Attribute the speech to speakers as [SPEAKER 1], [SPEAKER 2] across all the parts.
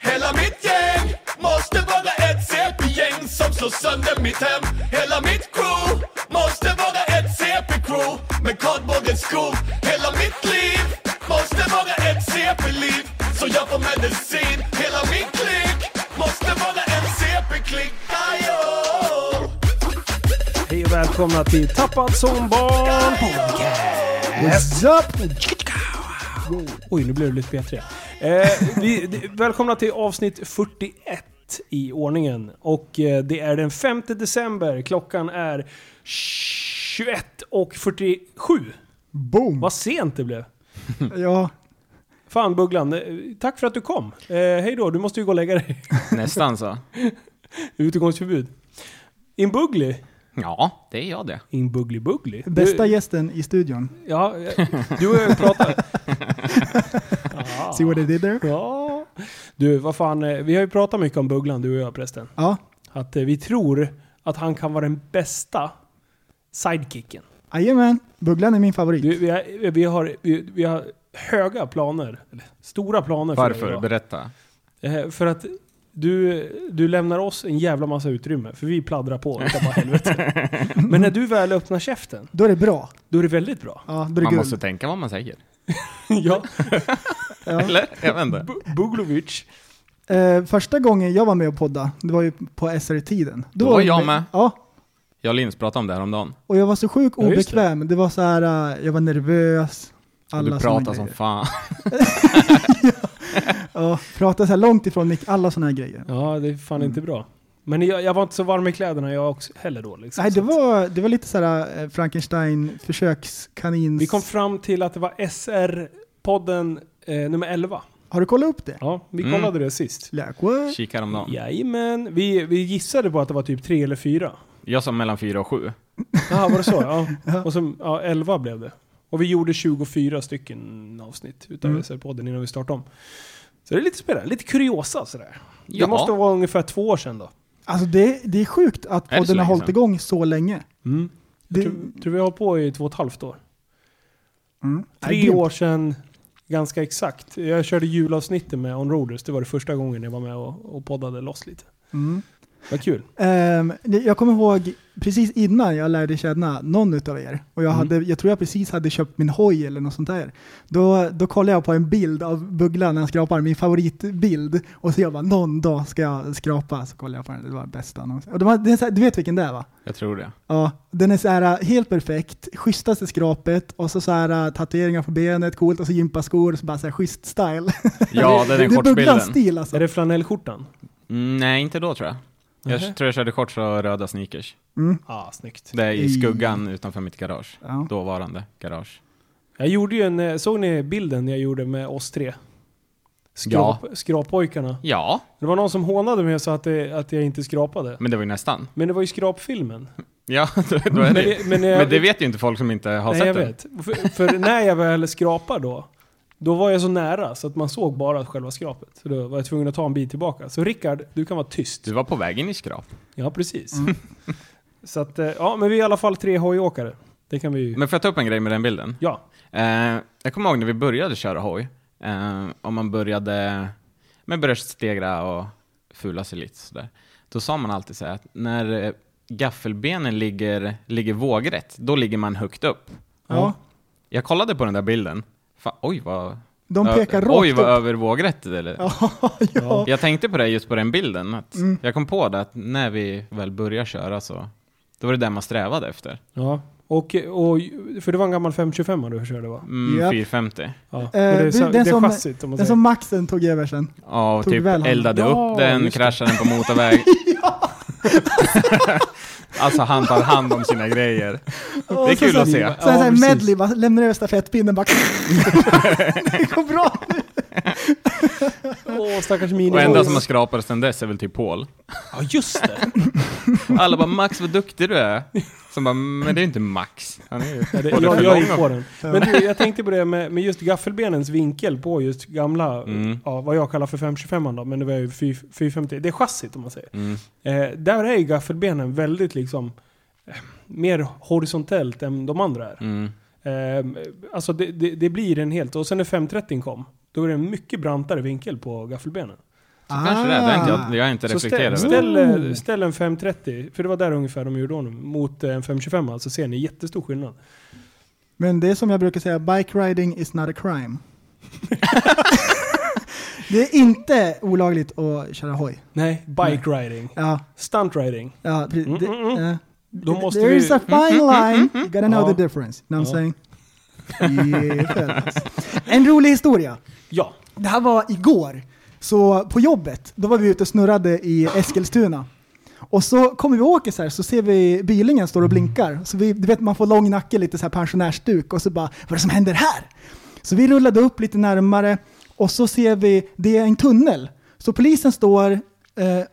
[SPEAKER 1] Hela mitt gäng måste vara ett CP-gäng som slår sönder mitt hem Hela mitt crew måste vara ett CP-crew med kardborrens skor Hela mitt liv måste vara ett CP-liv så jag får medicin Hela min klick måste vara en CP-klick Ajo!
[SPEAKER 2] Hej och välkomna till Tappat som barn podcast! Oj, nu blev det lite P3. Eh, vi, d- välkomna till avsnitt 41 i ordningen. Och eh, det är den 5 december. Klockan är 21.47.
[SPEAKER 3] Boom!
[SPEAKER 2] Vad sent det blev.
[SPEAKER 3] Ja,
[SPEAKER 2] Fan Bugglan, eh, tack för att du kom. Eh, hej då, du måste ju gå och lägga dig.
[SPEAKER 4] Nästan så.
[SPEAKER 2] Utegångsförbud. In Buggly.
[SPEAKER 4] Ja, det är jag det.
[SPEAKER 2] In Buggly Buggly.
[SPEAKER 3] bästa
[SPEAKER 2] du,
[SPEAKER 3] gästen i studion.
[SPEAKER 2] Ja, eh, du och jag pratar. Ja.
[SPEAKER 3] See what I did there?
[SPEAKER 2] Ja. Du, vad fan. eh, Vi har ju pratat mycket om Bugglan, du och jag prästen.
[SPEAKER 3] Ja,
[SPEAKER 2] Att eh, vi tror att han kan vara den bästa sidekicken.
[SPEAKER 3] jajamän. Bugglan är min favorit.
[SPEAKER 2] Du, vi, har, eh, vi, har, vi, vi har höga planer. Eller stora planer för dig
[SPEAKER 4] Varför?
[SPEAKER 2] idag.
[SPEAKER 4] Berätta.
[SPEAKER 2] Eh, För att du, du lämnar oss en jävla massa utrymme. För vi pladdrar på. och tar bara helvete. Men när du väl öppnar käften,
[SPEAKER 3] Då är det bra.
[SPEAKER 2] då är det väldigt bra.
[SPEAKER 3] Ja, då är det
[SPEAKER 4] Man
[SPEAKER 3] guld.
[SPEAKER 4] måste tänka vad man säger.
[SPEAKER 2] ja,
[SPEAKER 3] Ja.
[SPEAKER 4] Eller? Jag vet inte.
[SPEAKER 2] Bu- Buglovic.
[SPEAKER 3] Eh, första gången jag var med och podda, det var ju på SR-tiden.
[SPEAKER 4] Då var jag med.
[SPEAKER 3] Ja,
[SPEAKER 4] Jag och Linus pratade om det här om dagen.
[SPEAKER 3] och jag var så sjukt
[SPEAKER 2] Ja, just det.
[SPEAKER 3] obekväm. det. var så här, eh, jag var nervös.
[SPEAKER 4] Du
[SPEAKER 3] såna
[SPEAKER 4] pratade som
[SPEAKER 3] grejer.
[SPEAKER 4] fan.
[SPEAKER 3] Ja, pratade så här långt ifrån mick, alla sådana här grejer.
[SPEAKER 2] Ja, det är fan inte bra. Men jag, jag var inte så varm i kläderna jag också, heller då. Liksom.
[SPEAKER 3] Nej,
[SPEAKER 2] Så
[SPEAKER 3] det
[SPEAKER 2] att-
[SPEAKER 3] var, det var lite så här eh, Frankenstein försökskanins...
[SPEAKER 2] Vi kom fram till att det var SR-podden eh, nummer 11.
[SPEAKER 3] Har du kollat upp det?
[SPEAKER 2] Ja, vi
[SPEAKER 4] Mm.
[SPEAKER 2] kollade det sist.
[SPEAKER 3] Like what?
[SPEAKER 4] Kikade om dagen.
[SPEAKER 2] Jajamän. Vi, vi gissade på att det var typ tre eller fyra.
[SPEAKER 4] Jag sa mellan fyra och sju.
[SPEAKER 2] Ja, var det så? Ja. Och så, ja, 11 blev det. Och vi gjorde 24 stycken avsnitt utav
[SPEAKER 3] Mm.
[SPEAKER 2] SR-podden innan vi startade om. Så det är lite spännande, lite kuriosa sådär.
[SPEAKER 4] Ja.
[SPEAKER 2] Det måste vara ungefär två år sedan då.
[SPEAKER 3] Alltså det, det är sjukt att
[SPEAKER 4] Är det
[SPEAKER 3] podden
[SPEAKER 4] så
[SPEAKER 3] har
[SPEAKER 4] länge
[SPEAKER 3] hållit
[SPEAKER 4] sedan?
[SPEAKER 3] igång så länge.
[SPEAKER 2] Mm.
[SPEAKER 3] Det,
[SPEAKER 2] Tror, tror vi har hållit på i två och ett halvt år.
[SPEAKER 3] mm. Nej,
[SPEAKER 2] Tre
[SPEAKER 3] grymt.
[SPEAKER 2] år sedan, ganska exakt. Jag körde julavsnittet med Onroaders, det var det första gången jag var med och, och poddade loss lite.
[SPEAKER 3] Mm.
[SPEAKER 2] Vad kul.
[SPEAKER 3] Ehm, det- jag kommer ihåg precis innan jag lärde känna någon utav er och jag,
[SPEAKER 2] Mm.
[SPEAKER 3] hade, jag tror jag precis hade köpt min hoj eller något sånt där. Då, då kollade jag på en bild av Bugglan när han skrapar, min favoritbild. Och så jag bara, någon dag ska jag skrapa. Så kollade jag på den, det var bästa någonsin. Och de hade, det är så här, du vet vilken det är va?
[SPEAKER 4] Jag tror det.
[SPEAKER 3] Ja, den är så här helt perfekt, schysstaste skrapet och så, så här tatueringar på benet, coolt och så gympaskor och så bara så här schysst style.
[SPEAKER 4] Ja, det är den
[SPEAKER 3] det är
[SPEAKER 4] kortbilden.
[SPEAKER 3] Bugglans stil alltså.
[SPEAKER 2] Är det flanellskjortan?
[SPEAKER 4] Mm, nej, inte då tror jag. Jag
[SPEAKER 2] Nähä.
[SPEAKER 4] tror jag körde shorts och röda sneakers.
[SPEAKER 3] Mm.
[SPEAKER 2] Ah, snyggt.
[SPEAKER 4] Det är i
[SPEAKER 3] I-
[SPEAKER 4] skuggan utanför mitt garage.
[SPEAKER 3] Ja.
[SPEAKER 4] Dåvarande garage.
[SPEAKER 2] Jag gjorde ju en, eh, såg ni bilden jag gjorde med oss tre? Skrap, Skrappojkarna.
[SPEAKER 4] Ja,
[SPEAKER 2] Det var någon som hånade mig och sa att, det, att jag inte skrapade.
[SPEAKER 4] men det var ju nästan.
[SPEAKER 2] Men det var ju skrapfilmen.
[SPEAKER 4] Ja, då- då är det ju-
[SPEAKER 2] men, när jag-
[SPEAKER 4] Men det vet ju inte folk som inte har
[SPEAKER 2] Nej,
[SPEAKER 4] sett
[SPEAKER 2] jag
[SPEAKER 4] den.
[SPEAKER 2] vet. För, för när jag väl skrapar då, då var jag så nära så att man såg bara själva skrapet. Så då var jag tvungen att ta en bit tillbaka. Så Rickard, du kan vara tyst.
[SPEAKER 4] Du var på vägen i skrap.
[SPEAKER 2] Ja, precis. Så att, eh, ja, men vi är i alla fall tre hojåkare. Det kan vi ju...
[SPEAKER 4] Men får jag ta upp en grej med den bilden?
[SPEAKER 2] Ja.
[SPEAKER 4] Eh, jag kommer ihåg när vi började köra hoj. Eh, och man började, man började stegra och fula sig lite sådär. Då sa man alltid så här att när eh, gaffelbenen ligger, ligger vågrätt, då ligger man högt upp.
[SPEAKER 3] Ja.
[SPEAKER 4] Jag kollade på den där bilden. Fan, oj vad...
[SPEAKER 3] De pekar
[SPEAKER 4] ö-
[SPEAKER 3] rakt
[SPEAKER 4] Oj vad
[SPEAKER 3] upp.
[SPEAKER 4] över vågrätt eller?
[SPEAKER 3] Ja, ja.
[SPEAKER 4] Jag tänkte på det just på den bilden. Att
[SPEAKER 3] Mm.
[SPEAKER 4] Jag kom på det att när vi väl började köra så, då var det där man strävade efter.
[SPEAKER 2] ja. Och, och, för det var en gammal 525 du körde va?
[SPEAKER 4] Mm,
[SPEAKER 3] Japp.
[SPEAKER 4] 450.
[SPEAKER 2] Ja. Men det, är
[SPEAKER 3] du,
[SPEAKER 2] så-
[SPEAKER 3] Eh, den
[SPEAKER 2] det är
[SPEAKER 3] som-
[SPEAKER 2] chassit om man
[SPEAKER 3] Den
[SPEAKER 2] säger.
[SPEAKER 3] som Maxen tog över sen.
[SPEAKER 4] Ja, och
[SPEAKER 3] Tog
[SPEAKER 4] typ
[SPEAKER 3] väl hand om-
[SPEAKER 4] eldade
[SPEAKER 2] Ja,
[SPEAKER 4] upp den,
[SPEAKER 2] just det.
[SPEAKER 4] kraschade den på motorväg. alltså han tar hand om sina grejer. det är kul att
[SPEAKER 3] Så
[SPEAKER 4] se.
[SPEAKER 3] här, så
[SPEAKER 2] Ja,
[SPEAKER 3] här
[SPEAKER 2] precis.
[SPEAKER 3] medley, bara, lämnar över stafettpinnen bara. det går bra.
[SPEAKER 2] Åh, stackars mini
[SPEAKER 4] Och enda som har skrapat sedan dess är väl typ Paul.
[SPEAKER 2] Ja, just det.
[SPEAKER 4] Alla bara 'Max vad duktig du är' Som bara 'Men det är ju inte Max' Han är ju
[SPEAKER 2] Ja, det
[SPEAKER 4] både
[SPEAKER 2] jag,
[SPEAKER 4] för
[SPEAKER 2] jag
[SPEAKER 4] lång
[SPEAKER 2] gick
[SPEAKER 4] och-
[SPEAKER 2] på den. Men du, jag tänkte på det med, med just gaffelbenens vinkel på just gamla,
[SPEAKER 4] Mm.
[SPEAKER 2] ja, vad jag kallar för 525 då, men det var ju 4- 450. Det är chassit om man säger.
[SPEAKER 4] Mm.
[SPEAKER 2] Eh, där är ju gaffelbenen väldigt liksom eh, mer horisontellt än de andra är.
[SPEAKER 4] Mm.
[SPEAKER 2] Eh, alltså det, det, det blir en helt, och sen när 530 kom, då är det en mycket brantare vinkel på gaffelbenen.
[SPEAKER 4] Så kanske det
[SPEAKER 3] Ah.
[SPEAKER 4] är. det är inte, jag, jag har inte
[SPEAKER 2] Ah. Så ställ,
[SPEAKER 4] reflekterat över det.
[SPEAKER 2] ställ, eh, ställ en 530, för det var där ungefär de gjorde honom, mot eh, en 525 så alltså, ser ni jättestor skillnad.
[SPEAKER 3] Men det är som jag brukar säga, bike riding is not a crime. det är inte olagligt att köra hoj.
[SPEAKER 2] Nej, bike riding.
[SPEAKER 3] Ja,
[SPEAKER 2] Stunt riding.
[SPEAKER 3] ja, pre-
[SPEAKER 2] Mm,
[SPEAKER 3] det,
[SPEAKER 2] mm, mm.
[SPEAKER 3] ja.
[SPEAKER 2] Då måste
[SPEAKER 3] There
[SPEAKER 2] vi... Mm,
[SPEAKER 3] is a fine line, you gotta know
[SPEAKER 2] Ja.
[SPEAKER 3] the difference. You know what I'm
[SPEAKER 2] Ja.
[SPEAKER 3] saying? Yeah, fellas. en rolig historia.
[SPEAKER 2] Ja.
[SPEAKER 3] Det här var igår. Så på jobbet, då var vi ute och snurrade i Eskilstuna. Och så kommer vi och åker så här, så ser vi bylingen står och blinkar. Så vi, du vet, man får lång nacke, lite så här pensionärsduk och så bara, vad är det som händer här? Så vi rullade upp lite närmare och så ser vi, det är en tunnel. Så polisen står eh,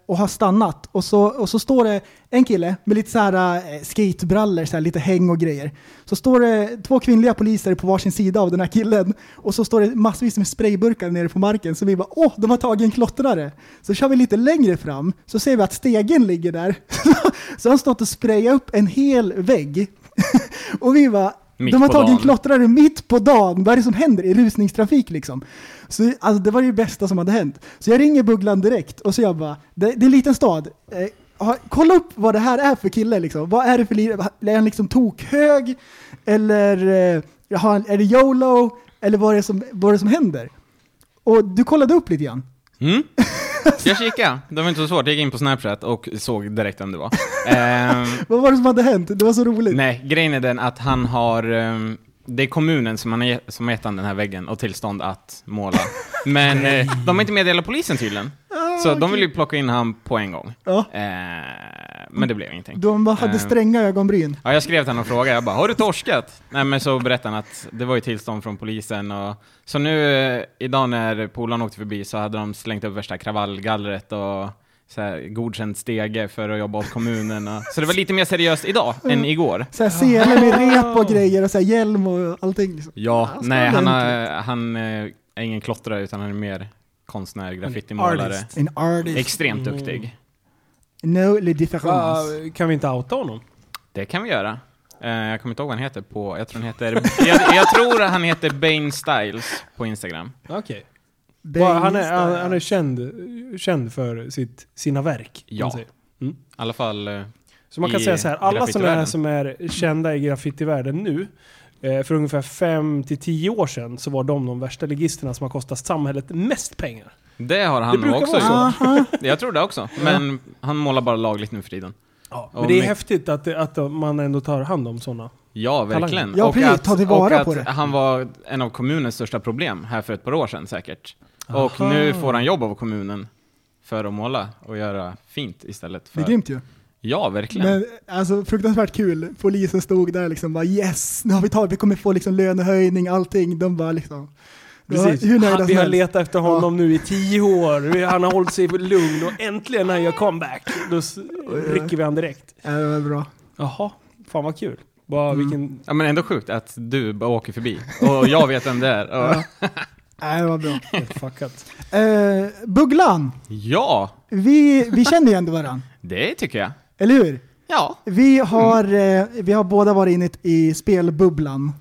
[SPEAKER 3] och har stannat och så, och så står det en kille med lite så här eh, skatebrallor, så här, lite häng och grejer. Så står det två kvinnliga poliser på varsin sida av den här killen och så står det massvis med sprayburkar nere på marken. Så vi bara, åh, de har tagit en klottrare. Så kör vi lite längre fram så ser vi att stegen ligger där. så han stått och sprayat upp en hel vägg. och vi bara,
[SPEAKER 4] Mitt
[SPEAKER 3] de har
[SPEAKER 4] på
[SPEAKER 3] tagit en
[SPEAKER 4] dagen.
[SPEAKER 3] klottrare mitt på dagen. Vad är det som händer i rusningstrafik liksom? Så, alltså, det var det bästa som hade hänt. Så jag ringer Bugglan direkt och så jag bara, det, det är en liten stad. Eh, ha, kolla upp vad det här är för kille liksom. Vad är det för lirare? Är han liksom tokhög? Eller eh, har han- är det YOLO? Eller vad är det som, vad är det som händer? Och du kollade upp lite grann.
[SPEAKER 4] Mm? Jag kikade, det var inte så svårt. Jag gick in på Snapchat och såg direkt vem det var. Ehm,
[SPEAKER 3] Vad var det som hade hänt? Det var så roligt.
[SPEAKER 4] Nej, grejen är den att han har... ehm, det är kommunen som, han har, ge- som har gett han den här väggen och tillstånd att måla. Men eh, de har inte meddelat polisen tydligen. Så de vill ju plocka in han på en gång.
[SPEAKER 3] Ja.
[SPEAKER 4] Eh, men det blev ingenting.
[SPEAKER 3] De bara hade
[SPEAKER 4] Eh,
[SPEAKER 3] stränga ögonbryn.
[SPEAKER 4] Ja, jag skrev till honom och frågade, jag bara, har du torskat? Nej, men så berättade han att det var ju tillstånd från polisen och så nu eh, idag när polaren åkte förbi så hade de slängt upp värsta kravallgallret och så här, godkänt stege för att jobba åt kommunen. Och, så det var lite mer seriöst idag än igår.
[SPEAKER 3] Såhär sele med rep och grejer och såhär hjälm och allting. Liksom.
[SPEAKER 4] Ja,
[SPEAKER 3] Ja, så
[SPEAKER 4] nej,
[SPEAKER 3] han
[SPEAKER 4] han,
[SPEAKER 3] är
[SPEAKER 4] har, han eh, är ingen klottrare utan han är mer konstnär, graffitimålare.
[SPEAKER 2] artist.
[SPEAKER 3] En artist.
[SPEAKER 4] Extremt
[SPEAKER 2] Mm.
[SPEAKER 4] duktig.
[SPEAKER 3] No le difference.
[SPEAKER 2] Va, kan vi inte outa honom?
[SPEAKER 4] Det kan vi göra. Eh, jag kommer inte ihåg vad han heter på, jag tror han heter, jag, jag tror han heter Bane Styles på Instagram.
[SPEAKER 2] Okej.
[SPEAKER 3] Bang
[SPEAKER 2] Bara, han är, han,
[SPEAKER 3] style.
[SPEAKER 2] han är känd, känd för sitt, sina verk. om
[SPEAKER 4] Ja.
[SPEAKER 2] man säger.
[SPEAKER 4] I alla fall eh,
[SPEAKER 2] Så man kan
[SPEAKER 4] I
[SPEAKER 2] säga så här, alla som är,
[SPEAKER 4] graffitivärlden.
[SPEAKER 2] som är kända i graffitivärlden nu, eh, för ungefär 5-10 år sedan så var de de värsta ligisterna som har kostat samhället mest pengar.
[SPEAKER 4] Det har
[SPEAKER 2] Det
[SPEAKER 4] han nog
[SPEAKER 2] brukar
[SPEAKER 4] också
[SPEAKER 2] vara
[SPEAKER 4] gjort. Jag tror det också. Men han målar bara lagligt nu för tiden.
[SPEAKER 2] Ja,
[SPEAKER 4] Och
[SPEAKER 2] men det är
[SPEAKER 4] my-
[SPEAKER 2] häftigt att, det- att man ändå tar hand om sådana.
[SPEAKER 4] Ja, verkligen.
[SPEAKER 3] Ja, precis. Ta tillvara
[SPEAKER 4] och att
[SPEAKER 3] på det.
[SPEAKER 4] han var en av kommunens största problem här för ett par år sedan säkert. Och nu får han jobb av kommunen för att måla och göra fint istället
[SPEAKER 3] Det är
[SPEAKER 4] för...
[SPEAKER 3] grymt ju.
[SPEAKER 4] Ja, verkligen.
[SPEAKER 3] Men alltså fruktansvärt kul. Polisen stod där liksom bara yes, nu har vi tagit, vi kommer få liksom lönehöjning, allting. De bara liksom. de var Hur nöjda
[SPEAKER 2] Han, vi
[SPEAKER 3] som
[SPEAKER 2] har
[SPEAKER 3] helst.
[SPEAKER 2] letat efter honom nu i 10 år. Vi- Han har hållit sig lugn och äntligen när jag gör comeback, då s- rycker vi han direkt.
[SPEAKER 3] Ja, det var bra.
[SPEAKER 2] Jaha, fan vad kul. Bara
[SPEAKER 4] Mm.
[SPEAKER 2] vilken...
[SPEAKER 4] Ja, men ändå sjukt att du bara åker förbi. Och jag vet vem det är. Och... Ja.
[SPEAKER 3] Ja, det var bra.
[SPEAKER 2] Helt fuckat.
[SPEAKER 3] Eh, Bugglan, vi, vi känner ju ändå varandra.
[SPEAKER 4] det tycker jag.
[SPEAKER 3] Eller hur?
[SPEAKER 4] Ja.
[SPEAKER 3] Vi har, eh, vi har båda varit inne i spelbubblan.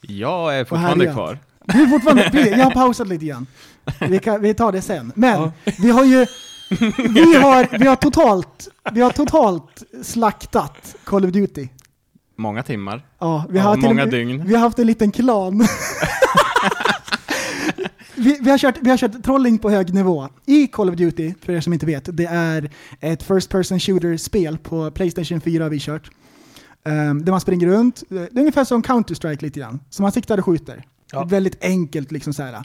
[SPEAKER 4] Jag är fortfarande
[SPEAKER 3] härligt.
[SPEAKER 4] kvar.
[SPEAKER 3] Du är fortfarande, vi- jag har pausat lite grann. Vi, kan, vi tar det sen. Men
[SPEAKER 2] Ja.
[SPEAKER 3] vi har ju, vi har, vi har totalt, vi har totalt slaktat Call of Duty.
[SPEAKER 4] Många timmar.
[SPEAKER 3] Ja, vi
[SPEAKER 4] Ja,
[SPEAKER 3] har till och
[SPEAKER 4] många
[SPEAKER 3] med-
[SPEAKER 4] dygn.
[SPEAKER 3] Vi har haft en liten klan. vi, vi, har kört, vi har kört trolling på hög nivå. I Call of Duty, för er som inte vet, det är ett First Person Shooter-spel på Playstation 4 har vi kört. Ehm, där man springer runt. Det är ungefär som Counter-Strike lite grann. Så man siktar och skjuter.
[SPEAKER 2] Ja.
[SPEAKER 3] Väldigt enkelt liksom så här, eh,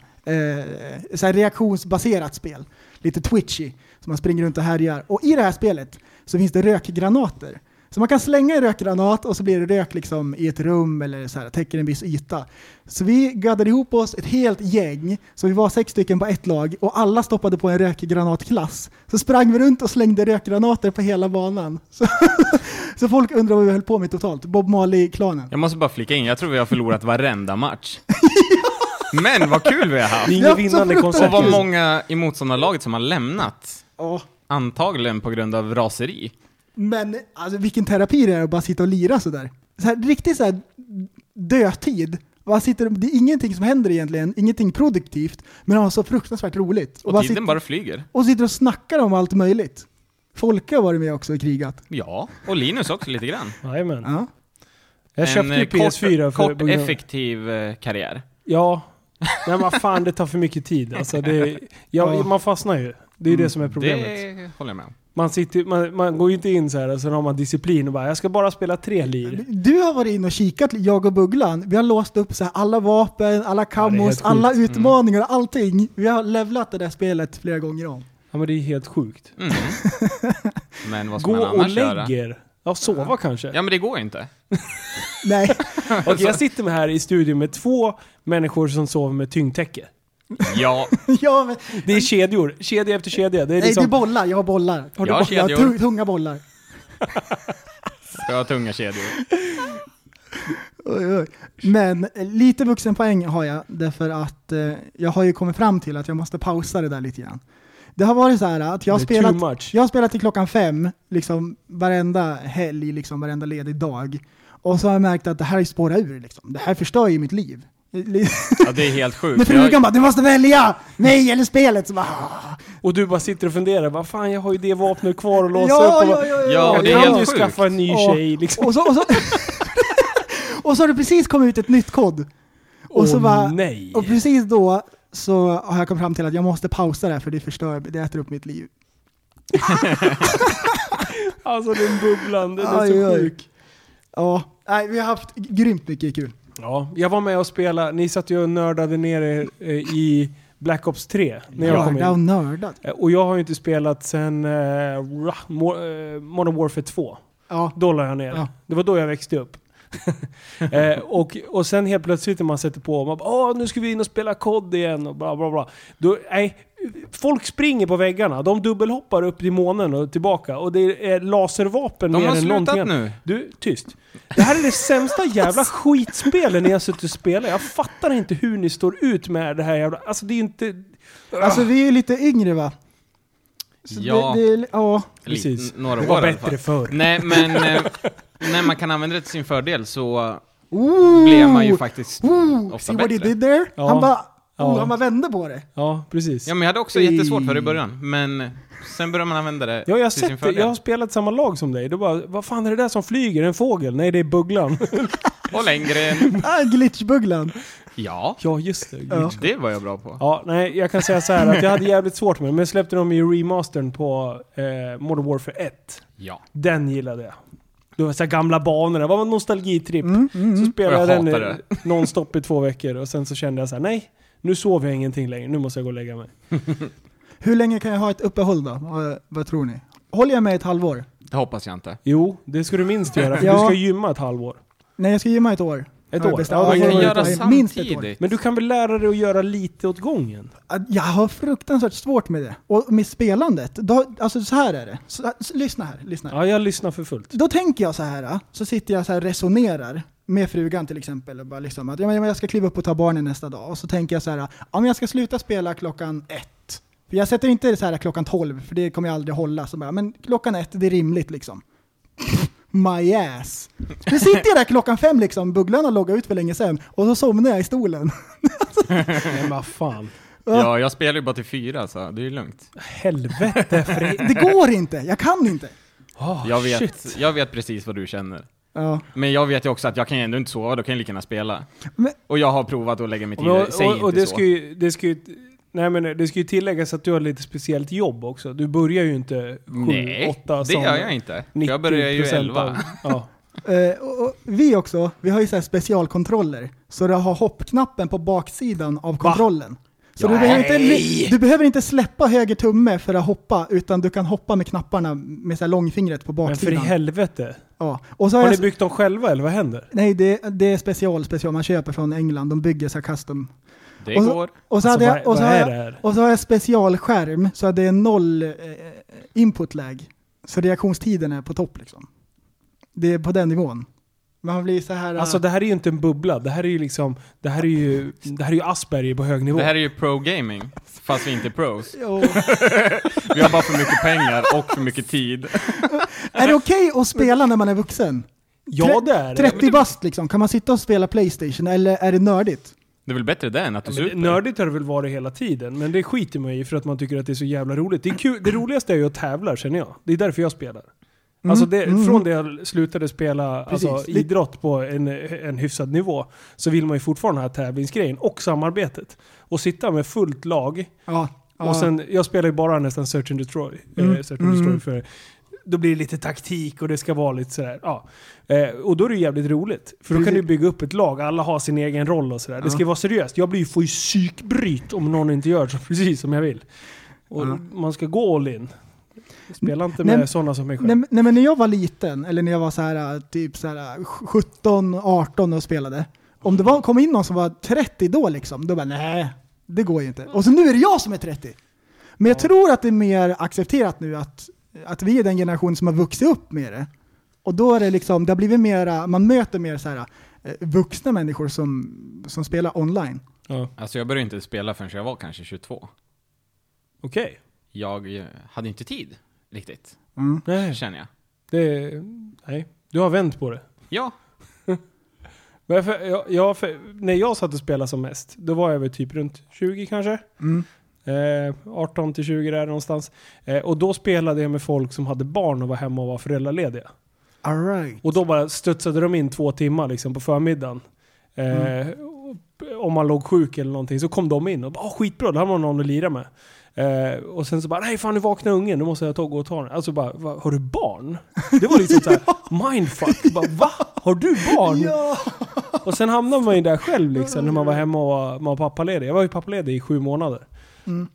[SPEAKER 3] så här reaktionsbaserat spel. Lite twitchy. Så man springer runt och härjar. Och i det här spelet så finns det rökgranater. Så man kan slänga en rökgranat och så blir det rök liksom i ett rum eller så här, täcker en viss yta. Så vi gaddade ihop oss ett helt gäng, så vi var sex stycken på ett lag och alla stoppade på en rökgranatklass. Så sprang vi runt och slängde rökgranater på hela banan. Så, så folk undrar vad vi höll på med totalt. Bob Marley-klanen.
[SPEAKER 4] Jag måste bara flika in, jag tror vi har förlorat varenda match. Men vad kul vi har haft!
[SPEAKER 2] Det är
[SPEAKER 3] Ja,
[SPEAKER 2] inget
[SPEAKER 3] så
[SPEAKER 2] vinnande koncept.
[SPEAKER 4] Och vad
[SPEAKER 2] just nu.
[SPEAKER 4] många i motståndarlaget som har lämnat.
[SPEAKER 3] Ja.
[SPEAKER 4] Antagligen på grund av raseri.
[SPEAKER 3] Men alltså vilken terapi det är att bara sitta och lira sådär. Så här, riktigt såhär dödtid Vad sitter, det är ingenting som händer egentligen, ingenting produktivt, men har så fruktansvärt roligt.
[SPEAKER 4] Och
[SPEAKER 3] vad
[SPEAKER 4] tiden
[SPEAKER 3] sitter,
[SPEAKER 4] bara flyger.
[SPEAKER 3] och sitter och snackar om allt möjligt. Folke har varit med också och krigat.
[SPEAKER 4] Ja, och Linus också lite grann.
[SPEAKER 2] Jajamän.
[SPEAKER 3] Ja.
[SPEAKER 2] Jag köpte
[SPEAKER 4] en
[SPEAKER 2] ju
[SPEAKER 4] eh, kort,
[SPEAKER 2] PS4 för...
[SPEAKER 4] kort effektiv eh, karriär.
[SPEAKER 2] Ja. Nej men vad fan, det tar för mycket tid. Alltså det, ja,
[SPEAKER 3] Ja. Mm,
[SPEAKER 2] man fastnar ju. Det är ju det som är problemet.
[SPEAKER 4] Det håller jag med om.
[SPEAKER 2] Man, sitter, man, man går ju inte in så här och sen har man disciplin och bara jag ska bara spela tre lir.
[SPEAKER 3] Du har varit inne och kikat, jag och Bugglan. Vi har låst upp så här alla vapen, alla
[SPEAKER 2] helt
[SPEAKER 3] kammos,
[SPEAKER 2] sjukt. Mm.
[SPEAKER 3] alla utmaningar, allting. Vi har levlat det där spelet flera gånger om.
[SPEAKER 2] Ja men det är helt sjukt.
[SPEAKER 4] Mm. Men vad ska
[SPEAKER 2] Gå
[SPEAKER 4] man
[SPEAKER 2] och
[SPEAKER 4] annars göra?
[SPEAKER 2] lägger. Ja, sova kanske.
[SPEAKER 4] Ja men det går ju inte.
[SPEAKER 3] Nej,
[SPEAKER 2] Okej, jag sitter med här i studion med två människor som sover med tyngdtäcke.
[SPEAKER 4] Ja,
[SPEAKER 3] ja, men,
[SPEAKER 2] Det är kedjor, kedja efter kedja. Det är
[SPEAKER 3] nej det är
[SPEAKER 2] liksom...
[SPEAKER 3] bollar, jag har bollar. Har du
[SPEAKER 4] Jag har
[SPEAKER 3] bollar? Jag har
[SPEAKER 4] kedjor.
[SPEAKER 3] tu- tunga bollar.
[SPEAKER 4] ska ha tunga kedjor.
[SPEAKER 3] Oj, oj. Men eh, lite vuxenpoäng har jag, därför att eh, jag har ju kommit fram till att jag måste pausa det där lite grann. Det har varit så här att jag har
[SPEAKER 2] Det är
[SPEAKER 3] spelat,
[SPEAKER 2] too much.
[SPEAKER 3] jag har spelat till klockan fem, liksom varenda helg, liksom varenda ledig dag. Och så har jag märkt att det här spårar ur, liksom. det här förstör ju mitt liv.
[SPEAKER 4] Ja det är helt
[SPEAKER 3] När
[SPEAKER 4] sjukt.
[SPEAKER 3] frugan bara, du måste välja! Mig eller spelet! Så bara, "Ah."
[SPEAKER 2] Och du bara sitter och funderar. Vad fan, jag har ju det vapnet kvar att låsa
[SPEAKER 3] ja,
[SPEAKER 2] upp. Och
[SPEAKER 3] ja,
[SPEAKER 2] bara,
[SPEAKER 3] ja,
[SPEAKER 4] Ja,
[SPEAKER 2] jag
[SPEAKER 4] det är
[SPEAKER 2] kan
[SPEAKER 4] helt
[SPEAKER 2] ju
[SPEAKER 4] sjukt.
[SPEAKER 2] skaffa en ny
[SPEAKER 3] Ja.
[SPEAKER 2] tjej liksom.
[SPEAKER 3] Och så, och så, och så har det precis kommit ut ett nytt kod. Och så
[SPEAKER 2] Åh,
[SPEAKER 3] bara,
[SPEAKER 2] nej.
[SPEAKER 3] Och precis då så har jag kommit fram till att jag måste pausa det här för det förstör, det äter upp mitt liv.
[SPEAKER 2] Alltså den bubblan, den är
[SPEAKER 3] Aj,
[SPEAKER 2] så
[SPEAKER 3] aj.
[SPEAKER 2] sjuk.
[SPEAKER 3] Ja, nej, vi har haft grymt mycket kul.
[SPEAKER 2] Ja, jag var med och spelade, ni satt ju och nördade ner er eh, i Black Ops 3 när jag kom in.
[SPEAKER 3] Nörda och nördat.
[SPEAKER 2] Eh, Och jag har ju inte spelat sen eh, ra- Mo- eh, Modern Warfare 2.
[SPEAKER 3] Ja,
[SPEAKER 2] Då la jag ner.
[SPEAKER 3] Ja.
[SPEAKER 2] Det var då jag växte upp. eh, och, och sen helt plötsligt när man sätter på och man bara, Åh, nu ska vi in och spela kod igen och bla bla bla. Då, nej, folk springer på väggarna, de dubbelhoppar upp till månen och tillbaka och det är laservapen
[SPEAKER 4] De
[SPEAKER 2] mer
[SPEAKER 4] har
[SPEAKER 2] än
[SPEAKER 4] slutat
[SPEAKER 2] någonting annat.
[SPEAKER 4] nu.
[SPEAKER 2] Du, tyst. Det här är det sämsta jävla skitspelen ni har suttit och spelat. Jag fattar inte hur ni står ut med det här jävla... Alltså det är inte...
[SPEAKER 3] alltså vi är ju lite yngre va? Så
[SPEAKER 4] Ja.
[SPEAKER 3] Det, det, ja.
[SPEAKER 2] Precis.
[SPEAKER 4] Precis. Några
[SPEAKER 2] Det
[SPEAKER 4] år
[SPEAKER 2] var
[SPEAKER 4] i alla fall.
[SPEAKER 2] bättre förr.
[SPEAKER 4] Nej men, eh, när man kan använda det till sin fördel så
[SPEAKER 3] Ooh,
[SPEAKER 4] blev man
[SPEAKER 2] Oh!
[SPEAKER 4] ju faktiskt
[SPEAKER 3] Ooh,
[SPEAKER 4] ofta
[SPEAKER 3] see what he
[SPEAKER 4] bättre.
[SPEAKER 3] did there?
[SPEAKER 2] Ja.
[SPEAKER 3] Han bara,
[SPEAKER 2] Ja.
[SPEAKER 3] oh, han bara vände på det.
[SPEAKER 2] Ja, precis.
[SPEAKER 4] Ja men jag hade också jättesvårt för det i början, men sen började man använda det
[SPEAKER 2] Ja, jag har
[SPEAKER 4] till sin
[SPEAKER 2] sett det.
[SPEAKER 4] fördel.
[SPEAKER 2] Jag har spelat samma lag som dig. Då bara, vad fan är det där som flyger? En fågel? Nej, det är bugglan.
[SPEAKER 4] Och längre.
[SPEAKER 3] Ah, glitchbugglan.
[SPEAKER 4] Ja,
[SPEAKER 2] ja, just det. Ja.
[SPEAKER 3] Ja.
[SPEAKER 4] det var jag bra på.
[SPEAKER 2] ja, nej, jag kan säga så här att jag hade jävligt svårt med det, men jag släppte dem i remastern på eh, Modern Warfare 1.
[SPEAKER 4] Ja.
[SPEAKER 2] Den gillade jag. Det var så här gamla banor, det var en nostalgitripp. Så spelade
[SPEAKER 4] Och
[SPEAKER 2] mm, jag,
[SPEAKER 4] jag
[SPEAKER 2] den
[SPEAKER 4] hatar
[SPEAKER 2] eh, nonstop i två veckor och sen så kände jag så här: nej, nu sover jag ingenting längre, nu måste jag gå och lägga mig.
[SPEAKER 3] Hur länge kan jag ha ett uppehåll då? Vad, vad tror ni? Håller jag med ett halvår?
[SPEAKER 4] Det hoppas jag inte.
[SPEAKER 2] Jo, det ska du minst göra, för
[SPEAKER 3] Ja.
[SPEAKER 2] du ska gymma ett halvår.
[SPEAKER 3] Nej, jag ska ge mig ett år.
[SPEAKER 2] Ett
[SPEAKER 3] Har jag
[SPEAKER 2] år?
[SPEAKER 3] bestämt.
[SPEAKER 2] Ja, man
[SPEAKER 3] jag
[SPEAKER 2] kan
[SPEAKER 3] har
[SPEAKER 2] göra
[SPEAKER 3] ett år. Minst ett år.
[SPEAKER 2] Men du kan väl lära dig att göra lite åt gången?
[SPEAKER 3] Att Jag har fruktansvärt svårt med det. Och med spelandet. Då, alltså så här är det. Så, så, lyssna här, lyssna här.
[SPEAKER 2] Ja, jag lyssnar för fullt.
[SPEAKER 3] Då tänker jag så här, så sitter jag så här och resonerar med frugan till exempel. Och bara liksom att ja, men jag ska kliva upp och ta barnen nästa dag. Och så tänker jag så här, ja, men jag ska sluta spela klockan ett. För jag sätter inte så här klockan tolv, för det kommer jag aldrig hålla. Så bara, men klockan ett, det är rimligt liksom. My ass. Nu sitter jag där klockan fem liksom, bugglan har loggat ut för länge sedan. Och så somnar jag i stolen.
[SPEAKER 2] Nej, men vad fan.
[SPEAKER 4] Ja, jag spelar ju bara till fyra så det är ju lugnt.
[SPEAKER 2] Helvete Fredrik.
[SPEAKER 3] Det går inte, jag kan inte.
[SPEAKER 2] Oh,
[SPEAKER 4] Jag
[SPEAKER 2] Shit.
[SPEAKER 4] vet, jag vet precis vad du känner.
[SPEAKER 3] Ja.
[SPEAKER 4] Men jag vet ju också att jag kan ju ändå inte sova, då kan jag lika gärna spela.
[SPEAKER 3] Men-
[SPEAKER 4] Och jag har provat att lägga mig
[SPEAKER 2] Och,
[SPEAKER 4] till det, säg
[SPEAKER 2] och, och
[SPEAKER 4] inte
[SPEAKER 2] det,
[SPEAKER 4] så.
[SPEAKER 2] ska ju, det, ska ju, nej, men det ska ju tilläggas att du har lite speciellt jobb också. Du börjar ju inte 7,
[SPEAKER 4] Nej,
[SPEAKER 2] 8
[SPEAKER 4] det gör jag inte. För Jag börjar ju elva.
[SPEAKER 2] Ja.
[SPEAKER 3] Eh, och, och vi också, vi har ju så här specialkontroller. Så du har hoppknappen på baksidan av kontrollen. Så du
[SPEAKER 4] Nej.
[SPEAKER 3] behöver, inte, du behöver inte släppa höger tumme för att hoppa, utan du kan hoppa med knapparna med så här långfingret på
[SPEAKER 2] Men för i
[SPEAKER 3] baksidan.
[SPEAKER 2] helvete.
[SPEAKER 3] ja. och så har
[SPEAKER 2] Har ni
[SPEAKER 3] jag,
[SPEAKER 4] alltså-
[SPEAKER 3] s-
[SPEAKER 2] byggt dem själva eller vad händer?
[SPEAKER 3] nej, det, det är special, special. Man köper från England, de bygger så här custom.
[SPEAKER 4] Det
[SPEAKER 3] och så,
[SPEAKER 4] går.
[SPEAKER 3] Och
[SPEAKER 2] Alltså,
[SPEAKER 3] så, hade
[SPEAKER 2] vad-
[SPEAKER 3] jag, och så,
[SPEAKER 2] vad
[SPEAKER 3] har
[SPEAKER 2] är
[SPEAKER 3] jag,
[SPEAKER 2] det här?
[SPEAKER 3] och så har jag specialskärm, så det är noll eh, input-lag. Så reaktionstiden är på topp liksom. Det är på den nivån. Man blir så här... eh,
[SPEAKER 2] Alltså det här är ju inte en bubbla. Det här är ju liksom, det här är ju, det här är ju Asperger på hög nivå.
[SPEAKER 4] Det här är ju pro-gaming, fast vi inte är pros.
[SPEAKER 3] Jo.
[SPEAKER 4] Vi har bara för mycket pengar och för mycket tid.
[SPEAKER 3] Är det okej att spela när man är vuxen?
[SPEAKER 2] Ja, det är det.
[SPEAKER 3] 30 bast liksom, kan man sitta och spela Playstation eller är det nördigt?
[SPEAKER 4] Det är väl bättre det än att du
[SPEAKER 2] Men det-
[SPEAKER 4] super?
[SPEAKER 2] Nördigt har det väl varit hela tiden, men det skiter man i för att man tycker att det är så jävla roligt. Det, är kul, det roligaste är ju att tävla känner jag. Det är därför jag spelar. alltså det,
[SPEAKER 3] mm.
[SPEAKER 2] från det jag slutade spela
[SPEAKER 3] Precis.
[SPEAKER 2] alltså,
[SPEAKER 3] Det-
[SPEAKER 2] idrott på en, en hyfsad nivå så vill man ju fortfarande ha tävlingsgrejen och samarbetet. Och sitta med fullt lag
[SPEAKER 3] Ja. ja.
[SPEAKER 2] Och sen, jag spelar ju bara nästan Search and Destroy. Eh,
[SPEAKER 3] Mm.
[SPEAKER 2] Search and Destroy
[SPEAKER 3] Mm.
[SPEAKER 2] för, då blir det lite taktik och det ska vara lite sådär. Ja. Eh, och då är det ju jävligt roligt. För då kan du bygga upp ett lag, alla har sin egen roll och sådär. Det ska ju vara seriöst. Jag blir ju, får ju psykbryt om någon inte gör så precis som jag vill. Och
[SPEAKER 3] Ja.
[SPEAKER 2] man ska gå all in. Spela inte
[SPEAKER 3] Nej,
[SPEAKER 2] med
[SPEAKER 3] men-
[SPEAKER 2] sådana som mig själv.
[SPEAKER 3] Nej, men- nej men när jag var liten, eller när jag var så här, äh, typ så här, äh, 17, 18 och spelade. Om det var, kom in någon som var 30 då liksom, då bara nej, det går ju inte. Och så nu är det jag som är 30! Men jag tror att det är mer accepterat nu att, att vi är den generation som har vuxit upp med det. Och då är det liksom, det har blivit mera, man möter mer så här, äh, vuxna människor som, som spelar online.
[SPEAKER 2] ja.
[SPEAKER 4] Alltså jag började inte spela förrän jag var kanske 22.
[SPEAKER 2] Okej.
[SPEAKER 4] Jag eh, hade inte tid riktigt,
[SPEAKER 3] Mm.
[SPEAKER 2] Nej,
[SPEAKER 4] känner jag.
[SPEAKER 2] det, nej, du har vänt på det.
[SPEAKER 4] Ja,
[SPEAKER 2] Men för, jag, jag, för, när jag satt och spelade som mest, då var jag väl typ runt 20 kanske.
[SPEAKER 3] Mm.
[SPEAKER 2] Eh, 18 till 20 där någonstans. Eh, och då spelade jag med folk som hade barn och var hemma och var föräldralediga.
[SPEAKER 3] All right.
[SPEAKER 2] Och då bara studsade de in två timmar liksom på förmiddagen. Eh,
[SPEAKER 3] Mm.
[SPEAKER 2] och- Om man låg sjuk eller någonting så kom de in och bara "Ah, skitbra, då hade man någon att lira med. Eh, och sen så bara nej fan nu vaknar ungen, nu måste jag ta, gå och ta den. Alltså bara "Va, har du barn? Det var liksom såhär mindfuck. Bara, Va? Har du barn?
[SPEAKER 3] Ja!
[SPEAKER 2] Och sen hamnade man ju där själv liksom, när man var hemma och var, man var pappaledig. Jag var ju pappaledig i sju månader.
[SPEAKER 3] Mm.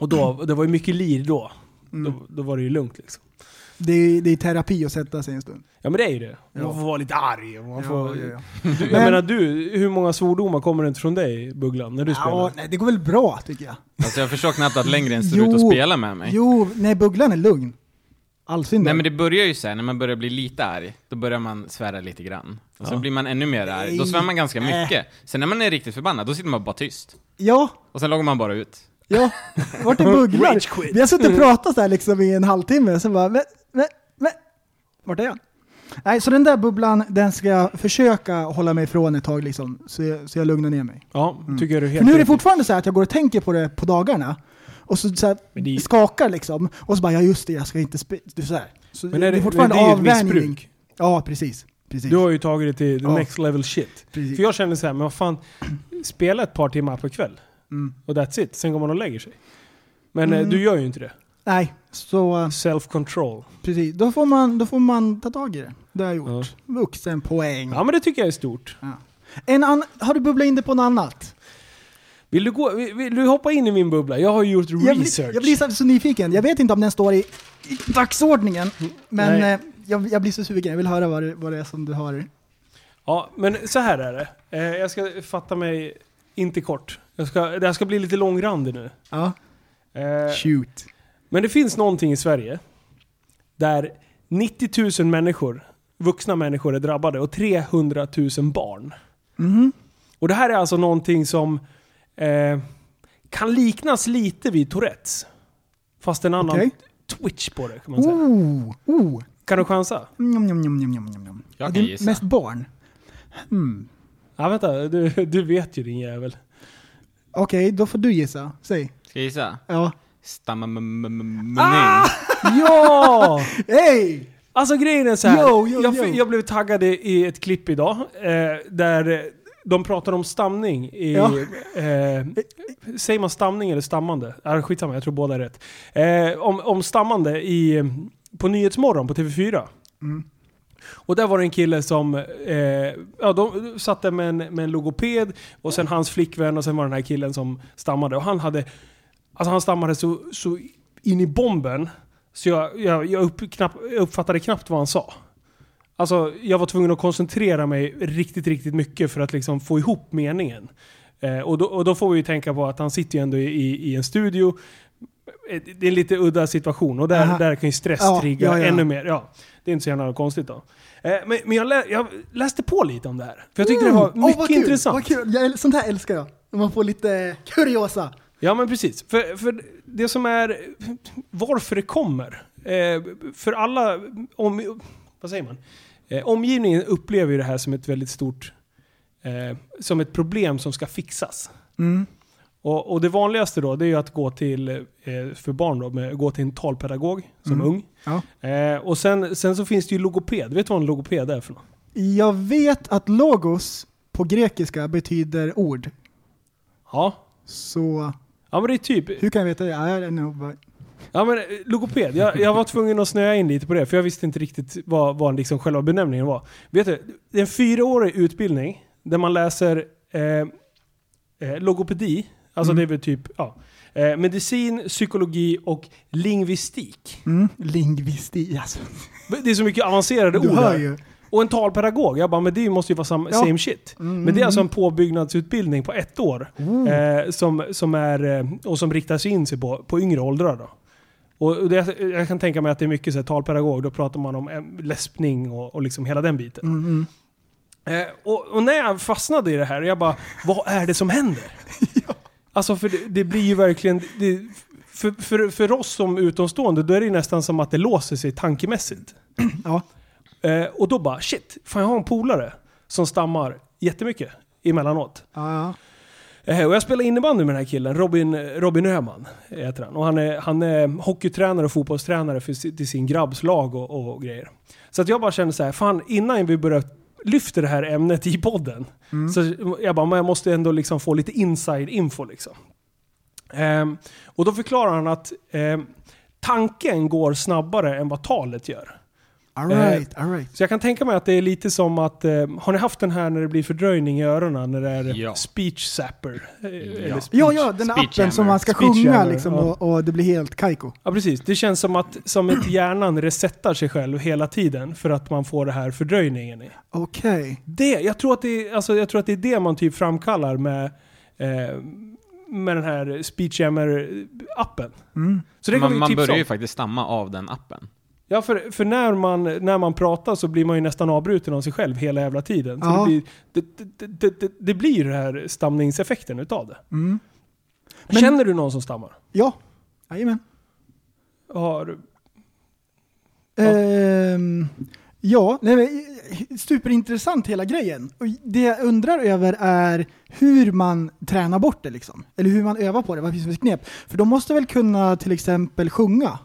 [SPEAKER 2] Och då, det var ju mycket lir då. Då, då var det ju lugnt liksom.
[SPEAKER 3] Det är, det är terapi att sätta sig en stund.
[SPEAKER 2] Ja men det är ju det. Man
[SPEAKER 3] Ja.
[SPEAKER 2] får vara lite arg. och Man får, Du, jag
[SPEAKER 3] Men-
[SPEAKER 2] menar du, hur många svordomar kommer det inte från dig Bugglan, när du spelar?
[SPEAKER 3] Ja, nej, det går väl bra tycker jag.
[SPEAKER 4] alltså jag förstår knappt att längre ens ser ut
[SPEAKER 3] Jo.
[SPEAKER 4] att spela med mig.
[SPEAKER 3] Jo, nej Bugglan är lugn. Allsyndig.
[SPEAKER 4] Nej men det börjar ju sen när man börjar bli lite arg, då börjar man svära lite grann. Och sen blir man ännu mer arg, då svär man ganska
[SPEAKER 3] Nej.
[SPEAKER 4] mycket. Sen när man är riktigt förbannad, då sitter man bara tyst.
[SPEAKER 3] Ja,
[SPEAKER 4] Och sen loggar man bara ut.
[SPEAKER 3] ja. Vart är Bugglan? Vi har suttit och pratat så här liksom i en halvtimme, och sen bara men, men, men. Vart är han? Nej, så den där bubblan, den ska jag försöka hålla mig ifrån ett tag liksom, så jag, så jag lugnar ner mig.
[SPEAKER 2] Ja, tycker jag du är helt
[SPEAKER 3] För Mm. nu är det
[SPEAKER 2] rätt i.
[SPEAKER 3] fortfarande så här att jag går och tänker på det på dagarna, och så, så här,
[SPEAKER 2] Men det är-
[SPEAKER 3] skakar liksom, och så bara ja just det, jag ska inte spela... Så här. Så
[SPEAKER 2] Men är det, men
[SPEAKER 3] fortfarande
[SPEAKER 2] det är ju ett
[SPEAKER 3] avvänjning.
[SPEAKER 2] missbruk.
[SPEAKER 3] Ja, precis. precis.
[SPEAKER 2] Du har ju tagit det till the
[SPEAKER 3] Ja.
[SPEAKER 2] next level shit.
[SPEAKER 3] Precis.
[SPEAKER 2] För jag känner så här, men vad fan, spela ett par timmar per kväll.
[SPEAKER 3] Mm.
[SPEAKER 2] Och that's it, sen går man och lägger sig. Men eh,
[SPEAKER 3] Mm.
[SPEAKER 2] du gör ju inte det.
[SPEAKER 3] Nej, så...
[SPEAKER 2] Self control.
[SPEAKER 3] Precis, då får man, då får man ta tag i det. Det har jag gjort.
[SPEAKER 2] Ja.
[SPEAKER 3] Vuxenpoäng.
[SPEAKER 2] Ja men det tycker jag är stort.
[SPEAKER 3] En ann- har du bubblat in det på något annat?
[SPEAKER 2] Vill du, gå, vill, vill du hoppa in i min bubbla? Jag har ju gjort
[SPEAKER 3] Jag blir,
[SPEAKER 2] research.
[SPEAKER 3] jag blir så, så nyfiken. Jag vet inte om den står i, i dagsordningen, men
[SPEAKER 2] Nej.
[SPEAKER 3] eh, jag, jag blir så sugen. Jag vill höra vad det, vad det är som du har.
[SPEAKER 2] Ja, men så här är det. Eh, jag ska fatta mig inte kort. Jag ska, det här ska bli lite långrandig nu.
[SPEAKER 3] Ja.
[SPEAKER 2] Eh,
[SPEAKER 3] Shoot.
[SPEAKER 2] men det finns någonting i Sverige där 90 000 människor, vuxna människor är drabbade och 300 000 barn.
[SPEAKER 3] Mhm.
[SPEAKER 2] Och det här är alltså någonting som eh, kan liknas lite vid Tourettes. Fast en annan
[SPEAKER 3] Okej.
[SPEAKER 2] twitch på det kan man säga.
[SPEAKER 3] Oh, oh.
[SPEAKER 2] Kan du chansa?
[SPEAKER 3] Njom, njom, njom, njom, njom, njom.
[SPEAKER 4] Jag
[SPEAKER 3] Och
[SPEAKER 4] kan
[SPEAKER 3] det är
[SPEAKER 4] gissa.
[SPEAKER 3] Mest barn. Mm.
[SPEAKER 2] Ja, vänta. Du, du vet ju din jävel.
[SPEAKER 3] Okej, då får du gissa. Säg.
[SPEAKER 4] Ska jag gissa?
[SPEAKER 3] Ja.
[SPEAKER 2] Ah!
[SPEAKER 4] Stammening.
[SPEAKER 2] Ja!
[SPEAKER 3] Hej!
[SPEAKER 2] Alltså grejen är så här.
[SPEAKER 3] Yo, yo,
[SPEAKER 2] jag,
[SPEAKER 3] yo.
[SPEAKER 2] jag blev taggad i- i ett klipp idag eh, där eh, de pratar om stamning. I,
[SPEAKER 3] Ja.
[SPEAKER 2] eh, säger man stamning eller stammande? Ah, skitsamma, jag tror båda är rätt. Eh, om, om stammande i, på Nyhetsmorgon på TV4. Och där var det en kille som eh, ja, de satte med en, med en logoped och sen hans flickvän och sen var det den här killen som stammade. Och han hade Alltså han stammade så, så in i bomben så jag, jag, jag, upp, knapp, jag uppfattade knappt vad han sa. Alltså jag var tvungen att koncentrera mig riktigt, riktigt mycket för att liksom få ihop meningen. Eh, och, då, och då får vi ju tänka på att han sitter ju ändå i, i, i en studio. Eh, Det är en lite udda situation och där,
[SPEAKER 3] Aha.
[SPEAKER 2] där kan ju stress
[SPEAKER 3] Ja,
[SPEAKER 2] trigga
[SPEAKER 3] ja, ja.
[SPEAKER 2] ännu mer. Ja, det är inte så jävla konstigt då. Eh, men men jag, lä, jag läste på lite om det här. För jag tyckte det var
[SPEAKER 3] Mm. Åh,
[SPEAKER 2] mycket
[SPEAKER 3] vad kul,
[SPEAKER 2] intressant.
[SPEAKER 3] Vad kul. Jag, sånt här älskar jag. När man får lite kuriosa.
[SPEAKER 2] Ja men precis. För, för det som är varför det kommer. Eh, för alla, om, vad säger man? Eh, omgivningen upplever ju det här som ett väldigt stort... Eh, som ett problem som ska fixas.
[SPEAKER 3] Mm.
[SPEAKER 2] Och, och det vanligaste då, det är ju att gå till, eh, för barn då, med, gå till en talpedagog som
[SPEAKER 3] Mm.
[SPEAKER 2] ung.
[SPEAKER 3] Ja.
[SPEAKER 2] Eh, och sen, sen så finns det ju logoped. Vet du vad en logoped är för något?
[SPEAKER 3] Jag vet att logos på grekiska betyder ord.
[SPEAKER 2] Ja.
[SPEAKER 3] Så
[SPEAKER 2] Ja men det är typ,
[SPEAKER 3] hur kan jag veta det? Ja, jag är nog bara-
[SPEAKER 2] ja men eh, logoped. Jag, jag var tvungen att snöa in lite på det för jag visste inte riktigt vad, vad liksom själva benämningen var. Vet du, det är en fyraårig utbildning där man läser eh, eh, logopedi, alltså
[SPEAKER 3] Mm.
[SPEAKER 2] det är väl typ, ja. Eh, medicin, psykologi och lingvistik.
[SPEAKER 3] Mm. Lingvisti, alltså.
[SPEAKER 2] Det är så mycket avancerade
[SPEAKER 3] Du
[SPEAKER 2] ord
[SPEAKER 3] hör
[SPEAKER 2] här.
[SPEAKER 3] ju.
[SPEAKER 2] Och en talpedagog, jag bara, men det måste ju vara sam-
[SPEAKER 3] Ja.
[SPEAKER 2] same shit.
[SPEAKER 3] Mm.
[SPEAKER 2] Men det är alltså en påbyggnadsutbildning på ett år. Eh, som, som är, eh, och som riktar sig in sig på, på yngre åldrar. Då. Och och det, jag kan tänka mig att det är mycket så här, talpedagog, då pratar man om eh, läspning och, och liksom hela den biten.
[SPEAKER 3] Mm, mm.
[SPEAKER 2] Eh, och, och när jag fastnade i det här, jag bara, vad är det som händer? Alltså för det, det blir ju verkligen, det, för, för, för oss som utomstående, då är det ju nästan som att det låser sig tankemässigt.
[SPEAKER 3] Ja.
[SPEAKER 2] Eh, och då bara, shit, fan jag har en polare som stammar jättemycket emellanåt.
[SPEAKER 3] Ja, ja.
[SPEAKER 2] Eh, Och jag spelar innebandy med den här killen, Robin, eh, Robin Öhman heter han. Och han är, han är hockeytränare och fotbollstränare för, si- till sin grabbslag och, och grejer. Så att jag bara kände så här, fan innan vi börjar lyfta det här ämnet i podden. Så jag bara, men jag måste ändå liksom få lite inside info liksom. Ehm, och då förklarar han att ehm, tanken går snabbare än vad talet gör.
[SPEAKER 3] All
[SPEAKER 2] Eh,
[SPEAKER 3] right, all right.
[SPEAKER 2] Så jag kan tänka mig att det är lite som att, eh, har ni haft den här när det blir fördröjning i öronen? När det är
[SPEAKER 4] Ja.
[SPEAKER 2] speech zapper? eh, eller
[SPEAKER 4] Ja.
[SPEAKER 2] speech-
[SPEAKER 3] Ja, ja, den
[SPEAKER 4] Speech
[SPEAKER 3] appen som
[SPEAKER 4] jammer.
[SPEAKER 3] man ska
[SPEAKER 2] Speech
[SPEAKER 3] sjunga
[SPEAKER 2] jammer,
[SPEAKER 3] liksom
[SPEAKER 2] ja.
[SPEAKER 3] och, och det blir helt kajko.
[SPEAKER 2] ja, precis. Det känns som att, som att hjärnan resetar sig själv hela tiden för att man får det här fördröjningen. I.
[SPEAKER 3] Okej.
[SPEAKER 2] Det, jag, tror att det, är- alltså, jag tror att det är det man typ framkallar med, eh, med den här speech jammer-appen.
[SPEAKER 3] Mm.
[SPEAKER 2] Så det kan
[SPEAKER 4] man
[SPEAKER 2] vi
[SPEAKER 4] man
[SPEAKER 2] tipsa
[SPEAKER 4] börjar
[SPEAKER 2] om.
[SPEAKER 4] ju faktiskt stamma av den appen.
[SPEAKER 2] Ja, för, för när, man, när man pratar så blir man ju nästan avbruten av sig själv hela jävla tiden. Så
[SPEAKER 3] Ja.
[SPEAKER 2] det, blir, det, det, det, det, det blir den här stamningseffekten utav det.
[SPEAKER 3] Mm. Men-
[SPEAKER 2] Känner du någon som stammar?
[SPEAKER 3] Ja, jajamän.
[SPEAKER 2] Har, Ja.
[SPEAKER 3] Ehm, ja, nej, men, superintressant hela grejen. Och det jag undrar över är hur man tränar bort det liksom. Eller hur man övar på det, vad finns det för knep? För de måste väl kunna till exempel sjunga?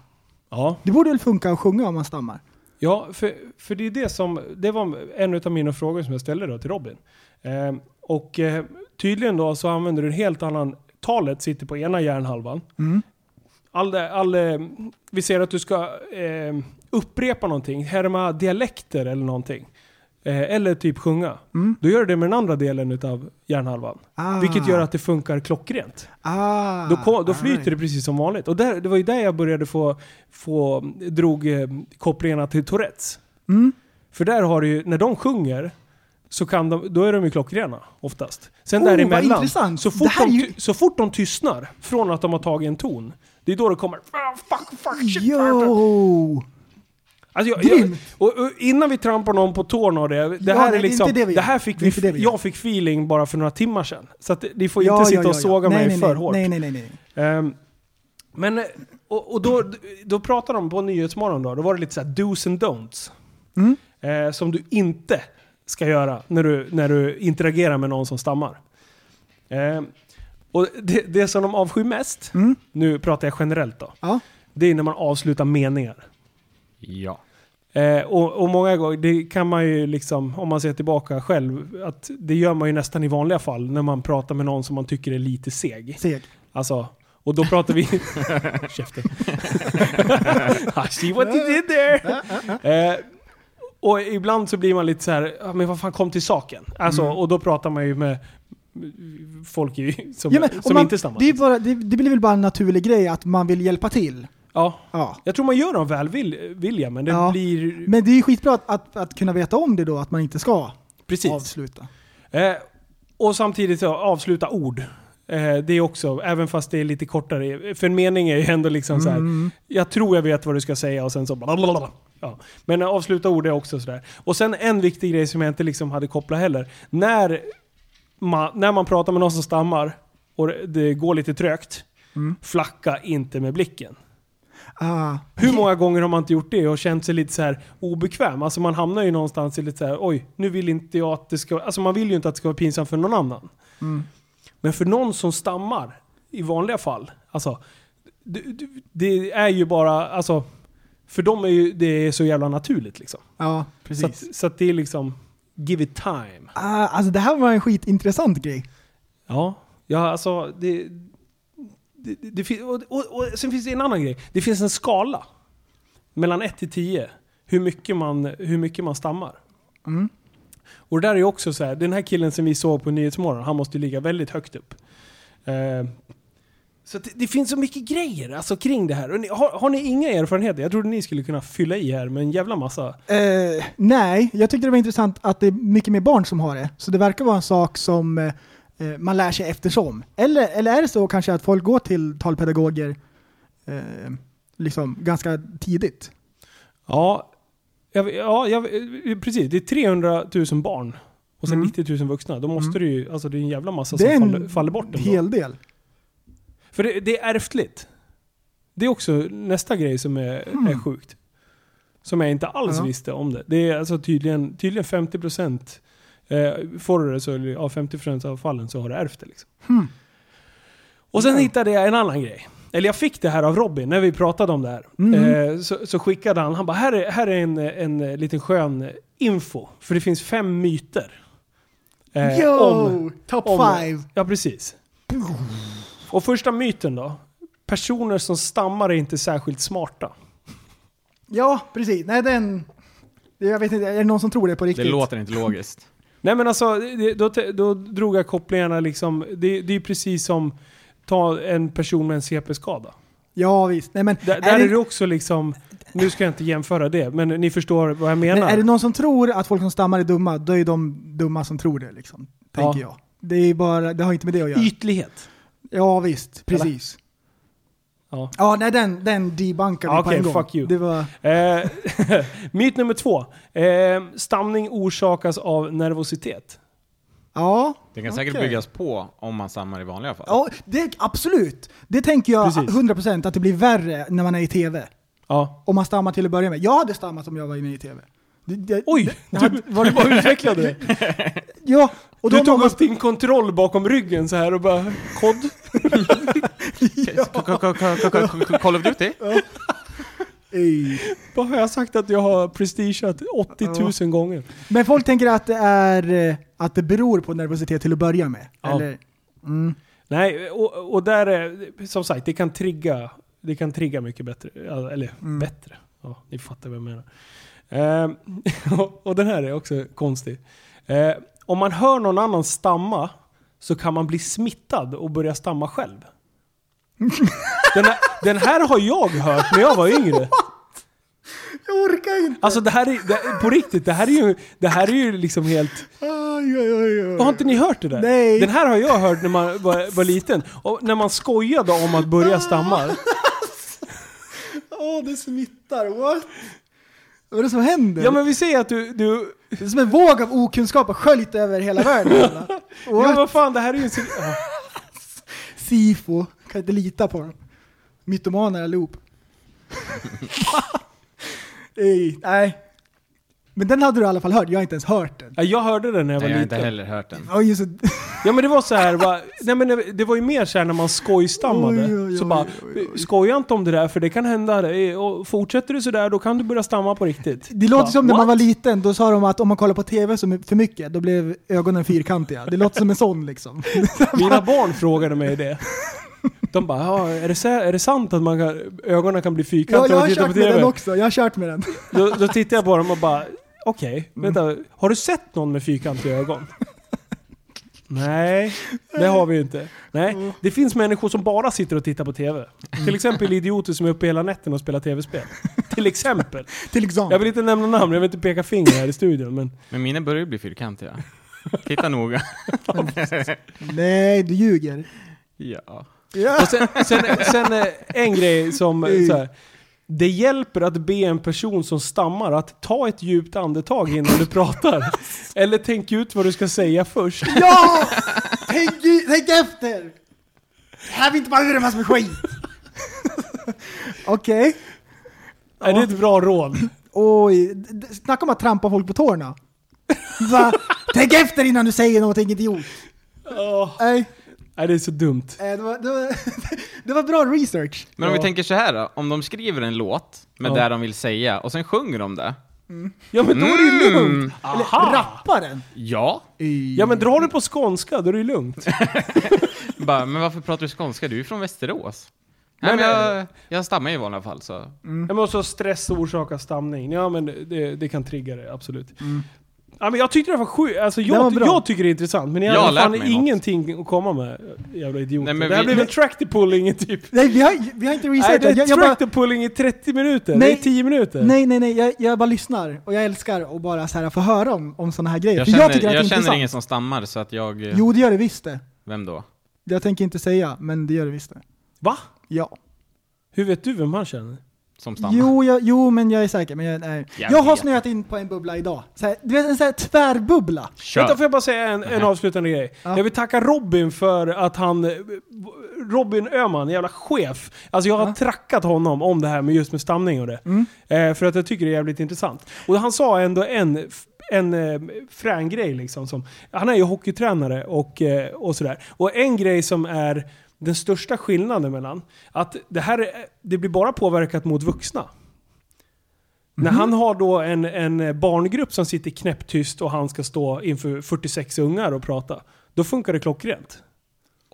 [SPEAKER 2] ja.
[SPEAKER 3] Det borde väl funka att sjunga om man stammar?
[SPEAKER 2] Ja, för, för det är det som, det var en av mina frågor som jag ställde då till Robin. Eh, och eh, tydligen då så använder du en helt annan, talet sitter på ena hjärnhalvan.
[SPEAKER 3] Mm.
[SPEAKER 2] All, det- all, eh, vi ser att du ska eh, upprepa någonting, härma dialekter eller någonting. Eh, eller typ sjunga.
[SPEAKER 3] Mm.
[SPEAKER 2] Då gör du det med den andra delen utav hjärnhalvan.
[SPEAKER 3] Ah.
[SPEAKER 2] Vilket gör att det funkar klockrent.
[SPEAKER 3] Ah,
[SPEAKER 2] Då, ko- då
[SPEAKER 3] all
[SPEAKER 2] flyter
[SPEAKER 3] right.
[SPEAKER 2] det precis som vanligt. Och där, det var ju där jag började få, få drog eh, kopplingarna till Tourettes.
[SPEAKER 3] Mm.
[SPEAKER 2] För där har du ju, när de sjunger, så kan de, då är de ju klockrena oftast. Sen
[SPEAKER 3] Oh, vad
[SPEAKER 2] däremellan,
[SPEAKER 3] intressant.
[SPEAKER 2] så
[SPEAKER 3] Det
[SPEAKER 2] fort,
[SPEAKER 3] här
[SPEAKER 2] de,
[SPEAKER 3] är ju-
[SPEAKER 2] ty- så fort de tystnar från att de har tagit en ton, det är då det kommer "Ah, fuck, fuck, shit.
[SPEAKER 3] Jo!
[SPEAKER 2] Alltså jag, jag,
[SPEAKER 3] Grymt!
[SPEAKER 2] och, och innan vi trampar någon på tårna och det, det
[SPEAKER 3] Ja,
[SPEAKER 2] här
[SPEAKER 3] nej, det
[SPEAKER 2] är
[SPEAKER 3] är
[SPEAKER 2] liksom,
[SPEAKER 3] inte det vi
[SPEAKER 2] det,
[SPEAKER 3] gör.
[SPEAKER 2] här fick
[SPEAKER 3] Det är
[SPEAKER 2] vi,
[SPEAKER 3] inte det vi gör.
[SPEAKER 2] jag fick feeling bara för några timmar sedan. Så att ni får inte sitta och såga
[SPEAKER 3] nej,
[SPEAKER 2] mig
[SPEAKER 3] nej,
[SPEAKER 2] för
[SPEAKER 3] nej.
[SPEAKER 2] hårt.
[SPEAKER 3] Nej, nej, nej. nej.
[SPEAKER 2] Ehm, men, eh, och, och då, då pratade de på Nyhetsmorgon då, då var det lite såhär do's and don'ts.
[SPEAKER 3] Mm.
[SPEAKER 2] Eh, som du inte ska göra när du, när du interagerar med någon som stammar. Ehm, och det, det som de avskyr mest,
[SPEAKER 3] Mm.
[SPEAKER 2] nu pratar jag generellt då,
[SPEAKER 3] Ja.
[SPEAKER 2] det är när man avslutar meningar.
[SPEAKER 4] Ja.
[SPEAKER 2] Eh, och, och många gånger, det kan man ju liksom, om man ser tillbaka själv, att det gör man ju nästan i vanliga fall när man pratar med någon som man tycker är lite seg.
[SPEAKER 3] Seg.
[SPEAKER 2] Alltså, och då pratar vi... Käften. I see what you did there! eh, och ibland så blir man lite så här, "Ja, men vad fan kom till saken? Alltså,
[SPEAKER 3] Mm.
[SPEAKER 2] och då pratar man ju med folk i, som,
[SPEAKER 3] Ja, men, och
[SPEAKER 2] som
[SPEAKER 3] man,
[SPEAKER 2] inte stammar.
[SPEAKER 3] det, är bara, det, det blir väl bara en naturlig grej att man vill hjälpa till.
[SPEAKER 2] ja.
[SPEAKER 3] Ja.
[SPEAKER 2] Jag tror man gör dem välvilja, men det
[SPEAKER 3] Ja.
[SPEAKER 2] blir...
[SPEAKER 3] Men det är ju skitbra att, att, att kunna veta om det då, att man inte ska
[SPEAKER 2] Precis.
[SPEAKER 3] avsluta.
[SPEAKER 2] Eh, och samtidigt så avsluta ord. Eh, det är också, även fast det är lite kortare. För en mening är ju ändå liksom så här. Jag tror jag vet vad du ska säga och sen så blablabla. Ja. Men eh, avsluta ord är också sådär. Och sen en viktig grej som jag inte liksom hade kopplat heller. När man, när man pratar med någon som stammar och det- det går lite trögt. Flacka inte med blicken.
[SPEAKER 3] Ah,
[SPEAKER 2] Hur många gånger har man inte gjort det och känt sig lite så här obekväm? Alltså man hamnar ju någonstans i lite så här, oj, nu vill inte jag att det ska... Alltså man vill ju inte att det ska vara pinsamt för någon annan.
[SPEAKER 3] mm.
[SPEAKER 2] Men för någon som stammar, i vanliga fall, alltså, det, det- det är ju bara, alltså, för dem är ju det så jävla naturligt liksom.
[SPEAKER 3] Ja,
[SPEAKER 2] Så att,
[SPEAKER 3] precis.
[SPEAKER 2] så att det är liksom, give it time.
[SPEAKER 3] Ah, alltså det här var en skitintressant grej.
[SPEAKER 2] Ja, ja alltså det... det, det, det fin- och, och, och sen finns det en annan grej. Det finns en skala. Mellan 1 till 10. Hur mycket man, hur mycket man stammar.
[SPEAKER 3] Mm.
[SPEAKER 2] Och det där är ju också så här, den här killen som vi såg på Nyhetsmorgon, han måste ju ligga väldigt högt upp. Eh, så att det, det finns så mycket grejer alltså, kring det här. Och ni, har, har ni inga erfarenheter? Jag trodde ni skulle kunna fylla i här med en jävla massa.
[SPEAKER 3] Eh, nej, jag tyckte det var intressant att det är mycket mer barn som har det. Så det verkar vara en sak som eh, eh, man lär sig eftersom. Eller, eller är det så kanske att folk går till talpedagoger eh, liksom ganska tidigt?
[SPEAKER 2] Ja, jag, ja jag, eh, precis. Det är 300 000 barn och sen
[SPEAKER 3] Mm.
[SPEAKER 2] 90 000 vuxna. Då måste det ju, alltså det är en jävla massa
[SPEAKER 3] det är
[SPEAKER 2] som
[SPEAKER 3] en
[SPEAKER 2] faller, faller bort. ändå.
[SPEAKER 3] hel del.
[SPEAKER 2] För det, det är ärftligt. Det är också nästa grej som är, är sjukt. Som jag inte alls
[SPEAKER 3] Mm. Ja.
[SPEAKER 2] visste om det. Det är alltså tydligen, tydligen 50% eh, får du det så, eller, ja, 50% av fallen så har du ärvt det. Liksom.
[SPEAKER 3] Hmm.
[SPEAKER 2] Och sen hittade jag en annan grej. Eller jag fick det här av Robin när vi pratade om det här.
[SPEAKER 3] Mm.
[SPEAKER 2] Eh, så, så skickade han, han bara här är, här är en, en eh, liten skön eh, info. För det finns fem myter. eh,
[SPEAKER 3] Yo!
[SPEAKER 2] om-
[SPEAKER 3] top
[SPEAKER 2] om-
[SPEAKER 3] five!
[SPEAKER 2] Ja, precis. Och första myten då. Personer som stammar är inte särskilt smarta.
[SPEAKER 3] Ja, precis. Nej, den... Jag vet inte, är det någon som tror det på
[SPEAKER 4] Det
[SPEAKER 3] riktigt?
[SPEAKER 4] låter inte logiskt.
[SPEAKER 2] Nej men alltså, det, då, te- då drog jag kopplingarna liksom. Det, det är ju precis som ta en person med en CP-skada.
[SPEAKER 3] Ja, visst. Nej, men,
[SPEAKER 2] Där,
[SPEAKER 3] är
[SPEAKER 2] där
[SPEAKER 3] det,
[SPEAKER 2] är det också liksom, nu ska jag inte jämföra det, men ni förstår vad jag menar.
[SPEAKER 3] men är det någon som tror att folk som stammar är dumma, då är de dumma som tror det. Liksom, tänker
[SPEAKER 2] Ja.
[SPEAKER 3] jag. Det, är bara, det har inte med det att göra.
[SPEAKER 2] Ytlighet.
[SPEAKER 3] Ja visst, precis.
[SPEAKER 2] Ja.
[SPEAKER 3] Ja, nej den, den debunkar vi på
[SPEAKER 2] Okej,
[SPEAKER 3] en gång.
[SPEAKER 2] fuck you.
[SPEAKER 3] Det var,
[SPEAKER 2] Eh, myt nummer två. Eh, stamning orsakas av nervositet.
[SPEAKER 3] ja,
[SPEAKER 4] Det kan säkert
[SPEAKER 3] Okej.
[SPEAKER 4] byggas på om man stammar i vanliga fall.
[SPEAKER 3] ja det, absolut. Det tänker jag
[SPEAKER 2] Precis.
[SPEAKER 3] 100% att det blir värre när man är i TV.
[SPEAKER 2] Ja.
[SPEAKER 3] Om man stammar till att börja med. Jag hade stammat om jag var inne i TV. Det, det,
[SPEAKER 2] Oj!
[SPEAKER 3] det hade,
[SPEAKER 2] Du, var du bara utvecklade det?
[SPEAKER 3] ja, och då
[SPEAKER 2] du tog
[SPEAKER 3] många-
[SPEAKER 2] upp din kontroll bakom ryggen så här och bara kod.
[SPEAKER 4] K- k- k- k- k- k- Call of Duty?
[SPEAKER 3] Ej.
[SPEAKER 2] Vad har jag sagt att jag har prestigeat 80 000 gånger?
[SPEAKER 3] Men folk tänker att det, är, eh, att det beror på nervositet till att börja med.
[SPEAKER 2] Ja.
[SPEAKER 3] Eller, mm,
[SPEAKER 2] Nej, och, och där är, som sagt, det kan trigga, det kan trigga mycket bättre. Ja, Eller
[SPEAKER 3] Mm.
[SPEAKER 2] bättre. Ja, ni fattar vad jag menar. Ehm, och- och den här är också konstig. Eh, om man hör någon annan stamma så kan man bli smittad och börja stamma själv. Den här, den här har jag hört när jag var yngre.
[SPEAKER 3] jag orkar inte!
[SPEAKER 2] Alltså det här är, det, på riktigt, det här är ju, det här är ju liksom helt...
[SPEAKER 3] Aj, aj, aj, aj.
[SPEAKER 2] Har inte ni hört det där?
[SPEAKER 3] Nej.
[SPEAKER 2] Den här har jag hört när man var, var liten. Och när man skojade om att börja stamma.
[SPEAKER 3] Åh, det smittar. What? Vad är det som händer?
[SPEAKER 2] Ja men vi säger att du... du
[SPEAKER 3] Det är som en våg av okunskap har sköljt över hela världen. alla.
[SPEAKER 2] ja, men
[SPEAKER 3] Och
[SPEAKER 2] vad fan, det här är ju... en civil- Ja.
[SPEAKER 3] Sifo, kan inte lita på dem. Mytomaner allihop. Ej, Nej. Men den hade du i alla fall hört, jag har inte ens hört den.
[SPEAKER 2] Ja, Jag hörde den när jag var
[SPEAKER 4] Nej, jag har inte
[SPEAKER 2] liten.
[SPEAKER 4] heller hört den.
[SPEAKER 3] Oj, just det.
[SPEAKER 2] Ja men det var så här, bara, nej, men det var ju mer så här när man skojstammade.
[SPEAKER 3] Oj, oj, oj,
[SPEAKER 2] så bara,
[SPEAKER 3] oj, oj, oj.
[SPEAKER 2] skoja inte om det där för det kan hända. dig. Och fortsätter du sådär då kan du börja stamma på riktigt.
[SPEAKER 3] det låter
[SPEAKER 2] Bara,
[SPEAKER 3] som när
[SPEAKER 2] "What?"
[SPEAKER 3] man var liten, då sa de att om man kollar på TV så my- för mycket, då blev ögonen fyrkantiga. Det låter som en sån liksom.
[SPEAKER 2] Mina barn frågade mig det. De bara, ja, är, det, sä- är det sant att man kan, ögonen kan bli
[SPEAKER 3] Ja,
[SPEAKER 2] fyrkantiga
[SPEAKER 3] jag
[SPEAKER 2] av
[SPEAKER 3] har
[SPEAKER 2] att titta på
[SPEAKER 3] kört med
[SPEAKER 2] TV?
[SPEAKER 3] den också, jag har kört med den.
[SPEAKER 2] Då, då tittar jag på dem och bara, okej,
[SPEAKER 3] Mm.
[SPEAKER 2] vänta. Har du sett någon med fyrkantiga ögon? Nej, det har vi ju inte.
[SPEAKER 3] Mm.
[SPEAKER 2] Nej, det finns människor som bara sitter och tittar på TV. Till exempel idioter som är uppe hela natten och spelar TV-spel. Till exempel.
[SPEAKER 3] Till
[SPEAKER 2] Jag
[SPEAKER 3] exempel.
[SPEAKER 2] vill inte nämna namn, jag vill inte peka finger här i studion. Men
[SPEAKER 4] Men mina börjar ju bli fyrkantiga. Titta noga.
[SPEAKER 3] Nej, du ljuger.
[SPEAKER 4] Ja.
[SPEAKER 3] Ja.
[SPEAKER 2] Och sen, sen, sen eh, en grej som... eh, Så här, det hjälper att be en person som stammar att ta ett djupt andetag innan du pratar. Eller tänk ut vad du ska säga först.
[SPEAKER 3] Ja! Tänk, i- tänk efter! Här vi inte bara ur en massa med skit! Okej.
[SPEAKER 2] Är det ett bra råd?
[SPEAKER 3] Oj, d- d- snacka om att trampa folk på tårna. Va? Tänk efter innan du säger någonting idiot.
[SPEAKER 2] Åh,
[SPEAKER 3] Nej,
[SPEAKER 2] Nej, det är så dumt.
[SPEAKER 3] eh, det var, det var, det var bra research.
[SPEAKER 4] Men om
[SPEAKER 2] Ja.
[SPEAKER 4] vi tänker så här då, om de skriver en låt med
[SPEAKER 2] Ja.
[SPEAKER 4] det de vill säga och sen sjunger de det.
[SPEAKER 2] Ja men då är det ju lugnt.
[SPEAKER 4] Mm,
[SPEAKER 3] Eller rapparen.
[SPEAKER 4] ja.
[SPEAKER 2] Ja men drar du på skånska, då är det ju lugnt.
[SPEAKER 4] Bara, men varför pratar du skånska? Du är ju från Västerås.
[SPEAKER 2] Men,
[SPEAKER 4] Nej, men jag, jag stammar ju i vanliga fall så.
[SPEAKER 2] Jag måste ha stress och orsaka stamning. Ja men det, det kan trigga det, absolut.
[SPEAKER 4] Mm.
[SPEAKER 2] Ja, men jag tyckte det var sjukt. Alltså,
[SPEAKER 3] Det var
[SPEAKER 2] jag,
[SPEAKER 3] bra.
[SPEAKER 2] jag tycker det är intressant, men jag,
[SPEAKER 4] Jag har
[SPEAKER 2] har fan
[SPEAKER 4] lärt mig något.
[SPEAKER 2] ingenting att komma med. Jävla idioter.
[SPEAKER 4] Nej, men
[SPEAKER 2] det här
[SPEAKER 4] vi-
[SPEAKER 2] blev en tractor pulling i typ...
[SPEAKER 3] Nej, vi har, vi har inte
[SPEAKER 2] Nej,
[SPEAKER 3] researchat.
[SPEAKER 2] det är
[SPEAKER 3] jag, jag bara,
[SPEAKER 2] tractor pulling i 30 minuter.
[SPEAKER 3] Nej.
[SPEAKER 2] Det är 10 minuter.
[SPEAKER 3] nej, nej, nej. Jag, jag bara lyssnar. Och jag älskar att bara så här, få höra om, om sådana här grejer.
[SPEAKER 4] Jag
[SPEAKER 3] För
[SPEAKER 4] känner,
[SPEAKER 3] jag tycker att
[SPEAKER 4] jag
[SPEAKER 3] det är
[SPEAKER 4] känner
[SPEAKER 3] intressant.
[SPEAKER 4] ingen som stammar så att jag... eh,
[SPEAKER 3] Jo, det gör det visst det.
[SPEAKER 4] Vem då?
[SPEAKER 3] Jag tänker inte säga, men det gör det visst det.
[SPEAKER 2] Va?
[SPEAKER 3] Ja.
[SPEAKER 2] Hur vet du vem han känner?
[SPEAKER 4] Som stammar?
[SPEAKER 3] Jo, jag, jo, men jag är säker. Men jag, nej.
[SPEAKER 4] Jag
[SPEAKER 3] jag, har
[SPEAKER 4] vet.
[SPEAKER 3] snöat in på en bubbla idag. Så här, du vet en sån här tvärbubbla.
[SPEAKER 4] Kör!
[SPEAKER 2] Vänta, får jag bara säga en, en avslutande grej?
[SPEAKER 3] Ja.
[SPEAKER 2] Jag vill tacka Robin för att han... eh, Robin Öhman, jävla chef. Alltså jag har trackat honom om det här med just med stamning och det.
[SPEAKER 3] Mm.
[SPEAKER 2] Eh, för att jag tycker det är jävligt intressant. Och han sa ändå en, en eh, frän grej liksom. Som, han är ju hockeytränare och, eh, och sådär. Och en grej som är den största skillnaden mellan, att det här eh, det blir bara påverkat mot vuxna. När
[SPEAKER 3] Mhm.
[SPEAKER 2] han har då en, en barngrupp som sitter knäpptyst och han ska stå inför 46 ungar och prata. Då funkar det klockrent.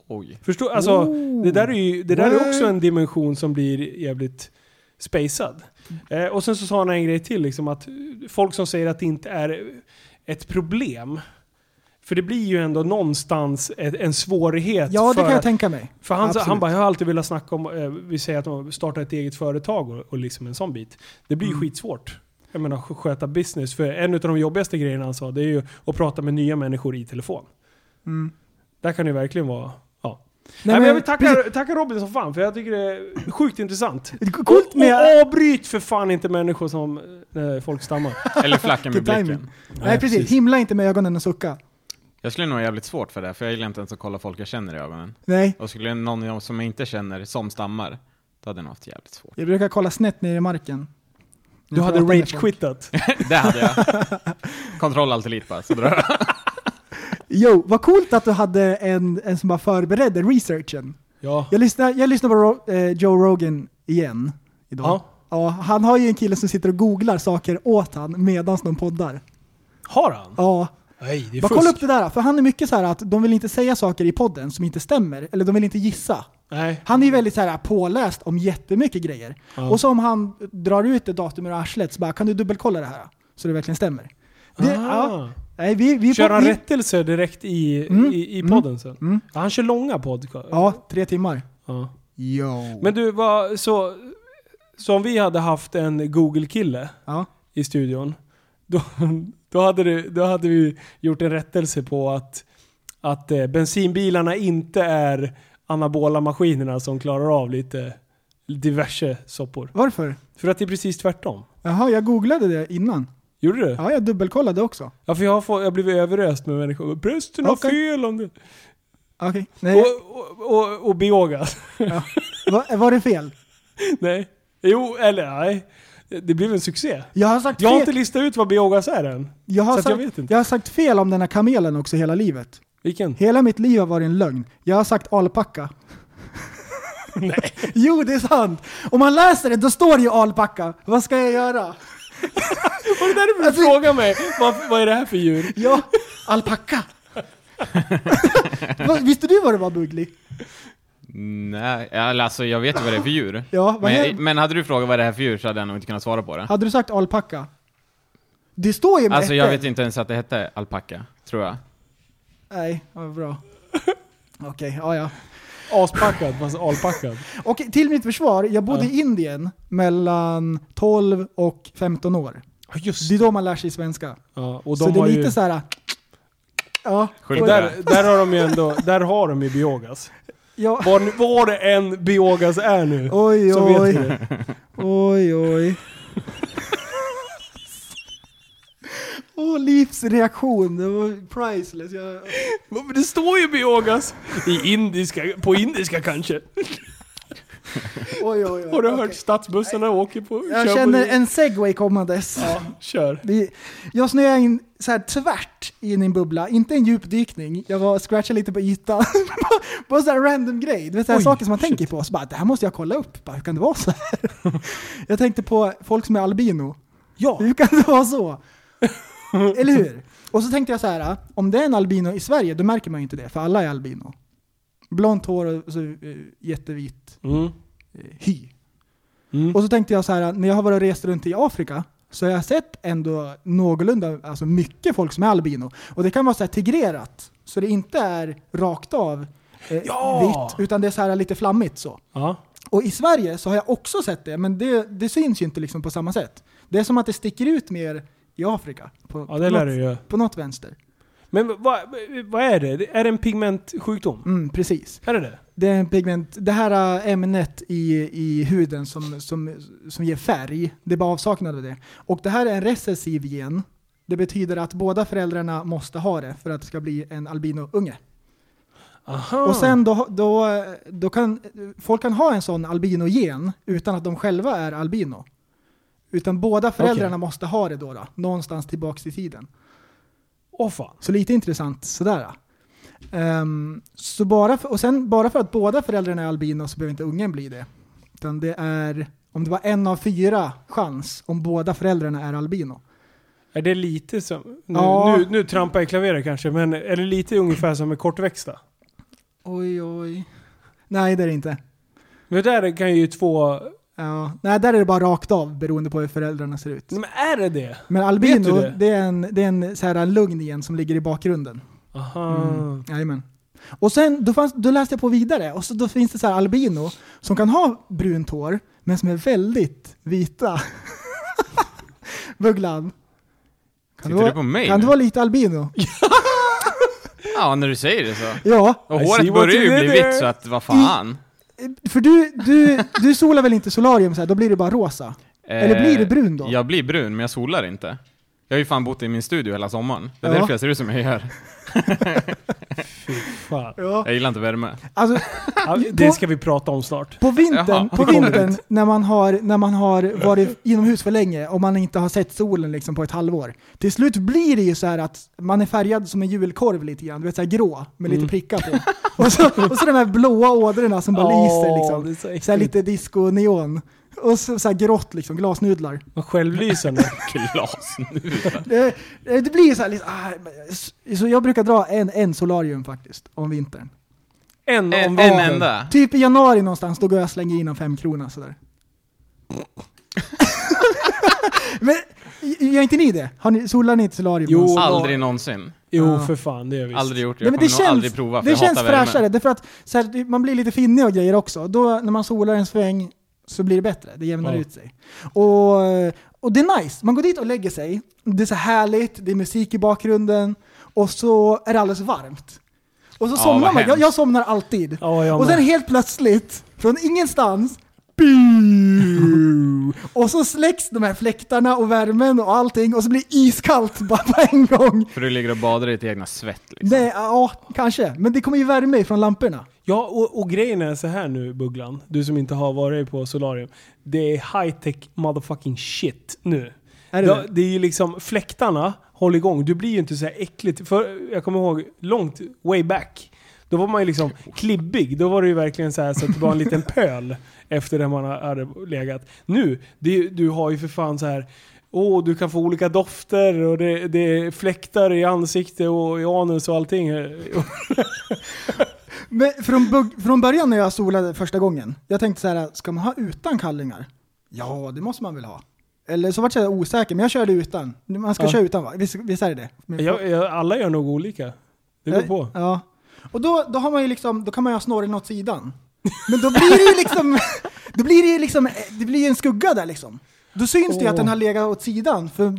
[SPEAKER 4] Oj.
[SPEAKER 2] Förstår Alltså,
[SPEAKER 3] Oh.
[SPEAKER 2] det där, är ju, det där är också
[SPEAKER 3] Wow.
[SPEAKER 2] en dimension som blir jävligt spacad. Eh, och sen så sa han en grej till, liksom att eh, folk som säger att det inte är ett problem. För det blir ju ändå någonstans ett, en svårighet.
[SPEAKER 3] Ja, det
[SPEAKER 2] för
[SPEAKER 3] kan jag
[SPEAKER 2] att-
[SPEAKER 3] tänka mig.
[SPEAKER 2] för han, sa-
[SPEAKER 3] Absolut.
[SPEAKER 2] han bara, jag har alltid velat snacka om, eh, vi säger att man startar ett eget företag och, och liksom en sån bit. Det blir ju skitsvårt. Jag menar sk- sköta business. För en av de jobbigaste grejerna han sa, det är ju att prata med nya människor i telefon.
[SPEAKER 3] Mm.
[SPEAKER 2] Där kan det ju verkligen vara... Ja. Nej,
[SPEAKER 3] Nej,
[SPEAKER 2] men,
[SPEAKER 3] men
[SPEAKER 2] jag vill tacka,
[SPEAKER 3] precis.
[SPEAKER 2] tacka Robin som fan, för jag tycker det är sjukt intressant. Oh,
[SPEAKER 3] Coolt med...
[SPEAKER 2] Och avbryt för fan inte människor som eh, folk stammar.
[SPEAKER 4] Eller flacka med
[SPEAKER 3] Till timing.
[SPEAKER 4] blicken.
[SPEAKER 3] Nej, precis. Himla inte med ögonen och sucka.
[SPEAKER 4] Jag skulle nog ha jävligt svårt för det, för jag gillar inte ens att kolla folk jag känner i ögonen.
[SPEAKER 3] Nej.
[SPEAKER 4] Och skulle någon som jag inte känner som stammar, då hade jag nog haft jävligt svårt.
[SPEAKER 3] Jag brukar kolla snett ner i marken.
[SPEAKER 2] Du hade rage-quittat.
[SPEAKER 4] Det hade jag. Kontroll allt elit bara, så drar jag.
[SPEAKER 3] Jo, vad coolt att du hade en, en som bara förberedde researchen.
[SPEAKER 2] Ja.
[SPEAKER 3] Jag lyssnar, jag lyssnar på Ro, eh, Joe Rogan igen idag.
[SPEAKER 2] Ja.
[SPEAKER 3] Ja. han har ju en kille som sitter och googlar saker åt han medan de poddar.
[SPEAKER 2] Har han?
[SPEAKER 3] Ja,
[SPEAKER 2] Nej, det är
[SPEAKER 3] bara
[SPEAKER 2] fusk.
[SPEAKER 3] kolla upp det där. För han är mycket så här att de vill inte säga saker i podden som inte stämmer, eller de vill inte gissa.
[SPEAKER 2] Nej.
[SPEAKER 3] Han är ju väldigt så här påläst om jättemycket grejer.
[SPEAKER 2] Ja.
[SPEAKER 3] Och så om han drar ut ett datum ur arslet så bara kan du dubbelkolla det här? Så det verkligen stämmer. Det, ja,
[SPEAKER 2] Ah.
[SPEAKER 3] nej, vi, vi,
[SPEAKER 2] Kör han
[SPEAKER 3] vi,
[SPEAKER 2] rättelser direkt i,
[SPEAKER 3] Mm,
[SPEAKER 2] i, i
[SPEAKER 3] mm,
[SPEAKER 2] podden sen?
[SPEAKER 3] mm.
[SPEAKER 2] Ja, han kör långa podcast.
[SPEAKER 3] Ja, tre timmar.
[SPEAKER 2] Ja.
[SPEAKER 3] Jo.
[SPEAKER 2] Men du, vad, så, så om vi hade haft en Google-kille
[SPEAKER 3] ja.
[SPEAKER 2] i studion, då, då, hade det, då hade vi gjort en rättelse på att, att eh, bensinbilarna inte är anabola maskinerna som klarar av lite diverse soppor.
[SPEAKER 3] Varför?
[SPEAKER 2] För att det är precis tvärtom.
[SPEAKER 3] Jaha, jag googlade det innan.
[SPEAKER 2] Gjorde du? Ja,
[SPEAKER 3] Ja, jag dubbelkollade också.
[SPEAKER 2] för jag har, fått, jag har blivit överöst med människor. Brösten har
[SPEAKER 3] Okej.
[SPEAKER 2] fel om det.
[SPEAKER 3] Okej. Nej,
[SPEAKER 2] Och, och, och, och biogas.
[SPEAKER 3] va- var det fel?
[SPEAKER 2] Nej. Jo, eller nej. Det blev en succé.
[SPEAKER 3] Jag har sagt
[SPEAKER 2] Jag har inte
[SPEAKER 3] fel.
[SPEAKER 2] listat ut vad biogas är än.
[SPEAKER 3] Jag har,
[SPEAKER 2] så att jag
[SPEAKER 3] sagt,
[SPEAKER 2] vet inte.
[SPEAKER 3] jag har sagt fel om den här kamelen också hela livet.
[SPEAKER 2] Vilken?
[SPEAKER 3] Hela mitt liv har varit en lögn. Jag har sagt alpacka.
[SPEAKER 2] Nej.
[SPEAKER 3] Jo, det är sant! Om man läser det, då står det ju alpacka. Vad ska jag göra?
[SPEAKER 2] Var det därför
[SPEAKER 3] Alltså-
[SPEAKER 2] du frågade mig? Vad, vad är det här för djur?
[SPEAKER 3] Ja, alpacka! Va- Visste du vad det var Bugli?
[SPEAKER 4] Nej, eller alltså jag vet ju vad det är för djur.
[SPEAKER 3] Ja, vad
[SPEAKER 4] men,
[SPEAKER 3] händer?
[SPEAKER 4] men hade du frågat vad det är för djur så hade jag nog inte kunnat svara på det.
[SPEAKER 3] Hade du sagt alpacka? Det står ju med
[SPEAKER 4] Alltså jag
[SPEAKER 3] äpple.
[SPEAKER 4] vet inte ens att det hette alpacka, tror jag.
[SPEAKER 3] Nej, ja, vad bra. Okej, ja ja.
[SPEAKER 2] Aspackad fast alpackad.
[SPEAKER 3] Och till mitt försvar, jag bodde
[SPEAKER 2] Ja.
[SPEAKER 3] i Indien mellan 12 och 15 år.
[SPEAKER 2] Just
[SPEAKER 3] Det är då man lär sig svenska.
[SPEAKER 2] ja, och de
[SPEAKER 3] så det är
[SPEAKER 2] har
[SPEAKER 3] lite
[SPEAKER 2] ju,
[SPEAKER 3] så här. Ja,
[SPEAKER 4] Skyll
[SPEAKER 3] och-
[SPEAKER 4] där.
[SPEAKER 2] där, där har de ju ändå, där har de ju biogas.
[SPEAKER 3] ja.
[SPEAKER 2] Var, nu- var det än biogas är nu.
[SPEAKER 3] Oj,
[SPEAKER 2] så vet vi
[SPEAKER 3] oj,
[SPEAKER 2] det.
[SPEAKER 3] oj, oj. Åh, Livs reaktion. Det var priceless. Jag...
[SPEAKER 2] Men det står ju biogas. I indiska, på indiska kanske.
[SPEAKER 3] Oj, oj, oj.
[SPEAKER 2] Har du hört
[SPEAKER 3] Okej.
[SPEAKER 2] stadsbussarna åker på?
[SPEAKER 3] Jag
[SPEAKER 2] kör
[SPEAKER 3] känner
[SPEAKER 2] på,
[SPEAKER 3] en segway kommandes.
[SPEAKER 2] Ja, kör.
[SPEAKER 3] Vi, jag snöade in så här tvärt in i en bubbla, inte en djupdykning. Jag var scratchade lite på ytan. på en sån här random grej. Du vet så här
[SPEAKER 2] Oj,
[SPEAKER 3] saker som man
[SPEAKER 2] shit.
[SPEAKER 3] tänker på. Så bara, det här måste jag kolla upp. Bara, hur kan det vara så här? jag tänkte på folk som är albino.
[SPEAKER 2] Ja,
[SPEAKER 3] Hur kan det vara så? Eller hur? Och så tänkte jag så här, om det är en albino i Sverige, då märker man ju inte det, för alla är albino. Blont hår och så, eh, jättevit
[SPEAKER 2] mm.
[SPEAKER 3] eh, hy.
[SPEAKER 2] Mm.
[SPEAKER 3] Och så tänkte jag så här, när jag har varit och rest runt i Afrika så har jag sett ändå någorlunda, alltså mycket folk som är albino. Och det kan vara så här tigrerat, så det inte är rakt av eh,
[SPEAKER 2] Ja!
[SPEAKER 3] vitt, utan det är så här lite flammigt så.
[SPEAKER 2] ja.
[SPEAKER 3] Och i Sverige så har jag också sett det, men det, det syns ju inte liksom på samma sätt. Det är som att det sticker ut mer i Afrika. På,
[SPEAKER 2] ja det lär
[SPEAKER 3] på,
[SPEAKER 2] du
[SPEAKER 3] något,
[SPEAKER 2] ju.
[SPEAKER 3] på något vänster.
[SPEAKER 2] Men vad, vad är det? Det Är det en pigmentsjukdom?
[SPEAKER 3] Mm, precis.
[SPEAKER 2] Är det det?
[SPEAKER 3] Det är en pigment, det här äh, ämnet i, i huden som, som, som ger färg, det är bara avsaknad av det. Och det här är en recessiv gen. Det betyder att båda föräldrarna måste ha det för att det ska bli en albinounge.
[SPEAKER 2] Aha.
[SPEAKER 3] Och sen då, då, då kan folk kan ha en sån albinogen utan att de själva är albino. Utan båda föräldrarna
[SPEAKER 2] Okej.
[SPEAKER 3] måste ha det då, då, någonstans tillbaks i tiden.
[SPEAKER 2] Åh fan.
[SPEAKER 3] Så lite intressant sådär. Ehm, så bara för, och sen bara för att båda föräldrarna är albino så behöver inte ungen bli det. Utan det är, om det var en av fyra chans om båda föräldrarna är albino.
[SPEAKER 2] Är det lite som... Nu,
[SPEAKER 3] Ja.
[SPEAKER 2] nu, nu trampar jag i klaveret kanske, men är det lite ungefär som med kortväxta?
[SPEAKER 3] Oj, oj. Nej, det är det inte.
[SPEAKER 2] Men där kan ju två...
[SPEAKER 3] Ja, nej, där är det bara rakt av beroende på hur föräldrarna ser ut.
[SPEAKER 2] Nej, Men är det det?
[SPEAKER 3] Men albino,
[SPEAKER 2] Vet du det?
[SPEAKER 3] det? är en, det är en så här lugn igen som ligger i bakgrunden. Mm.
[SPEAKER 2] Aha.
[SPEAKER 4] Mm.
[SPEAKER 3] Jajamän. Och sen, då, fanns, då läste jag på vidare och så, då finns det så här albino som kan ha brunt hår, men som är väldigt vita. Bugglan. Kan
[SPEAKER 4] Tittar
[SPEAKER 3] vara-
[SPEAKER 4] du på mig
[SPEAKER 3] Kan
[SPEAKER 4] nu?
[SPEAKER 3] du vara lite albino?
[SPEAKER 4] Ja, när du säger det så.
[SPEAKER 3] Ja,
[SPEAKER 4] Och
[SPEAKER 2] I see
[SPEAKER 4] håret
[SPEAKER 2] what
[SPEAKER 4] börjar ju
[SPEAKER 2] you did
[SPEAKER 4] bli
[SPEAKER 2] there.
[SPEAKER 4] vitt så att vad fan.
[SPEAKER 3] för du, du, du solar väl inte solarium så här, då blir det bara rosa? Eller blir du brun då?
[SPEAKER 4] Eh, Jag blir brun, men jag solar inte. Jag har ju fan bott i min studio hela sommaren. Det är
[SPEAKER 3] Ja.
[SPEAKER 4] därför jag ser ut som jag gör.
[SPEAKER 2] Fan.
[SPEAKER 3] Ja.
[SPEAKER 4] Jag gillar inte värme.
[SPEAKER 3] Alltså,
[SPEAKER 2] Ja, det ska vi prata om snart.
[SPEAKER 3] På vintern,
[SPEAKER 4] Jaha.
[SPEAKER 3] på
[SPEAKER 4] Det kommer
[SPEAKER 3] vintern när, man har, när man har varit inomhus för länge och man inte har sett solen liksom på ett halvår. Till slut blir det ju så här att man är färgad som en julkorv lite grann, du vet så här grå med lite prickar på. Och så, och så de här blåa ådrorna som bara lyser
[SPEAKER 2] Åh, det
[SPEAKER 3] liksom.
[SPEAKER 2] är så
[SPEAKER 3] Så här
[SPEAKER 2] äckligt.
[SPEAKER 3] lite disco-neon. Och så, så här grått liksom, glasnudlar.
[SPEAKER 2] Vad självlysande.
[SPEAKER 4] Glas nu.
[SPEAKER 3] Det, det blir ju så här, liksom, ah, men- så jag brukar dra en, en solarium faktiskt om vintern.
[SPEAKER 2] En om
[SPEAKER 4] En,
[SPEAKER 2] vintern.
[SPEAKER 4] en enda.
[SPEAKER 3] Typ i januari någonstans, då går jag och slänger in en femkrona sådär. Men gör inte ni det? Har ni, solar ni inte solarium?
[SPEAKER 2] Jo.
[SPEAKER 3] någonstans?
[SPEAKER 4] Aldrig någonsin.
[SPEAKER 2] Jo,
[SPEAKER 3] Ja.
[SPEAKER 2] för fan. Det gör vi.
[SPEAKER 4] Aldrig gjort det.
[SPEAKER 3] Nej,
[SPEAKER 4] Jag
[SPEAKER 3] men
[SPEAKER 4] kommer
[SPEAKER 3] det
[SPEAKER 4] nog
[SPEAKER 3] känns,
[SPEAKER 4] aldrig prova för
[SPEAKER 3] det
[SPEAKER 4] jag
[SPEAKER 3] känns
[SPEAKER 4] hatar
[SPEAKER 3] fräschare,
[SPEAKER 4] värme.
[SPEAKER 3] därför att så här, man blir lite finnig och grejer också. Då, när man solar en sväng så blir det bättre, det jämnar
[SPEAKER 2] Ja.
[SPEAKER 3] ut sig. Och, och det är nice, man går dit och lägger sig, det är så härligt, det är musik i bakgrunden och så är det alldeles varmt. Och så
[SPEAKER 4] Ja,
[SPEAKER 3] somnar
[SPEAKER 4] vad
[SPEAKER 3] man, jag,
[SPEAKER 4] hemskt.
[SPEAKER 3] jag somnar alltid.
[SPEAKER 2] Ja, jag
[SPEAKER 3] och sen
[SPEAKER 2] med.
[SPEAKER 3] helt plötsligt, från ingenstans, Buu. och så släcks de här fläktarna och värmen och allting och så blir det iskallt bara på en gång.
[SPEAKER 4] För du ligger och badar i ditt egna svett liksom.
[SPEAKER 3] Nej, ja, kanske. Men det kommer ju värme ifrån lamporna.
[SPEAKER 2] Ja, och, och grejen är så här nu Bugglan, du som inte har varit på solarium. Det är high-tech motherfucking shit nu.
[SPEAKER 3] Är det
[SPEAKER 2] Ja,
[SPEAKER 3] det?
[SPEAKER 2] det är ju liksom fläktarna håller igång. Du blir ju inte så här äckligt. För jag kommer ihåg långt, way back. Då var man ju liksom klibbig. Då var det ju verkligen så här så att det var en liten pöl efter det man hade legat. Nu, det, är ju- du har ju för fan så här Åh, du kan få olika dofter och det, det är fläktar i ansikte och i anus och allting.
[SPEAKER 3] Men från, bug- från början när jag solade första gången, jag tänkte så här, ska man ha utan kallingar? Ja, det måste man väl ha. Eller så vart jag osäker, men jag körde utan. Man ska
[SPEAKER 2] Ja.
[SPEAKER 3] köra utan va? Visst, visst är det det? Men-
[SPEAKER 2] Mm. Jag, jag, alla gör nog olika. Det beror på.
[SPEAKER 3] Ja. Och då, då har man ju liksom, då kan man ju ha snorren åt sidan. Men då blir det ju liksom, då blir det ju liksom, det blir ju en skugga där liksom. Då syns det ju att den har legat åt sidan. För,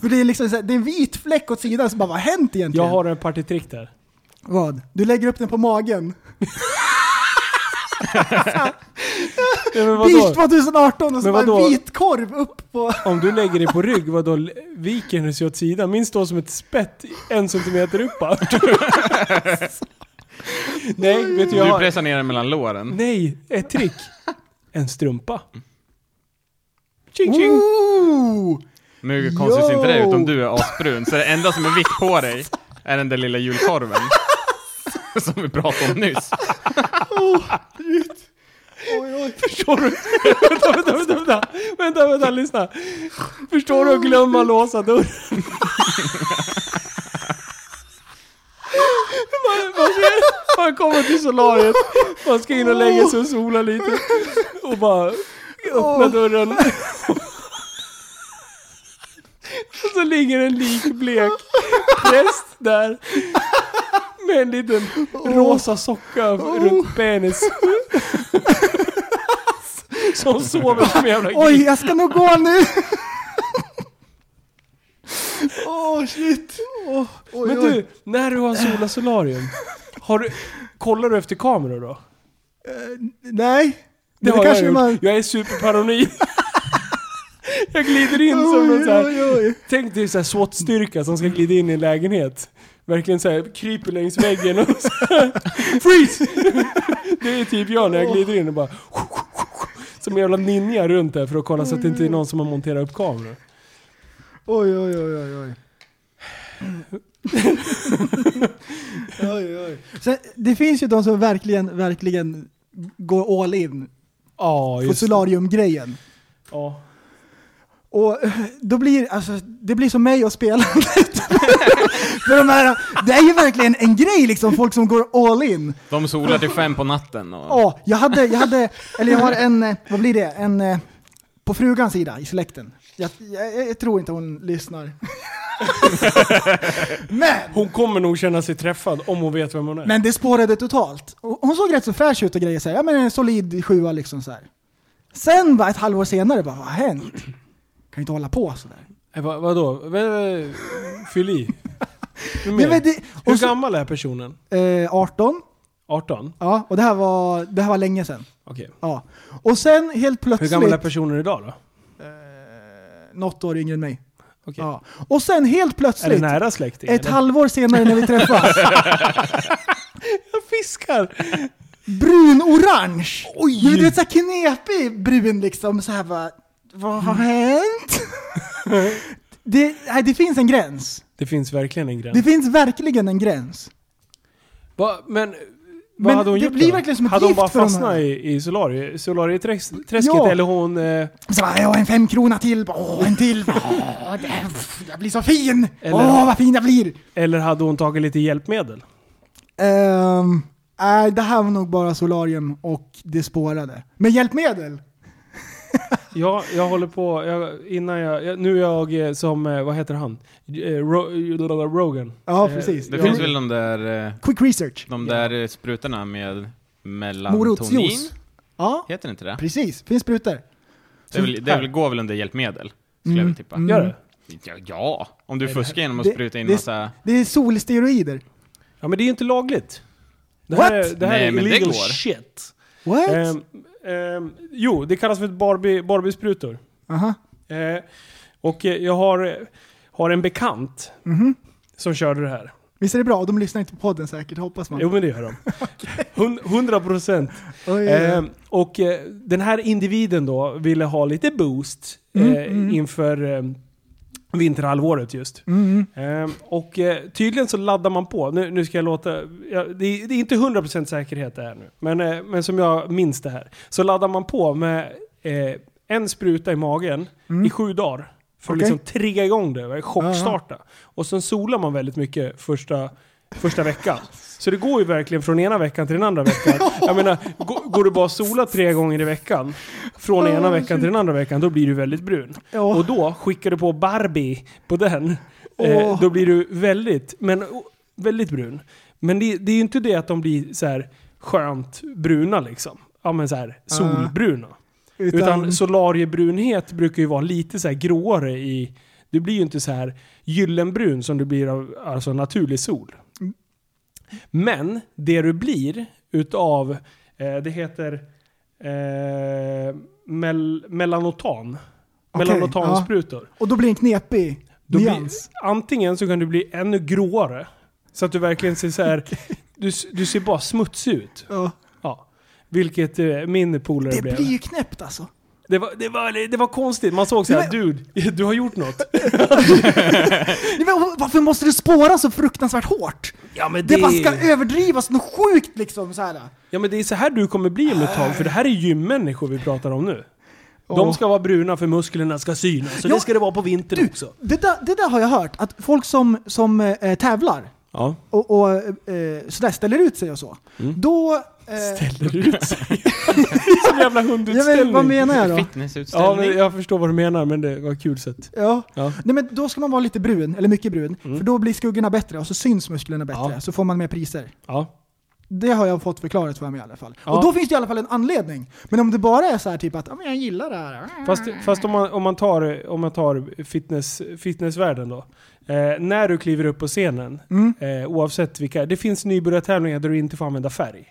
[SPEAKER 3] för det är liksom så här, det är en vit fläck åt sidan, så bara vad har hänt egentligen?
[SPEAKER 2] Jag har en partitrick där.
[SPEAKER 3] Vad? Du lägger upp den på magen.
[SPEAKER 2] Nej, men
[SPEAKER 3] Beach
[SPEAKER 2] vadå?
[SPEAKER 3] 2018 och så
[SPEAKER 2] Men
[SPEAKER 3] bara en
[SPEAKER 2] vadå?
[SPEAKER 3] vit korv upp på...
[SPEAKER 2] Om du lägger dig på rygg, vadå viker den sig åt sidan? Min står som ett spett en centimeter uppåt. Nej, vet du jag
[SPEAKER 4] Du
[SPEAKER 2] har...
[SPEAKER 4] pressar ner den mellan låren.
[SPEAKER 2] Nej, ett trick. en strumpa. Tjing tjing!
[SPEAKER 3] Ooh!
[SPEAKER 4] Nu konstigt ser inte det
[SPEAKER 3] Yo!
[SPEAKER 4] ut om du är asbrun, så det enda som är vitt på dig är den där lilla julkorven. som vi pratade om nyss.
[SPEAKER 3] Oj, oj.
[SPEAKER 2] Förstår du? vänta, vänta, vänta, vänta, vänta, vänta, lyssna. Förstår du att glömma låsa dörren? man, man, ser, man kommer till solariet, man ska in och lägga sig och sola lite. Och bara öppna dörren. och så ligger en likblek präst där. Med en liten rosa socka runt penis. Som sover som en jävla gris.
[SPEAKER 3] Oj, jag ska nog gå nu! Åh oh, shit! Oj,
[SPEAKER 2] Men
[SPEAKER 3] oj.
[SPEAKER 2] du, när du har sola solarium, har du, kollar du efter kameror då?
[SPEAKER 3] Nej!
[SPEAKER 2] Det, har
[SPEAKER 3] kanske
[SPEAKER 2] jag gjort.
[SPEAKER 3] man...
[SPEAKER 2] Jag är superparanoid. jag glider in som någon
[SPEAKER 3] Oj,
[SPEAKER 2] så här.
[SPEAKER 3] oj, oj.
[SPEAKER 2] Tänk dig så här SWAT-styrka som ska glida in i en lägenhet. Verkligen så här, kryper längs väggen och så här, Freeze! det är typ jag när jag glider in och bara... Som en jävla ninja runt där för att kolla så att det
[SPEAKER 3] Mm.
[SPEAKER 2] inte är någon som har monterat upp kameror.
[SPEAKER 3] Oj, oj, oj, oj, oj. oj, oj. Sen, det finns ju de som verkligen, verkligen går all in
[SPEAKER 2] Ja,
[SPEAKER 3] på
[SPEAKER 2] just det.
[SPEAKER 3] solariumgrejen.
[SPEAKER 2] Ja.
[SPEAKER 3] Och eh, då blir alltså, det blir som mig och spelandet. För de här, det är ju verkligen en grej liksom, folk som går all in.
[SPEAKER 4] De solar till fem på natten och...
[SPEAKER 3] Ja, jag hade, jag hade, eller jag har en, eh, vad blir det, en eh, på frugans sida i släkten. Jag, jag, jag tror inte hon lyssnar. Men!
[SPEAKER 2] Hon kommer nog känna sig träffad om hon vet vem hon är.
[SPEAKER 3] Men det spårade totalt. Och Hon såg rätt så fräsch ut och grejer så här. Ja men en solid sjua liksom så här. Sen bara ett halvår senare bara, vad har hänt? Kan ju inte hålla på sådär.
[SPEAKER 2] Eh, Va, vadå? V- v- Fyll i. Hur,
[SPEAKER 3] Nej, men
[SPEAKER 2] mer?
[SPEAKER 3] det,
[SPEAKER 2] Hur
[SPEAKER 3] och så,
[SPEAKER 2] gammal är personen?
[SPEAKER 3] eh, 18,
[SPEAKER 2] 18?
[SPEAKER 3] ja, och det här var, det här var länge sedan.
[SPEAKER 2] Okej.
[SPEAKER 3] Ja. Och sen helt
[SPEAKER 2] Hur
[SPEAKER 3] plötsligt, Eh,
[SPEAKER 2] gammal är personen idag då?
[SPEAKER 3] något år yngre än mig.
[SPEAKER 2] Okej.
[SPEAKER 3] Ja. Och sen helt
[SPEAKER 2] Är det
[SPEAKER 3] plötsligt,
[SPEAKER 2] nära släkting?
[SPEAKER 3] ett
[SPEAKER 2] eller?
[SPEAKER 3] halvår senare när vi träffas,
[SPEAKER 2] Jag fiskar!
[SPEAKER 3] brun-orange! Oj! Du vet såhär knepig brun liksom, såhär bara, vad har
[SPEAKER 2] Mm.
[SPEAKER 3] hänt? det, nej, det finns en gräns.
[SPEAKER 2] Det finns verkligen en gräns.
[SPEAKER 3] Det finns verkligen en gräns.
[SPEAKER 2] Va, men vad
[SPEAKER 3] Men
[SPEAKER 2] hade hon
[SPEAKER 3] det
[SPEAKER 2] gjort
[SPEAKER 3] blir
[SPEAKER 2] då?
[SPEAKER 3] verkligen som ett
[SPEAKER 2] Hade hon
[SPEAKER 3] gift
[SPEAKER 2] bara
[SPEAKER 3] för de
[SPEAKER 2] fastnat
[SPEAKER 3] här.
[SPEAKER 2] i, i solari- solarieträsket?
[SPEAKER 3] Ja.
[SPEAKER 2] Eller hon... Eh,
[SPEAKER 3] Så bara, jag har en femkrona till, åh en till, åh, det, pff, jag blir så fin!
[SPEAKER 2] Eller-
[SPEAKER 3] Åh vad fin jag blir!
[SPEAKER 2] eller hade hon tagit lite hjälpmedel?
[SPEAKER 3] Ehm, nej, det här var nog bara solarium och det spårade. Men hjälpmedel!
[SPEAKER 2] Ja, jag håller på... Jag, innan jag, jag... Nu är jag eh, som... eh, Vad heter han? Eh, Ro, Rogan.
[SPEAKER 3] Ja,
[SPEAKER 2] Eh,
[SPEAKER 3] precis.
[SPEAKER 4] Det
[SPEAKER 2] Ja.
[SPEAKER 4] finns väl de där, eh,
[SPEAKER 3] Quick research.
[SPEAKER 4] de där eh, sprutorna med melatonin?
[SPEAKER 3] Morotsjuice. Ja,
[SPEAKER 4] Heter inte det?
[SPEAKER 3] precis. Finns sprutor.
[SPEAKER 4] Det, är väl, det är väl, går väl under hjälpmedel? Skulle
[SPEAKER 3] Mm.
[SPEAKER 4] jag väl tippa.
[SPEAKER 2] Gör det?
[SPEAKER 4] Ja, ja, om du fuskar genom att
[SPEAKER 3] det-
[SPEAKER 4] spruta in
[SPEAKER 3] det-
[SPEAKER 4] massa...
[SPEAKER 3] Det är solsteroider.
[SPEAKER 2] Ja men det är ju inte lagligt. Det här,
[SPEAKER 3] What?
[SPEAKER 2] är, det här
[SPEAKER 4] Nej,
[SPEAKER 2] är
[SPEAKER 4] men det
[SPEAKER 2] illegal
[SPEAKER 4] går.
[SPEAKER 2] shit.
[SPEAKER 3] What?
[SPEAKER 2] Ehm, ehm, jo, det kallas för ett Barbie, Barbie-sprutor.
[SPEAKER 3] Aha.
[SPEAKER 2] Eh, och eh, jag har, eh, har en bekant
[SPEAKER 3] Mhm.
[SPEAKER 2] som körde det här.
[SPEAKER 3] Visst är det bra? De lyssnar inte på podden säkert, hoppas man.
[SPEAKER 2] Jo men det gör de. Hun- 100 procent.
[SPEAKER 3] Oj,
[SPEAKER 2] Ehm, och eh, den här individen då ville ha lite boost
[SPEAKER 3] Mm,
[SPEAKER 2] eh, inför eh, vinterhalvåret just.
[SPEAKER 3] Mm.
[SPEAKER 2] Ehm, och eh, tydligen så laddar man på. Nu, nu ska jag låta... Ja, det, det är inte 100% säkerhet det här nu. Men, eh, men som jag minns det här. Så laddar man på med eh, en spruta i magen i sju dagar. För att
[SPEAKER 3] Mm. Okej.
[SPEAKER 2] liksom trigga igång det. va? Chockstarta. Och sen solar man väldigt mycket första, första veckan. Så det går ju verkligen från ena veckan till den andra veckan. Jag menar, går, går du bara och solar tre gånger i veckan. Från ena veckan till den andra veckan. Då blir du väldigt brun.
[SPEAKER 3] Oh, Ja.
[SPEAKER 2] Och då skickar du på Barbie på den. Eh,
[SPEAKER 3] Åh.
[SPEAKER 2] då blir du väldigt, men oh, väldigt brun. Men det, det är ju inte det att de blir så här skönt bruna liksom. Ja men så här solbruna.
[SPEAKER 3] Ah. Utan,
[SPEAKER 2] Utan, solariebrunhet brukar ju vara lite så här gråare i... Du blir ju inte så här gyllenbrun som du blir av alltså naturlig sol.
[SPEAKER 3] Mm.
[SPEAKER 2] Men det du blir utav, eh, det heter eh, mel, melanotan.
[SPEAKER 3] Okej,
[SPEAKER 2] Melanotansprutor.
[SPEAKER 3] och då blir det en knepig
[SPEAKER 2] Då blir,
[SPEAKER 3] nyans.
[SPEAKER 2] antingen så kan du bli ännu gråare. Så att du verkligen ser så här, du, s- du ser bara smutsig ut.
[SPEAKER 3] Ja.
[SPEAKER 2] Ja. Vilket eh, min polare
[SPEAKER 3] Det
[SPEAKER 2] blev.
[SPEAKER 3] blir ju knäppt alltså.
[SPEAKER 2] Det, var, det, var, det var konstigt, man såg såhär,
[SPEAKER 3] Men-
[SPEAKER 2] dude, du har gjort något.
[SPEAKER 3] Nej, men varför måste det spåra så fruktansvärt hårt?
[SPEAKER 2] Ja men
[SPEAKER 3] Det bara ska överdrivas något sjukt liksom så här.
[SPEAKER 2] Ja men det är så här du kommer bli om ett tag, för det här är gymmänniskor vi pratar om nu. De ska vara bruna för musklerna ska synas, så
[SPEAKER 3] Ja,
[SPEAKER 2] det ska det vara på vintern
[SPEAKER 3] Du,
[SPEAKER 2] också.
[SPEAKER 3] det där, det där har jag hört, att folk som, som eh, tävlar
[SPEAKER 2] Ja.
[SPEAKER 3] och, och eh, sådär ställer ut sig och så,
[SPEAKER 2] Mm.
[SPEAKER 3] då... Eh,
[SPEAKER 2] Ställer du ut sig? Som jävla
[SPEAKER 3] jag vet,
[SPEAKER 2] hundutställning.
[SPEAKER 3] vad menar jag då?
[SPEAKER 2] Ja, men
[SPEAKER 4] Fitnessutställning.
[SPEAKER 2] jag förstår vad du menar, men det var kul sett.
[SPEAKER 3] Ja.
[SPEAKER 2] Ja. Mm.
[SPEAKER 3] Nej men då ska man vara lite brun, eller mycket brun, för då blir skuggorna bättre och så syns musklerna bättre,
[SPEAKER 2] Ja.
[SPEAKER 3] så får man mer priser.
[SPEAKER 2] Ja.
[SPEAKER 3] Det har jag fått förklarat för mig i alla fall.
[SPEAKER 2] Ja.
[SPEAKER 3] Och då finns det i alla fall en anledning. Men om det bara är så här typ att "Ja, men jag gillar det här.
[SPEAKER 2] Fast, fast om, man, om man tar, om man tar fitness, fitnessvärlden då. Eh, när du kliver upp på scenen,
[SPEAKER 3] Mm.
[SPEAKER 2] eh, oavsett vilka, det finns nybörjartävlingar där du inte får använda färg.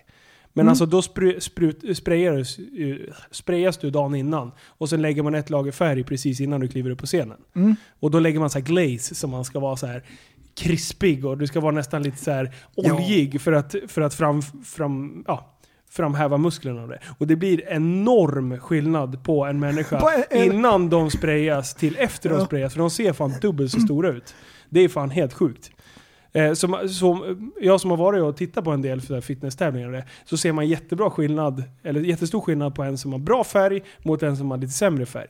[SPEAKER 2] Men
[SPEAKER 3] Mm.
[SPEAKER 2] alltså då spru, sprut, sprayas, eh, sprayas du dagen innan och sen lägger man ett lager färg precis innan du kliver upp på scenen.
[SPEAKER 3] Mm.
[SPEAKER 2] Och då lägger man så här glaze som man ska vara så här krispig och du ska vara nästan lite så här
[SPEAKER 3] Ja.
[SPEAKER 2] oljig för att, för att fram, fram, ja, framhäva musklerna och det. Och det blir enorm skillnad på en människa
[SPEAKER 3] På en-
[SPEAKER 2] innan de sprayas till efter de
[SPEAKER 3] Ja.
[SPEAKER 2] sprayas. För de ser fan dubbelt så stora ut. Det är fan helt sjukt. Eh, som, som, jag som har varit och tittat på en del för fitnesstävlingar och det, så ser man jättebra skillnad, eller jättestor skillnad på en som har bra färg mot en som har lite sämre färg.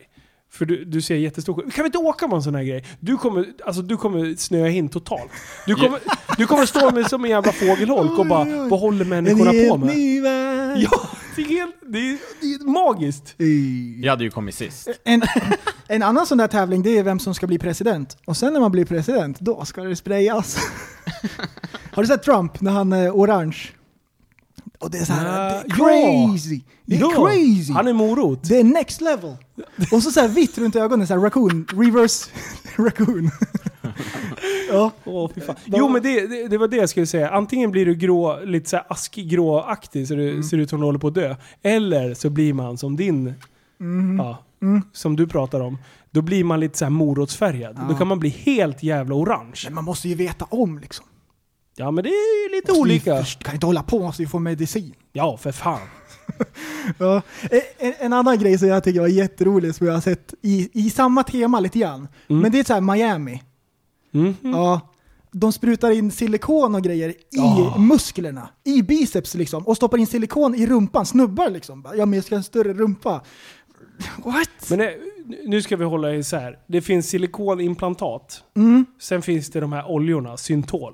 [SPEAKER 2] För du, du ser jättestor skillnad. Kan vi inte åka på en sån här grej? Du kommer, alltså, du kommer snöa in totalt. Du kommer, du kommer stå med som en jävla fågelholk och bara
[SPEAKER 3] Oj, oj.
[SPEAKER 2] vad håller människorna
[SPEAKER 3] En helt
[SPEAKER 2] på med?
[SPEAKER 3] ny värld.
[SPEAKER 2] Ja, det är, helt, det är, det är magiskt.
[SPEAKER 3] Ey.
[SPEAKER 4] Jag hade ju kommit sist.
[SPEAKER 3] En, en annan sån där tävling, det är vem som ska bli president. Och sen när man blir president, då ska det sprayas. Har du sett Trump när han är orange? Och det är så här,
[SPEAKER 2] Ah, Ja,
[SPEAKER 3] det är crazy! Det är
[SPEAKER 2] Ja,
[SPEAKER 3] crazy!
[SPEAKER 2] Han är morot.
[SPEAKER 3] Det är next level! Och så, så här vitt runt ögonen, så här raccoon, reverse raccoon. ja.
[SPEAKER 2] Åh, fy fan. Jo men det, det, det var det jag skulle säga. Antingen blir du grå, lite så här askgråaktig så du
[SPEAKER 3] Mm.
[SPEAKER 2] ser ut som du håller på att dö. Eller så blir man som din,
[SPEAKER 3] Mm-hmm.
[SPEAKER 2] ja, som du pratar om. Då blir man lite så här morotsfärgad. Då kan man bli helt jävla orange.
[SPEAKER 3] Men man måste ju veta om liksom.
[SPEAKER 2] Ja men det är ju lite
[SPEAKER 3] Måste ju
[SPEAKER 2] olika.
[SPEAKER 3] först- Kan inte hålla på, måste ju få medicin.
[SPEAKER 2] Ja för fan.
[SPEAKER 3] Ja. Eh, En, en annan grej som jag tycker var jätterolig som jag har sett i, i samma tema lite grann.
[SPEAKER 4] Mm.
[SPEAKER 3] Men det är så här Miami.
[SPEAKER 2] Mm.
[SPEAKER 3] Ja. De sprutar in silikon och grejer i musklerna, i biceps liksom. Och stoppar in silikon i rumpan, snubbar liksom. Bara, Ja men jag ska ha en större rumpa. What?
[SPEAKER 2] Men det, nu ska vi hålla isär. Det finns silikonimplantat.
[SPEAKER 3] Mm.
[SPEAKER 2] Sen finns det de här oljorna, syntol.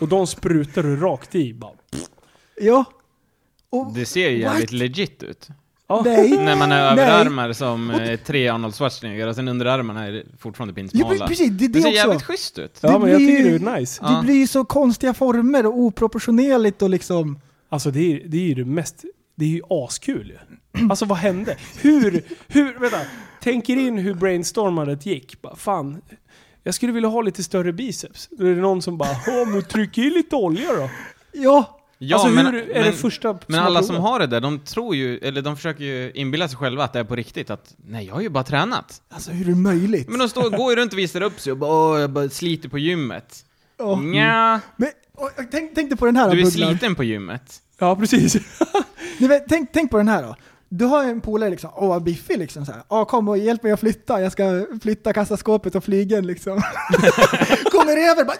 [SPEAKER 2] Och de sprutar du rakt i bara.
[SPEAKER 3] Ja. Och,
[SPEAKER 4] Det ser ju jävligt
[SPEAKER 3] What?
[SPEAKER 4] legit ut.
[SPEAKER 2] Ja.
[SPEAKER 3] nej.
[SPEAKER 4] När man har
[SPEAKER 3] Nej.
[SPEAKER 4] överarmar som eh, tre Arnold Schwarzenegger och sen underarmarna är fortfarande
[SPEAKER 3] Ja,
[SPEAKER 4] pinsmala.
[SPEAKER 3] men precis, det är det,
[SPEAKER 4] ser
[SPEAKER 3] också.
[SPEAKER 4] jävligt schysst ut.
[SPEAKER 2] Ja
[SPEAKER 3] Det
[SPEAKER 2] men jag
[SPEAKER 3] blir ju-
[SPEAKER 2] tycker det är nice.
[SPEAKER 4] Ja.
[SPEAKER 3] Det blir ju så konstiga former och oproportionerligt och liksom...
[SPEAKER 2] Alltså det är, det är ju det mest... Det är ju askul ju. Alltså vad hände? Hur... hur vänta. Tänker in hur brainstormandet gick. Bara, fan, jag skulle vilja ha lite större biceps. Då är det någon som bara "Ja, men tryck i lite olja då.
[SPEAKER 3] Ja,
[SPEAKER 4] Ja,
[SPEAKER 2] alltså
[SPEAKER 4] men,
[SPEAKER 2] hur är det
[SPEAKER 4] men-
[SPEAKER 2] första
[SPEAKER 4] Men alla som
[SPEAKER 2] provat?
[SPEAKER 4] har det där, de tror ju, eller de försöker ju inbilla sig själva att det är på riktigt, att nej, jag har ju bara tränat.
[SPEAKER 3] alltså hur är det möjligt?
[SPEAKER 4] Men de står, går ju runt och visar upp sig och bara, Åh, jag bara sliter på gymmet.
[SPEAKER 3] Ja.
[SPEAKER 4] Nja,
[SPEAKER 3] Men, och, och, tänk, tänk dig på den här då,
[SPEAKER 4] Mm. du är
[SPEAKER 3] Bubblan.
[SPEAKER 4] sliten på gymmet.
[SPEAKER 2] Ja precis.
[SPEAKER 3] Nej, men, tänk, tänk på den här då. Du har en polare liksom, åh vad biffig liksom såhär. Åh kom och hjälp mig att flytta, jag ska flytta kassaskåpet och flygeln liksom. Kommer över bara...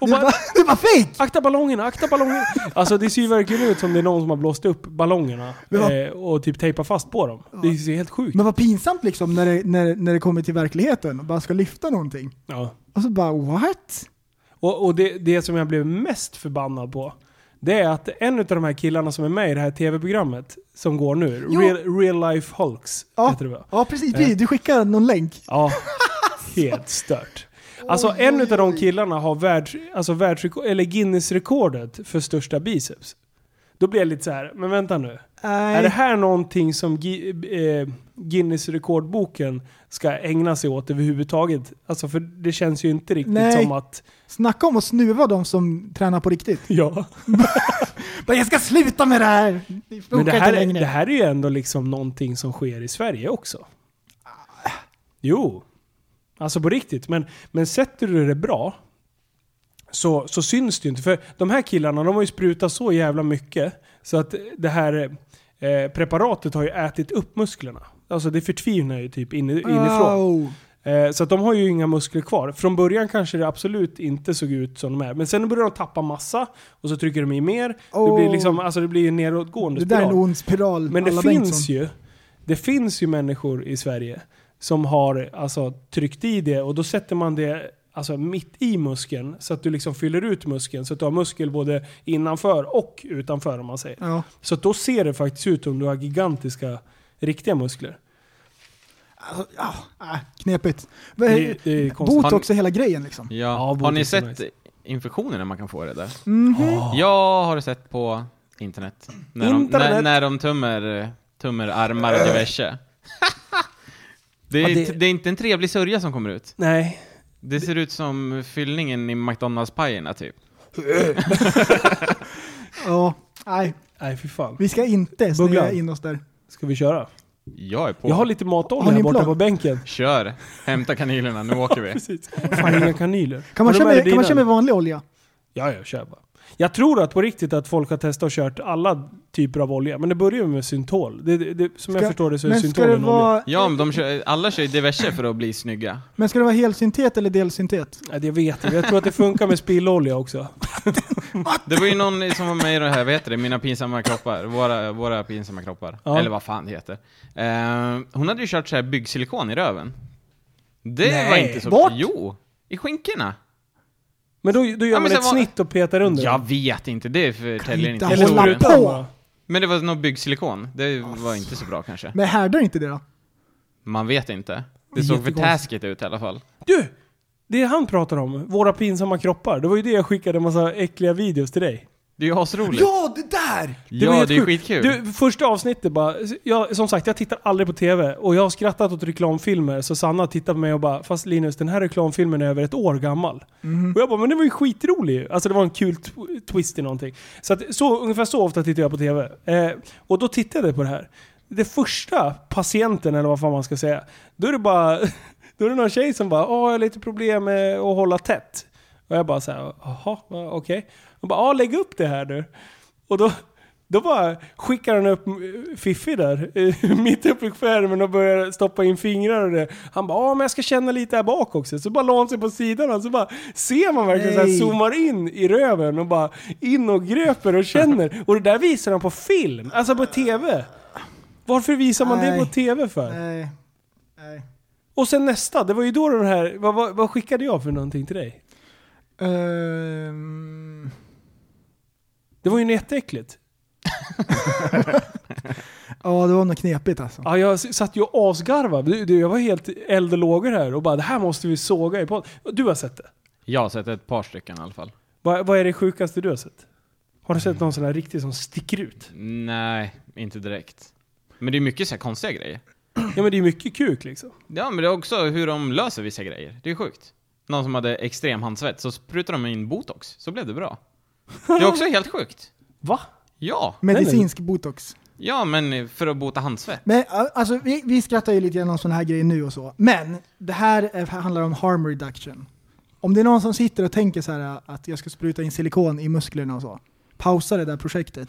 [SPEAKER 2] Och
[SPEAKER 3] Det är
[SPEAKER 2] bara,
[SPEAKER 3] bara, det är bara fake!
[SPEAKER 2] akta ballongerna, akta ballongerna. Alltså det ser ju verkligen ut som det är någon som har blåst upp ballongerna
[SPEAKER 3] Men vad-
[SPEAKER 2] eh, och typ tejpat fast på dem. Det ser helt sjukt ut.
[SPEAKER 3] Men vad pinsamt liksom när det, när, när det kommer till verkligheten och bara ska lyfta någonting.
[SPEAKER 2] Ja.
[SPEAKER 3] Och så bara what?
[SPEAKER 2] Och, och det, det som jag blev mest förbannad på, det är att en av de här killarna som är med i det här tv-programmet som går nu,
[SPEAKER 3] Jo.
[SPEAKER 2] Real, Real Life Hulks,
[SPEAKER 3] Ja,
[SPEAKER 2] heter det va?
[SPEAKER 3] ja precis, precis, du skickar någon länk.
[SPEAKER 2] Ja, helt stört. Alltså en av de killarna har världs, alltså världsrekord, eller Guinness-rekordet för största biceps. Då blir jag lite så här, men vänta nu.
[SPEAKER 3] Nej.
[SPEAKER 2] Är det här någonting som Gi- eh, Guinness-rekordboken ska ägna sig åt överhuvudtaget? Alltså för det känns ju inte riktigt
[SPEAKER 3] Nej.
[SPEAKER 2] som att...
[SPEAKER 3] Snacka om att snuva de som tränar på riktigt.
[SPEAKER 2] Ja.
[SPEAKER 3] Bara, jag ska sluta med det här! Det funkar
[SPEAKER 2] Men det
[SPEAKER 3] inte
[SPEAKER 2] här, är,
[SPEAKER 3] längre.
[SPEAKER 2] det här är ju ändå liksom någonting som sker i Sverige också.
[SPEAKER 3] Ah.
[SPEAKER 2] Jo. Alltså på riktigt. Men, men sätter du det bra så, så syns det ju inte. För de här killarna, de har ju sprutat så jävla mycket så att det här eh, preparatet har ju ätit upp musklerna. Alltså det förtvinar ju typ inne- inifrån.
[SPEAKER 3] Oh.
[SPEAKER 2] Eh, Så att de har ju inga muskler kvar. Från början kanske det absolut inte såg ut som de är. Men sen börjar de tappa massa och så trycker de i mer. Det
[SPEAKER 3] Oh.
[SPEAKER 2] blir liksom, alltså det blir en nedåtgående
[SPEAKER 3] Det där är en
[SPEAKER 2] spiral.
[SPEAKER 3] ond spiral.
[SPEAKER 2] Men det
[SPEAKER 3] Alla
[SPEAKER 2] finns
[SPEAKER 3] Bengtsson.
[SPEAKER 2] ju, det finns ju människor i Sverige som har alltså, tryckt i det och då sätter man det alltså, mitt i muskeln så att du liksom fyller ut muskeln. Så att du har muskel både innanför och utanför om man säger.
[SPEAKER 3] Ja.
[SPEAKER 2] Så att då ser det faktiskt ut som du har gigantiska, riktiga muskler.
[SPEAKER 3] Alltså, ja, äh, knepigt.
[SPEAKER 2] Det, det är konstigt.
[SPEAKER 3] Botox är hela grejen liksom.
[SPEAKER 4] Ja.
[SPEAKER 2] botox
[SPEAKER 4] har
[SPEAKER 2] är
[SPEAKER 4] ni sett
[SPEAKER 2] nice.
[SPEAKER 4] infektionerna man kan få i det där?
[SPEAKER 3] Mhm.
[SPEAKER 4] Jag har sett på internet. När de,
[SPEAKER 2] Internet.
[SPEAKER 4] När, när de tummer, tummer armar och diverse. det, är,
[SPEAKER 2] Ja, det-
[SPEAKER 4] det... är inte en trevlig sörja som kommer ut.
[SPEAKER 2] Nej,
[SPEAKER 4] Det ser ut som fyllningen i McDonalds-pajerna typ.
[SPEAKER 3] Ja, nej.
[SPEAKER 2] nej fy fan.
[SPEAKER 3] Vi ska inte snöa
[SPEAKER 2] Bugglan.
[SPEAKER 3] in oss där.
[SPEAKER 2] Ska vi köra?
[SPEAKER 4] Jag är på.
[SPEAKER 2] Jag har lite matolja
[SPEAKER 3] Har ni
[SPEAKER 2] här
[SPEAKER 3] en
[SPEAKER 2] borta
[SPEAKER 3] plan?
[SPEAKER 2] på bänken.
[SPEAKER 4] Kör! Hämta kanylerna, nu åker vi.
[SPEAKER 2] Precis. Fan, inga kanyler.
[SPEAKER 3] Kan man,
[SPEAKER 2] Har du
[SPEAKER 3] köra
[SPEAKER 2] med
[SPEAKER 3] med,
[SPEAKER 2] dig
[SPEAKER 3] kan man
[SPEAKER 2] dina?
[SPEAKER 3] köra med vanlig olja?
[SPEAKER 2] Ja, ja, kör bara. Jag tror att på riktigt att folk har testat och kört alla typer av olja, men det börjar ju med syntol. Det, det, det, som jag
[SPEAKER 3] Ska-
[SPEAKER 2] förstår det så är
[SPEAKER 3] Men
[SPEAKER 2] syntol
[SPEAKER 3] ska, det
[SPEAKER 2] en olja.
[SPEAKER 3] vara,
[SPEAKER 4] Ja, men de kör, alla kör ju diverse för att bli snygga.
[SPEAKER 3] men ska det vara helsyntet eller delsyntet?
[SPEAKER 2] Ja, det vet jag. Jag tror att det funkar med spillolja också.
[SPEAKER 4] Det var ju någon som var med i det här, vad heter det, Mina pinsamma kroppar? Våra, våra pinsamma kroppar.
[SPEAKER 2] Ja.
[SPEAKER 4] Eller vad fan det heter. Eh, hon hade ju kört så här byggsilikon i röven. Det
[SPEAKER 2] Nej,
[SPEAKER 4] var inte så...
[SPEAKER 3] vart?
[SPEAKER 4] Jo! I skinkorna.
[SPEAKER 2] Men då, då gör
[SPEAKER 4] men
[SPEAKER 2] man
[SPEAKER 4] sen
[SPEAKER 2] ett
[SPEAKER 4] var-
[SPEAKER 2] snitt och petar under.
[SPEAKER 4] Jag vet inte, det förtäljer
[SPEAKER 3] inte
[SPEAKER 4] inte
[SPEAKER 2] Eller Ah,
[SPEAKER 3] Hålla
[SPEAKER 4] historien.
[SPEAKER 3] på!
[SPEAKER 2] sprutar man.
[SPEAKER 4] Men det var nog byggsilikon. Det var inte så bra kanske.
[SPEAKER 3] Men härdar inte det då?
[SPEAKER 4] Man vet inte.
[SPEAKER 2] Det
[SPEAKER 4] Det
[SPEAKER 2] är
[SPEAKER 4] såg för
[SPEAKER 2] jättekonstigt.
[SPEAKER 4] taskigt ut i alla fall.
[SPEAKER 2] Du! Det han pratar om, våra pinsamma kroppar. Det var ju det jag skickade en massa äckliga videos till dig.
[SPEAKER 4] Det är ju asroligt.
[SPEAKER 3] Ja, det där!
[SPEAKER 4] Ja,
[SPEAKER 2] var helt
[SPEAKER 4] det är
[SPEAKER 2] sjukt.
[SPEAKER 4] skitkul.
[SPEAKER 2] Du, första avsnittet bara, jag, som sagt jag tittar aldrig på TV och jag har skrattat åt reklamfilmer så Sanna tittar på mig och bara Fast Linus den här reklamfilmen är över ett år gammal.
[SPEAKER 4] Mhm.
[SPEAKER 2] Och jag bara men det var ju skitrolig ju. Alltså det var en kul tw- twist i någonting. Så, att, så ungefär så ofta tittar jag på TV. Eh, och då tittade jag på det här. Det första patienten eller vad fan man ska säga. Då är det bara, då är det någon tjej som bara Åh jag har lite problem med att hålla tätt. Och jag bara såhär, jaha, va, okej. Hon bara, ja lägg upp det här nu. Och då, då bara skickar han upp eh, Fiffi där, eh, mitt uppe i skärmen och börjar stoppa in fingrar och det. Han bara, ja men jag ska känna lite här bak också. Så bara la han sig på sidan och så bara ser man verkligen såhär,
[SPEAKER 3] Nej.
[SPEAKER 2] zoomar in i röven och bara in och gröper och känner. Och det där visar han på film, alltså på TV. Varför visar man det
[SPEAKER 3] Nej.
[SPEAKER 2] på TV för?
[SPEAKER 3] Nej. Nej.
[SPEAKER 2] Och sen nästa, det var ju då den här, vad, vad, vad skickade jag för någonting till dig?
[SPEAKER 3] Ehm,
[SPEAKER 2] Det var ju jätteäckligt.
[SPEAKER 3] ja, det var nog knepigt alltså.
[SPEAKER 2] Ja, jag s- satt ju och asgarvade. Du, du, jag var helt eld och lågor här och bara det här måste vi såga i podden. Du har sett det.
[SPEAKER 4] Jag har sett ett par stycken i alla fall.
[SPEAKER 2] Vad, vad är det sjukaste du har sett? Har du sett någon sån här riktig som sticker ut?
[SPEAKER 4] Nej, inte direkt. Men det är mycket så här konstiga grejer.
[SPEAKER 2] Ja men det är mycket kuk liksom.
[SPEAKER 4] Ja, men det är också hur de löser vissa grejer. Det är sjukt. Någon som hade extrem handsvett, så sprutade de in botox, så blev det bra. Det är också helt sjukt.
[SPEAKER 2] Va?
[SPEAKER 4] Ja,
[SPEAKER 3] Medicinsk botox.
[SPEAKER 4] ja men för att bota handsvett.
[SPEAKER 3] Men äh, alltså, vi, vi skrattar ju lite grann om sådana här grejer nu och så. Men det här är, handlar om harm reduction. Om det är någon som sitter och tänker så här äh, att jag ska spruta in silikon i musklerna och så. Pausa det där projektet.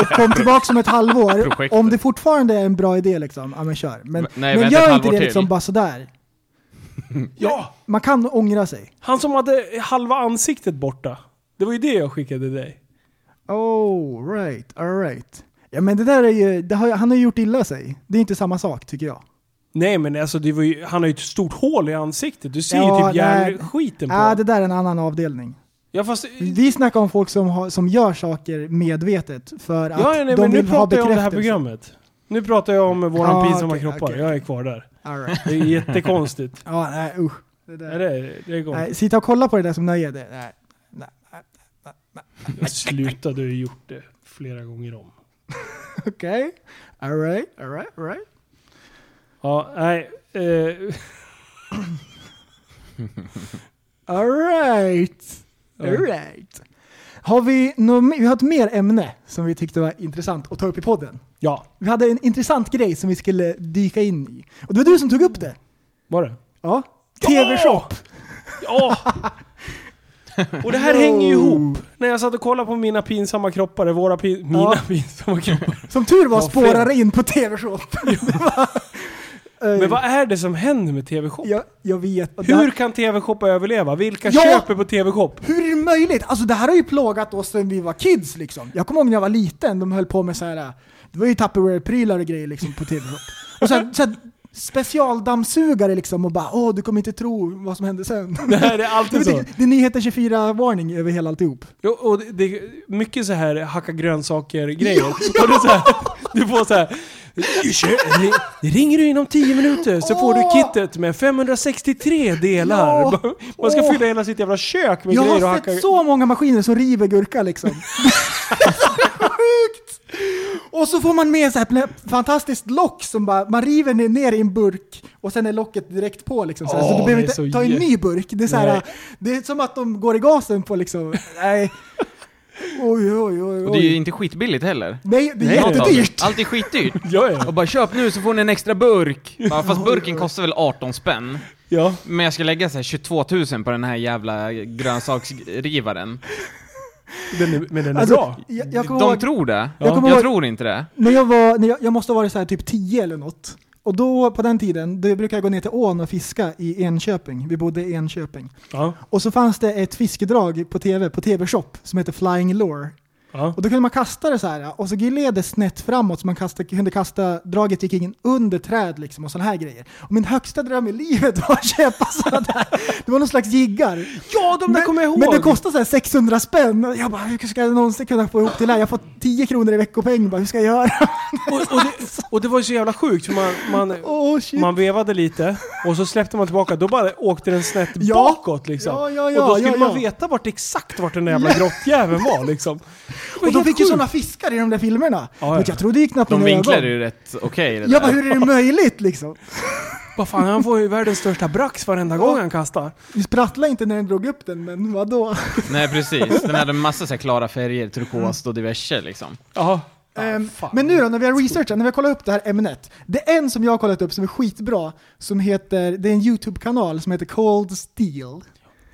[SPEAKER 3] och kom tillbaka om ett halvår.
[SPEAKER 4] Projektet.
[SPEAKER 3] Om det fortfarande är en bra idé liksom, ja men kör. Men,
[SPEAKER 4] V- nej,
[SPEAKER 3] men
[SPEAKER 4] vänta ett
[SPEAKER 3] gör inte
[SPEAKER 4] halvår
[SPEAKER 3] det
[SPEAKER 4] till.
[SPEAKER 3] liksom bara sådär.
[SPEAKER 2] Ja!
[SPEAKER 3] Man kan ångra sig.
[SPEAKER 2] Han som hade halva ansiktet borta. Det var ju det jag skickade till dig.
[SPEAKER 3] Oh, right, alright. Ja men det där är ju, det har, han har ju gjort illa sig. Det är inte samma sak tycker jag.
[SPEAKER 2] Nej men alltså det var ju, han har ju ett stort hål i ansiktet. Du ser ju
[SPEAKER 3] Ja,
[SPEAKER 2] typ
[SPEAKER 3] nej.
[SPEAKER 2] järnskiten på.
[SPEAKER 3] Ja, det där är en annan avdelning.
[SPEAKER 2] Ja fast...
[SPEAKER 3] Vi snackar om folk som, har, som gör saker medvetet för att
[SPEAKER 2] Ja, ja, nej,
[SPEAKER 3] de
[SPEAKER 2] men nu
[SPEAKER 3] vill ha
[SPEAKER 2] pratar jag om det här
[SPEAKER 3] bekräftelse.
[SPEAKER 2] programmet. Nu pratar jag om eh, våran
[SPEAKER 3] Ja,
[SPEAKER 2] pinsamma
[SPEAKER 3] okej,
[SPEAKER 2] kroppar.
[SPEAKER 3] okej.
[SPEAKER 2] Jag är kvar där.
[SPEAKER 3] All right.
[SPEAKER 2] Det är jättekonstigt.
[SPEAKER 3] Ja, nej usch. Det
[SPEAKER 2] Nej,
[SPEAKER 3] där.
[SPEAKER 2] det är, det är gott.
[SPEAKER 3] Nej, sitta och kolla på det där som nöje, det, nej.
[SPEAKER 2] Men Sluta, du har ju gjort det flera gånger om.
[SPEAKER 3] Okej. All right, all right, all right.
[SPEAKER 2] Ja, nej. Eh,
[SPEAKER 3] All right. All right. Har vi, något, vi har ett mer ämne som vi tyckte var intressant att ta upp i podden.
[SPEAKER 2] ja,
[SPEAKER 3] Vi hade en intressant grej som vi skulle dyka in i. Och det var du som tog upp det.
[SPEAKER 2] var det?
[SPEAKER 3] Ja. TV-shop.
[SPEAKER 2] Ja! Och det här hänger ju ihop. När jag satt och kollade på mina pinsamma kroppar, eller våra pin, mina
[SPEAKER 3] Ja.
[SPEAKER 2] pinsamma kroppar.
[SPEAKER 3] Som tur var
[SPEAKER 2] Ja,
[SPEAKER 3] spårar det in på TV-shop.
[SPEAKER 2] Men vad är det som händer med TV-shop?
[SPEAKER 3] jag, jag vet. Och det
[SPEAKER 2] Hur
[SPEAKER 3] Här,
[SPEAKER 2] kan TV-shop överleva? Vilka
[SPEAKER 3] Ja!
[SPEAKER 2] köper på TV-shop?
[SPEAKER 3] hur är det möjligt? Alltså det här har ju plågat oss sedan vi var kids liksom. Jag kommer ihåg när jag var liten, de höll på med så här. eh, det var ju Tupperware-prylar och grejer liksom på TV-shop. Och så här, så här, specialdammsugare liksom och bara åh du kommer inte tro vad som hände sen.
[SPEAKER 2] Det här är alltid så.
[SPEAKER 3] det, det är nyheter 24-varning över hela alltihop.
[SPEAKER 2] Jo, och det, det är mycket så här hacka grönsaker-grejer. Och det är så här, du får så här. "Du kör- ri- Det ringer du inom 10 minuter så får du
[SPEAKER 3] Åh!
[SPEAKER 2] kittet med 563 delar.
[SPEAKER 3] Ja!
[SPEAKER 2] Man ska
[SPEAKER 3] Åh!
[SPEAKER 2] fylla hela sitt jävla kök med
[SPEAKER 3] Jag
[SPEAKER 2] grejer och
[SPEAKER 3] har
[SPEAKER 2] hacka...
[SPEAKER 3] sett så många maskiner som river gurka liksom. Sjukt! Och så får man med så här ett fantastiskt lock som bara, man river ner- ner i en burk och sen är locket direkt på liksom. Så, här. så
[SPEAKER 2] Åh,
[SPEAKER 3] du behöver
[SPEAKER 2] det är
[SPEAKER 3] inte
[SPEAKER 2] så
[SPEAKER 3] ta en
[SPEAKER 2] jä-
[SPEAKER 3] ny burk. Det är, så här,
[SPEAKER 2] Nej.
[SPEAKER 3] det är som att de går i gasen på liksom, nej. Oj, oj, oj,
[SPEAKER 4] Och det är ju
[SPEAKER 3] oj.
[SPEAKER 4] inte skitbilligt heller.
[SPEAKER 3] Nej, det är
[SPEAKER 2] Nej, det är
[SPEAKER 3] jättedyrt.
[SPEAKER 4] Allt är skitdyrt.
[SPEAKER 2] Ja, ja.
[SPEAKER 4] Och bara köp nu så får ni en extra burk. Bara, fast burken kostar väl 18 spänn.
[SPEAKER 2] ja.
[SPEAKER 4] Men jag ska lägga så här 22 000 på den här jävla grönsaksrivaren.
[SPEAKER 2] Den är, men den är bra.
[SPEAKER 3] Alltså, jag, jag kommer
[SPEAKER 4] De
[SPEAKER 3] ihåg-
[SPEAKER 4] tror det.
[SPEAKER 3] Jag kommer
[SPEAKER 4] Jag,
[SPEAKER 3] ihåg-
[SPEAKER 4] tror inte det.
[SPEAKER 3] När jag var, när jag, jag måste ha varit så här typ 10 eller något. Och då, på den tiden, då brukade jag gå ner till ån och fiska i Enköping. Vi bodde i Enköping.
[SPEAKER 2] Ja,
[SPEAKER 3] Och så fanns det ett fiskedrag på tv, på tv-shop, som heter Flying Lure.
[SPEAKER 2] ja.
[SPEAKER 3] Och då kunde man kasta det så här, och så gled det snett framåt så man kasta, kunde kasta, draget gick in under träd liksom och sådana här grejer. Och min högsta dröm i livet var att köpa sådana där. Det var någon slags jiggar.
[SPEAKER 2] ja de där
[SPEAKER 3] Men,
[SPEAKER 2] kommer jag ihåg!
[SPEAKER 3] men det kostar så här 600 spänn. Och Jag bara, hur ska jag någonsin kunna få ihop till det här? Jag får 10 kronor i veckopeng bara, hur ska jag göra?
[SPEAKER 2] och, och, det, och det var ju så jävla sjukt för man, man,
[SPEAKER 3] Åh shit.
[SPEAKER 2] man vevade lite och så släppte man tillbaka. Då bara åkte den snett
[SPEAKER 3] Ja.
[SPEAKER 2] bakåt liksom.
[SPEAKER 3] Ja, ja, ja,
[SPEAKER 2] och då skulle
[SPEAKER 3] ja,
[SPEAKER 2] man
[SPEAKER 3] ja.
[SPEAKER 2] veta vart exakt vart den där jävla grottjäveln var liksom. Det var
[SPEAKER 3] Och de
[SPEAKER 2] helt
[SPEAKER 3] fick ju
[SPEAKER 2] sjukt.
[SPEAKER 3] sådana fiskar i de där filmerna.
[SPEAKER 2] Ja,
[SPEAKER 3] Men
[SPEAKER 2] ja.
[SPEAKER 3] jag trodde ju knappt
[SPEAKER 4] De
[SPEAKER 3] mina
[SPEAKER 4] vinklar
[SPEAKER 3] ögon.
[SPEAKER 4] är ju rätt okej det
[SPEAKER 3] Jag bara,
[SPEAKER 4] där.
[SPEAKER 3] hur är det möjligt liksom?
[SPEAKER 2] Vad fan, han får ju världens största brax varenda gång han kastar.
[SPEAKER 3] Vi sprattlade inte när den drog upp den, men vadå?
[SPEAKER 2] Ah,
[SPEAKER 4] Nej precis, den hade massa så här klara färger, turkos och diverse liksom.
[SPEAKER 2] Ja.
[SPEAKER 3] Ehm,
[SPEAKER 2] Ah, fan.
[SPEAKER 3] men nu då, när vi har researchat, när vi har kollat upp det här ämnet. Det är en som jag har kollat upp som är skitbra, som heter, det är en YouTube-kanal som heter Cold Steel.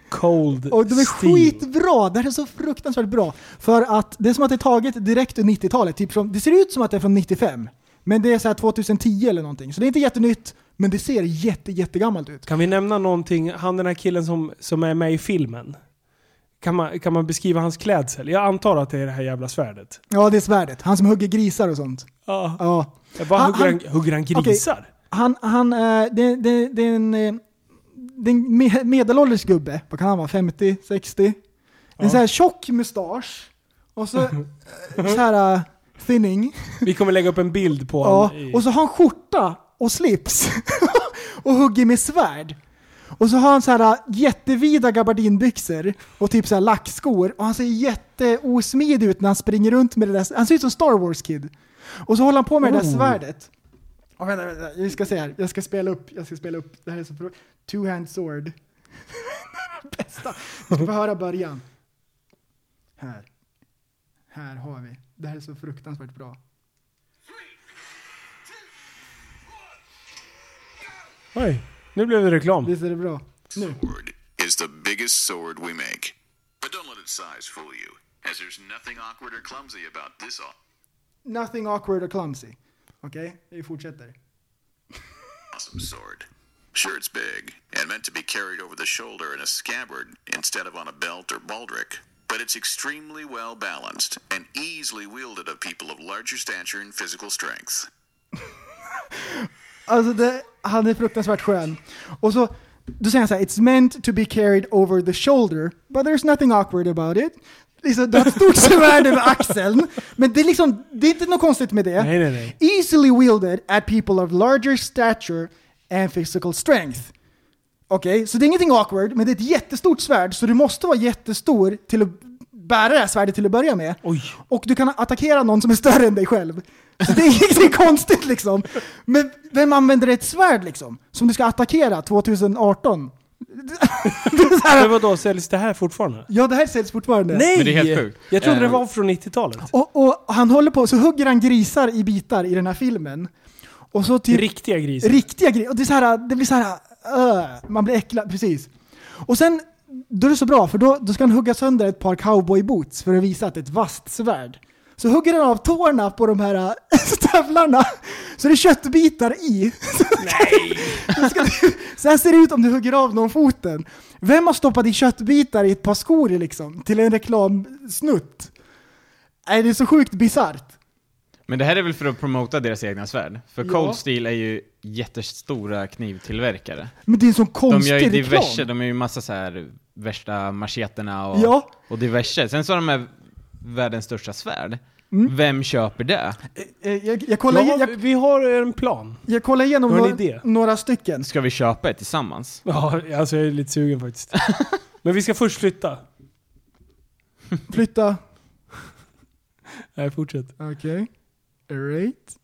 [SPEAKER 2] Cold
[SPEAKER 3] Och de är
[SPEAKER 2] steel.
[SPEAKER 3] skitbra! Det här är så fruktansvärt bra. För att det är som att det är taget direkt ur 90-talet. Typ från, det ser ut som att det är från 95. Men det är så här 2010 eller någonting. Så det är inte jättenytt, men det ser jätte, jättegammalt ut.
[SPEAKER 2] Kan vi nämna någonting, han den här killen som, som är med i filmen? Kan man, kan man beskriva hans klädsel? Jag antar att det är det här jävla svärdet.
[SPEAKER 3] Ja, det är svärdet. Han som hugger grisar och sånt.
[SPEAKER 2] Ja.
[SPEAKER 3] Ja. Ah,
[SPEAKER 2] Vad
[SPEAKER 3] Han-
[SPEAKER 2] hugger han,
[SPEAKER 3] han-
[SPEAKER 2] hugger han grisar?
[SPEAKER 3] Han, han, eh, det, det, det är en, eh, det är en me- medelålders gubbe. Vad kan han vara? 50, 60? En
[SPEAKER 2] Ja.
[SPEAKER 3] så här tjock mustasch. Och så, eh, så här eh, thinning.
[SPEAKER 2] Vi kommer lägga upp en bild på
[SPEAKER 3] Ja,
[SPEAKER 2] han i-
[SPEAKER 3] och så har han skjorta och slips och hugger med svärd. Och så har han så här äh, jättevida gabardinbyxor och typ så här lackskor och han ser jätteosmidig ut när han springer runt med det där. Han ser ut som Star Wars Kid. Och så håller han på med det där svärdet. Och vänta, vänta, vi ska se här. Jag ska spela upp, jag ska spela upp. Det här är så bra. Two-hand sword. Bästa. Du ska få höra början. Här. Här har vi. Det här är så fruktansvärt bra.
[SPEAKER 2] Oj, nu blev det reklam.
[SPEAKER 3] Visst är det bra? Nu.
[SPEAKER 5] sword is the biggest sword we make. But don't let its size fool you, as there's nothing awkward or clumsy about this
[SPEAKER 3] Nothing awkward or clumsy. Okej, vi fortsätter.
[SPEAKER 5] awesome sword. Sure, it's big and meant to be carried over the shoulder in a scabbard instead of on a belt or baldric, but it's extremely well balanced and easily wielded of people of larger stature and physical strength.
[SPEAKER 3] Alltså det, han är fruktansvärt skön. Och så, då säger han så här, it's meant to be carried over the shoulder, but there's nothing awkward about it. Liksom, du har ett stort svärd över axeln, men det är liksom, det är inte något konstigt med det.
[SPEAKER 2] Nej, nej, nej.
[SPEAKER 3] Easily wielded at people of larger stature and physical strength. Okej, så det är ingenting awkward, men det är ett jättestort svärd, så du måste vara jättestor till att bära det här svärdet till att börja med.
[SPEAKER 2] Oj.
[SPEAKER 3] Och du kan attackera någon som är större än dig själv. Så det är ingenting konstigt liksom. Men vem använder ett svärd liksom? Som du ska attackera 2018? Det är så
[SPEAKER 2] Men
[SPEAKER 3] här,
[SPEAKER 2] vadå, säljs det här fortfarande?
[SPEAKER 3] ja, det här säljs fortfarande.
[SPEAKER 2] Alltså, Nej!
[SPEAKER 4] Men det är helt sjukt.
[SPEAKER 2] Jag trodde det
[SPEAKER 4] Eh.
[SPEAKER 2] var från 90-talet.
[SPEAKER 3] Och, och han håller på, så hugger han grisar i bitar i den här filmen. Och så typ...
[SPEAKER 2] Riktiga grisar.
[SPEAKER 3] äh, Riktiga grejer. Och det, är så här, det blir så här, öh, man blir äcklad, precis. Och sen då är det så bra, för då, då ska han hugga sönder ett par cowboyboots för att visa att det är ett vasst svärd. Så hugger han av tårna på de här äh, stövlarna, så det är köttbitar i. Nej! ska, så här ser det ut om du hugger av någon foten. Vem har stoppat i köttbitar i ett par skor liksom, till en reklamsnutt? Nej, det är så sjukt bisarrt.
[SPEAKER 4] Men det här är väl för att promota deras egna svärd? För
[SPEAKER 3] Ja.
[SPEAKER 4] Cold Steel är ju jättestora knivtillverkare.
[SPEAKER 3] Men det är en sån
[SPEAKER 4] De gör ju
[SPEAKER 3] konstig
[SPEAKER 4] diverse,
[SPEAKER 3] reklam.
[SPEAKER 4] de gör ju massa så här värsta macheterna och,
[SPEAKER 3] Ja.
[SPEAKER 4] och diverse. Sen så har de här världens största svärd. Vem köper det?
[SPEAKER 3] Eh, Jag, jag, kollar,
[SPEAKER 2] ja,
[SPEAKER 3] jag,
[SPEAKER 2] vi har en plan.
[SPEAKER 3] jag kollar igenom
[SPEAKER 2] Du har en
[SPEAKER 3] några,
[SPEAKER 2] idé.
[SPEAKER 3] några stycken.
[SPEAKER 4] Ska vi köpa det tillsammans?
[SPEAKER 2] Ja, alltså jag är lite sugen faktiskt. Men vi ska först flytta.
[SPEAKER 3] Flytta.
[SPEAKER 2] Nej, fortsätt.
[SPEAKER 3] Okej. Alright.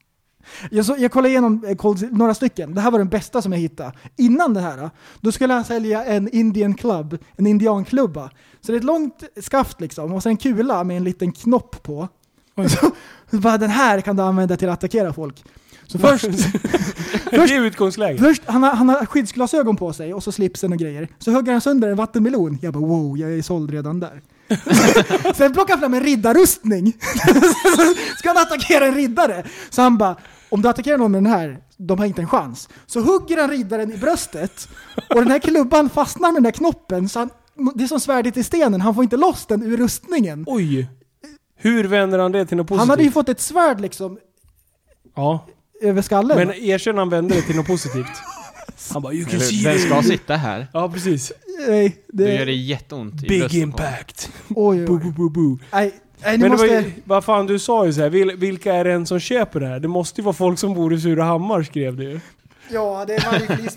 [SPEAKER 3] Jag, så, jag kollade igenom eh, Cold, några stycken. Det här var den bästa som jag hittade. Innan det här, då skulle han sälja en Indian club, en indianklubba. Så det är ett långt skaft liksom, och sen en kula med en liten knopp på. Så, så bara, den här kan du använda till att attackera folk. Så först,
[SPEAKER 2] det är utgångsläget.
[SPEAKER 3] först han, har, han har skyddsglasögon på sig och så slipsen och grejer. Så hugger han sönder en vattenmelon. Jag bara wow, jag är såld redan där. Sen plockar han fram en riddarrustning. Ska han attackera en riddare? Så han bara, om du attackerar någon med den här, de har inte en chans. Så hugger han riddaren i bröstet och den här klubban fastnar med den här knoppen så han, det är som svärdet i stenen, han får inte loss den ur rustningen.
[SPEAKER 2] Oj! Hur vänder han det till något positivt?
[SPEAKER 3] Han hade ju fått ett svärd liksom
[SPEAKER 2] Ja,
[SPEAKER 3] över skallen.
[SPEAKER 2] men erkänn han vände det till något positivt. Han bara 'You can
[SPEAKER 4] Eller,
[SPEAKER 2] see
[SPEAKER 4] Den
[SPEAKER 2] it.
[SPEAKER 4] ska sitta här.
[SPEAKER 2] Ja, precis.
[SPEAKER 3] Nej,
[SPEAKER 4] Då
[SPEAKER 3] det,
[SPEAKER 4] gör det jätteont i
[SPEAKER 2] Big
[SPEAKER 4] bröstet på honom.
[SPEAKER 2] impact.
[SPEAKER 3] oj,
[SPEAKER 2] Boo,
[SPEAKER 3] oj.
[SPEAKER 2] boo, boo, boo.
[SPEAKER 3] Nej, nej, ni
[SPEAKER 2] Men det var
[SPEAKER 3] måste...
[SPEAKER 2] ju, vad fan du sa ju såhär, vil, vilka är det än som köper det här? Det måste ju vara folk som bor i Surahammar skrev du ju.
[SPEAKER 3] Ja, det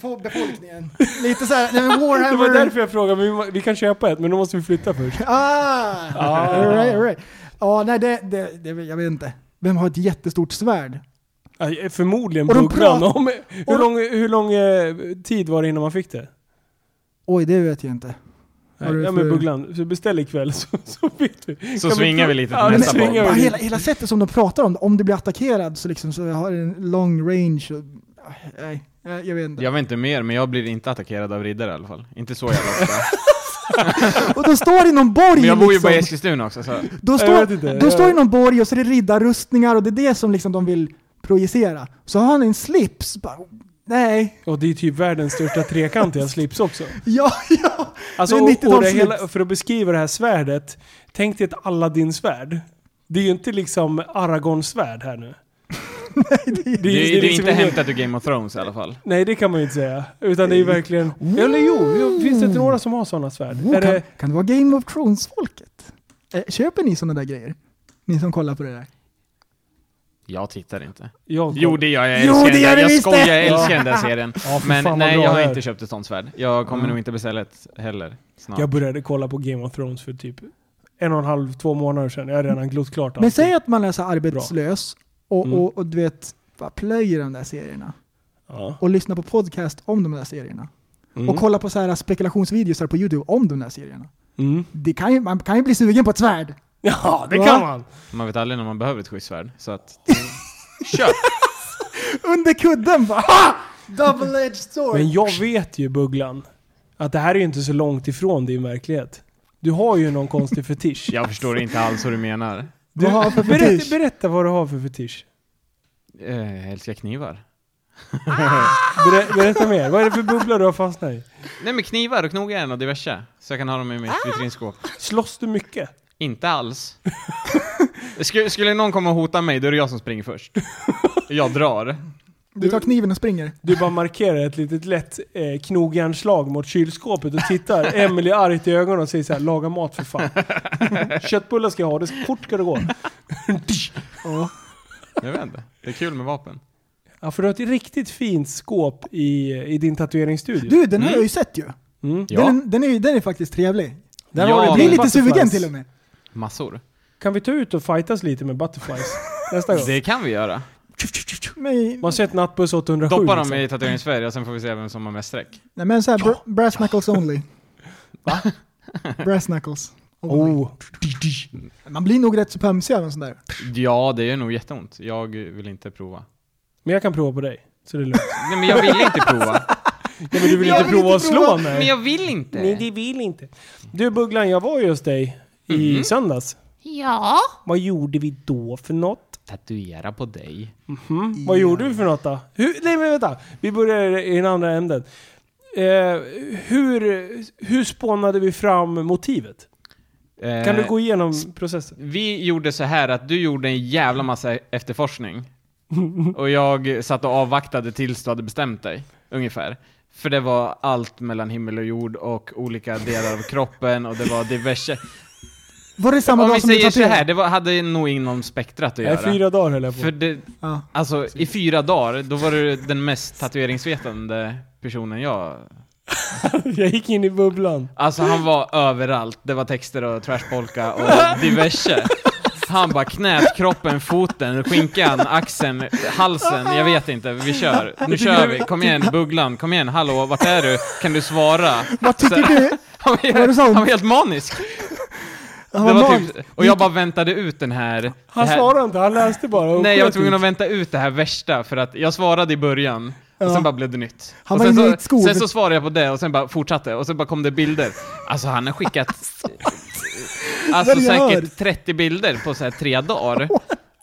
[SPEAKER 3] var befolkningen. Lite såhär, nej men Warhammer...
[SPEAKER 2] Det var därför jag frågade, men vi, må- vi kan köpa ett men då måste vi flytta först.
[SPEAKER 3] Ah!
[SPEAKER 2] Ah.
[SPEAKER 3] All right, all right. Ja, nej det, det, det, jag vet inte. Vem har ett jättestort svärd?
[SPEAKER 2] Aj, eh, Förmodligen
[SPEAKER 3] Och de
[SPEAKER 2] bugglan
[SPEAKER 3] prat-
[SPEAKER 2] om... Hur
[SPEAKER 3] de-
[SPEAKER 2] lång, hur lång eh, tid var det innan man fick det?
[SPEAKER 3] Oj, det vet jag inte. Har
[SPEAKER 2] Nej,
[SPEAKER 3] du
[SPEAKER 2] ja men
[SPEAKER 3] för-
[SPEAKER 2] bugglan, så beställ ikväll så, så vet vi.
[SPEAKER 4] Så
[SPEAKER 2] Kan
[SPEAKER 4] svingar vi lite till
[SPEAKER 2] men
[SPEAKER 4] nästa
[SPEAKER 2] svingar
[SPEAKER 4] gång.
[SPEAKER 2] vi
[SPEAKER 3] Bara
[SPEAKER 2] lite.
[SPEAKER 3] hela, hela sättet som de pratar om om du blir attackerad så liksom så har det en long range och, Nej, jag jag vet inte.
[SPEAKER 4] Jag vet inte mer, men jag blir inte attackerad av riddare i alla fall. Inte så jävla ofta.
[SPEAKER 3] Och de står i någon borg
[SPEAKER 4] Men jag bor ju bara i
[SPEAKER 3] liksom.
[SPEAKER 4] Eskilstuna också, så
[SPEAKER 3] De
[SPEAKER 2] Jag vet inte.
[SPEAKER 3] står, de står i någon borg och så är det riddarrustningar och det är det som liksom de vill projicera. Så har han en slips, bara, nej,
[SPEAKER 2] Och det är typ världens största trekantiga slips också.
[SPEAKER 3] ja, ja.
[SPEAKER 2] Alltså,
[SPEAKER 3] det är
[SPEAKER 2] och, och det
[SPEAKER 3] 90-talsslips.
[SPEAKER 2] hela, för att beskriva det här svärdet, tänk dig ett Aladdin-svärd. Det är ju inte liksom Aragorn-svärd här nu. det,
[SPEAKER 4] det, det,
[SPEAKER 2] det
[SPEAKER 4] är
[SPEAKER 2] liksom
[SPEAKER 4] inte
[SPEAKER 2] ingen-
[SPEAKER 4] hämtat ur Game of Thrones i alla fall.
[SPEAKER 2] Nej, det kan man ju inte säga. Utan det är ju verkligen... Eller jo, jo, finns det inte några som har sådana svärd?
[SPEAKER 3] Oh,
[SPEAKER 2] är
[SPEAKER 3] kan,
[SPEAKER 2] det,
[SPEAKER 3] kan det vara Game of Thrones-folket? Eh, köper ni sådana där grejer? Ni som kollar på det där.
[SPEAKER 4] Jag tittar inte.
[SPEAKER 2] jag,
[SPEAKER 4] Jo det gör jag, jag
[SPEAKER 3] Jo, det
[SPEAKER 4] älskar den
[SPEAKER 3] gör
[SPEAKER 4] där.
[SPEAKER 3] du
[SPEAKER 4] Jag
[SPEAKER 3] visst
[SPEAKER 4] skojar,
[SPEAKER 3] det.
[SPEAKER 4] jag älskar den där serien.
[SPEAKER 2] Ja, för fan vad
[SPEAKER 4] Men nej,
[SPEAKER 2] bra
[SPEAKER 4] jag
[SPEAKER 2] det
[SPEAKER 4] har
[SPEAKER 2] är.
[SPEAKER 4] inte köpt ett sånt svärd. Jag kommer nog inte beställa ett heller. Snart.
[SPEAKER 2] jag började kolla på Game of Thrones för typ en och en halv, två månader sedan. Jag har redan glott klart
[SPEAKER 3] Men
[SPEAKER 2] allt.
[SPEAKER 3] säg att man är så här arbetslös och,
[SPEAKER 2] Mm.
[SPEAKER 3] och, och du vet, bara plöjer de där serierna.
[SPEAKER 2] Ja.
[SPEAKER 3] Och lyssnar på podcast om de där serierna.
[SPEAKER 2] Mm.
[SPEAKER 3] Och kollar på så här spekulationsvideos här på YouTube om de där serierna.
[SPEAKER 2] Mm.
[SPEAKER 3] Det kan ju, man kan ju bli sugen på ett svärd.
[SPEAKER 2] Ja, det
[SPEAKER 3] Va?
[SPEAKER 2] kan man!
[SPEAKER 4] Man vet aldrig när man behöver ett skyddsvärd. Så att,
[SPEAKER 3] Under kudden bara ha! Double-edged sword!
[SPEAKER 2] Men jag vet ju, Bugglan, att det här är ju inte så långt ifrån din verklighet. Du har ju någon konstig fetisch.
[SPEAKER 4] jag förstår inte alls vad du menar.
[SPEAKER 3] du, Vad har jag för
[SPEAKER 2] Berätta,
[SPEAKER 3] fetisch?
[SPEAKER 2] berätta vad du har för fetisch.
[SPEAKER 4] Eh, Jag älskar knivar.
[SPEAKER 2] Berä- berätta mer. Vad är det för bubbla du har fastnat i?
[SPEAKER 4] Nej men knivar och knogjärn och diverse. Så jag kan ha dem i mitt vitrinskåp.
[SPEAKER 2] Slåss du mycket?
[SPEAKER 4] Inte alls. Sk- skulle någon komma och hota mig, då är det jag som springer först. Jag drar.
[SPEAKER 3] Du tar kniven och springer.
[SPEAKER 2] Du bara markerar ett litet lätt eh, knogjärnslag mot kylskåpet och tittar Emily argt i ögonen och säger så här: laga mat för fan. Köttbullar ska jag ha, det ska, fort ska det gå.
[SPEAKER 3] Ja.
[SPEAKER 4] Jag vet inte. Det är kul med vapen.
[SPEAKER 2] Ja, för du har ett riktigt fint skåp i, i din tatueringsstudio.
[SPEAKER 3] Du, den har jag ju sett ju.
[SPEAKER 2] Mm.
[SPEAKER 4] Ja,
[SPEAKER 3] Den, den, är, ju- den är faktiskt trevlig.
[SPEAKER 2] Där
[SPEAKER 4] Ja,
[SPEAKER 2] har du
[SPEAKER 3] Jag är
[SPEAKER 2] din
[SPEAKER 3] lite
[SPEAKER 2] butterflies.
[SPEAKER 3] sugen till och med.
[SPEAKER 4] massor.
[SPEAKER 2] Kan vi ta ut och fightas lite med Butterflies nästa gång?
[SPEAKER 4] Det kan vi göra.
[SPEAKER 3] Men,
[SPEAKER 2] Man har sett Nattbuss 807.
[SPEAKER 4] Doppa dem
[SPEAKER 2] liksom.
[SPEAKER 4] i tatueringsfärg och sen får vi se vem som har mest streck.
[SPEAKER 3] Nej men såhär, br- brass knuckles only. Va? brass knuckles. Only.
[SPEAKER 2] Oh.
[SPEAKER 3] Man blir nog rätt så pömsig av en sån där.
[SPEAKER 4] Ja, det gör nog jätteont. Jag vill inte prova.
[SPEAKER 2] Men jag kan prova på dig. Så det är lugnt.
[SPEAKER 4] Nej men jag vill inte prova.
[SPEAKER 2] Nej, men du vill
[SPEAKER 4] Jag
[SPEAKER 2] inte
[SPEAKER 4] vill
[SPEAKER 2] prova att
[SPEAKER 3] inte
[SPEAKER 2] slå
[SPEAKER 3] prova.
[SPEAKER 2] mig?
[SPEAKER 4] Men jag vill inte.
[SPEAKER 2] Nej, det vill inte. Du Bugglan, jag var ju hos dig i
[SPEAKER 4] Mhm.
[SPEAKER 2] söndags.
[SPEAKER 4] Ja.
[SPEAKER 2] Vad gjorde vi då för något?
[SPEAKER 4] Tatuera på dig.
[SPEAKER 2] Vad gjorde vi för något då? Hur, nej men vänta, vi börjar i den andra änden. Eh, hur, hur spånade vi fram motivet? Kan du gå igenom processen?
[SPEAKER 4] Eh, Vi gjorde så här att du gjorde en jävla massa efterforskning. Och jag satt och avvaktade tills du hade bestämt dig, ungefär. För det var allt mellan himmel och jord och olika delar av kroppen och det var diverse...
[SPEAKER 3] Var det samma
[SPEAKER 4] Om vi
[SPEAKER 3] dag som du
[SPEAKER 4] säger så här,
[SPEAKER 3] tatuerade?
[SPEAKER 4] det var, hade nog inom spektrat att
[SPEAKER 2] Nej,
[SPEAKER 4] göra.
[SPEAKER 2] fyra dagar höll jag på.
[SPEAKER 4] För det,
[SPEAKER 3] Ja.
[SPEAKER 4] alltså i fyra dagar, då var du den mest tatueringsvetande personen jag...
[SPEAKER 2] Jag gick in i bubblan.
[SPEAKER 4] Alltså han var överallt, det var texter och trashpolka och diverse. Han bara knät, kroppen, foten, skinkan, axeln, halsen, jag vet inte, vi kör. Nu kör vi, kom igen Bugglan, kom igen, hallå, vart är du? Kan du svara?
[SPEAKER 3] Vad tycker
[SPEAKER 4] Så-
[SPEAKER 3] du?
[SPEAKER 4] Han var,
[SPEAKER 3] Vad du sa om-
[SPEAKER 4] han var helt manisk!
[SPEAKER 3] Han var
[SPEAKER 4] Det var
[SPEAKER 3] man.
[SPEAKER 4] typ, och jag bara väntade ut den här...
[SPEAKER 2] Han
[SPEAKER 4] det här,
[SPEAKER 2] svarade inte, han läste bara. och
[SPEAKER 4] Nej, jag var
[SPEAKER 2] sköt
[SPEAKER 3] typ.
[SPEAKER 4] tvungen
[SPEAKER 2] ut.
[SPEAKER 4] att vänta ut det här värsta för att jag svarade i början och
[SPEAKER 3] Ja.
[SPEAKER 4] sen bara blev det nytt.
[SPEAKER 3] Han var
[SPEAKER 4] och sen,
[SPEAKER 3] inne i ett
[SPEAKER 4] så,
[SPEAKER 3] skov.
[SPEAKER 4] sen så svarade jag på det och sen bara fortsatte och sen bara kom det bilder. Alltså han har skickat alltså
[SPEAKER 3] Vad gör?
[SPEAKER 4] säkert 30 bilder på så här tre dagar.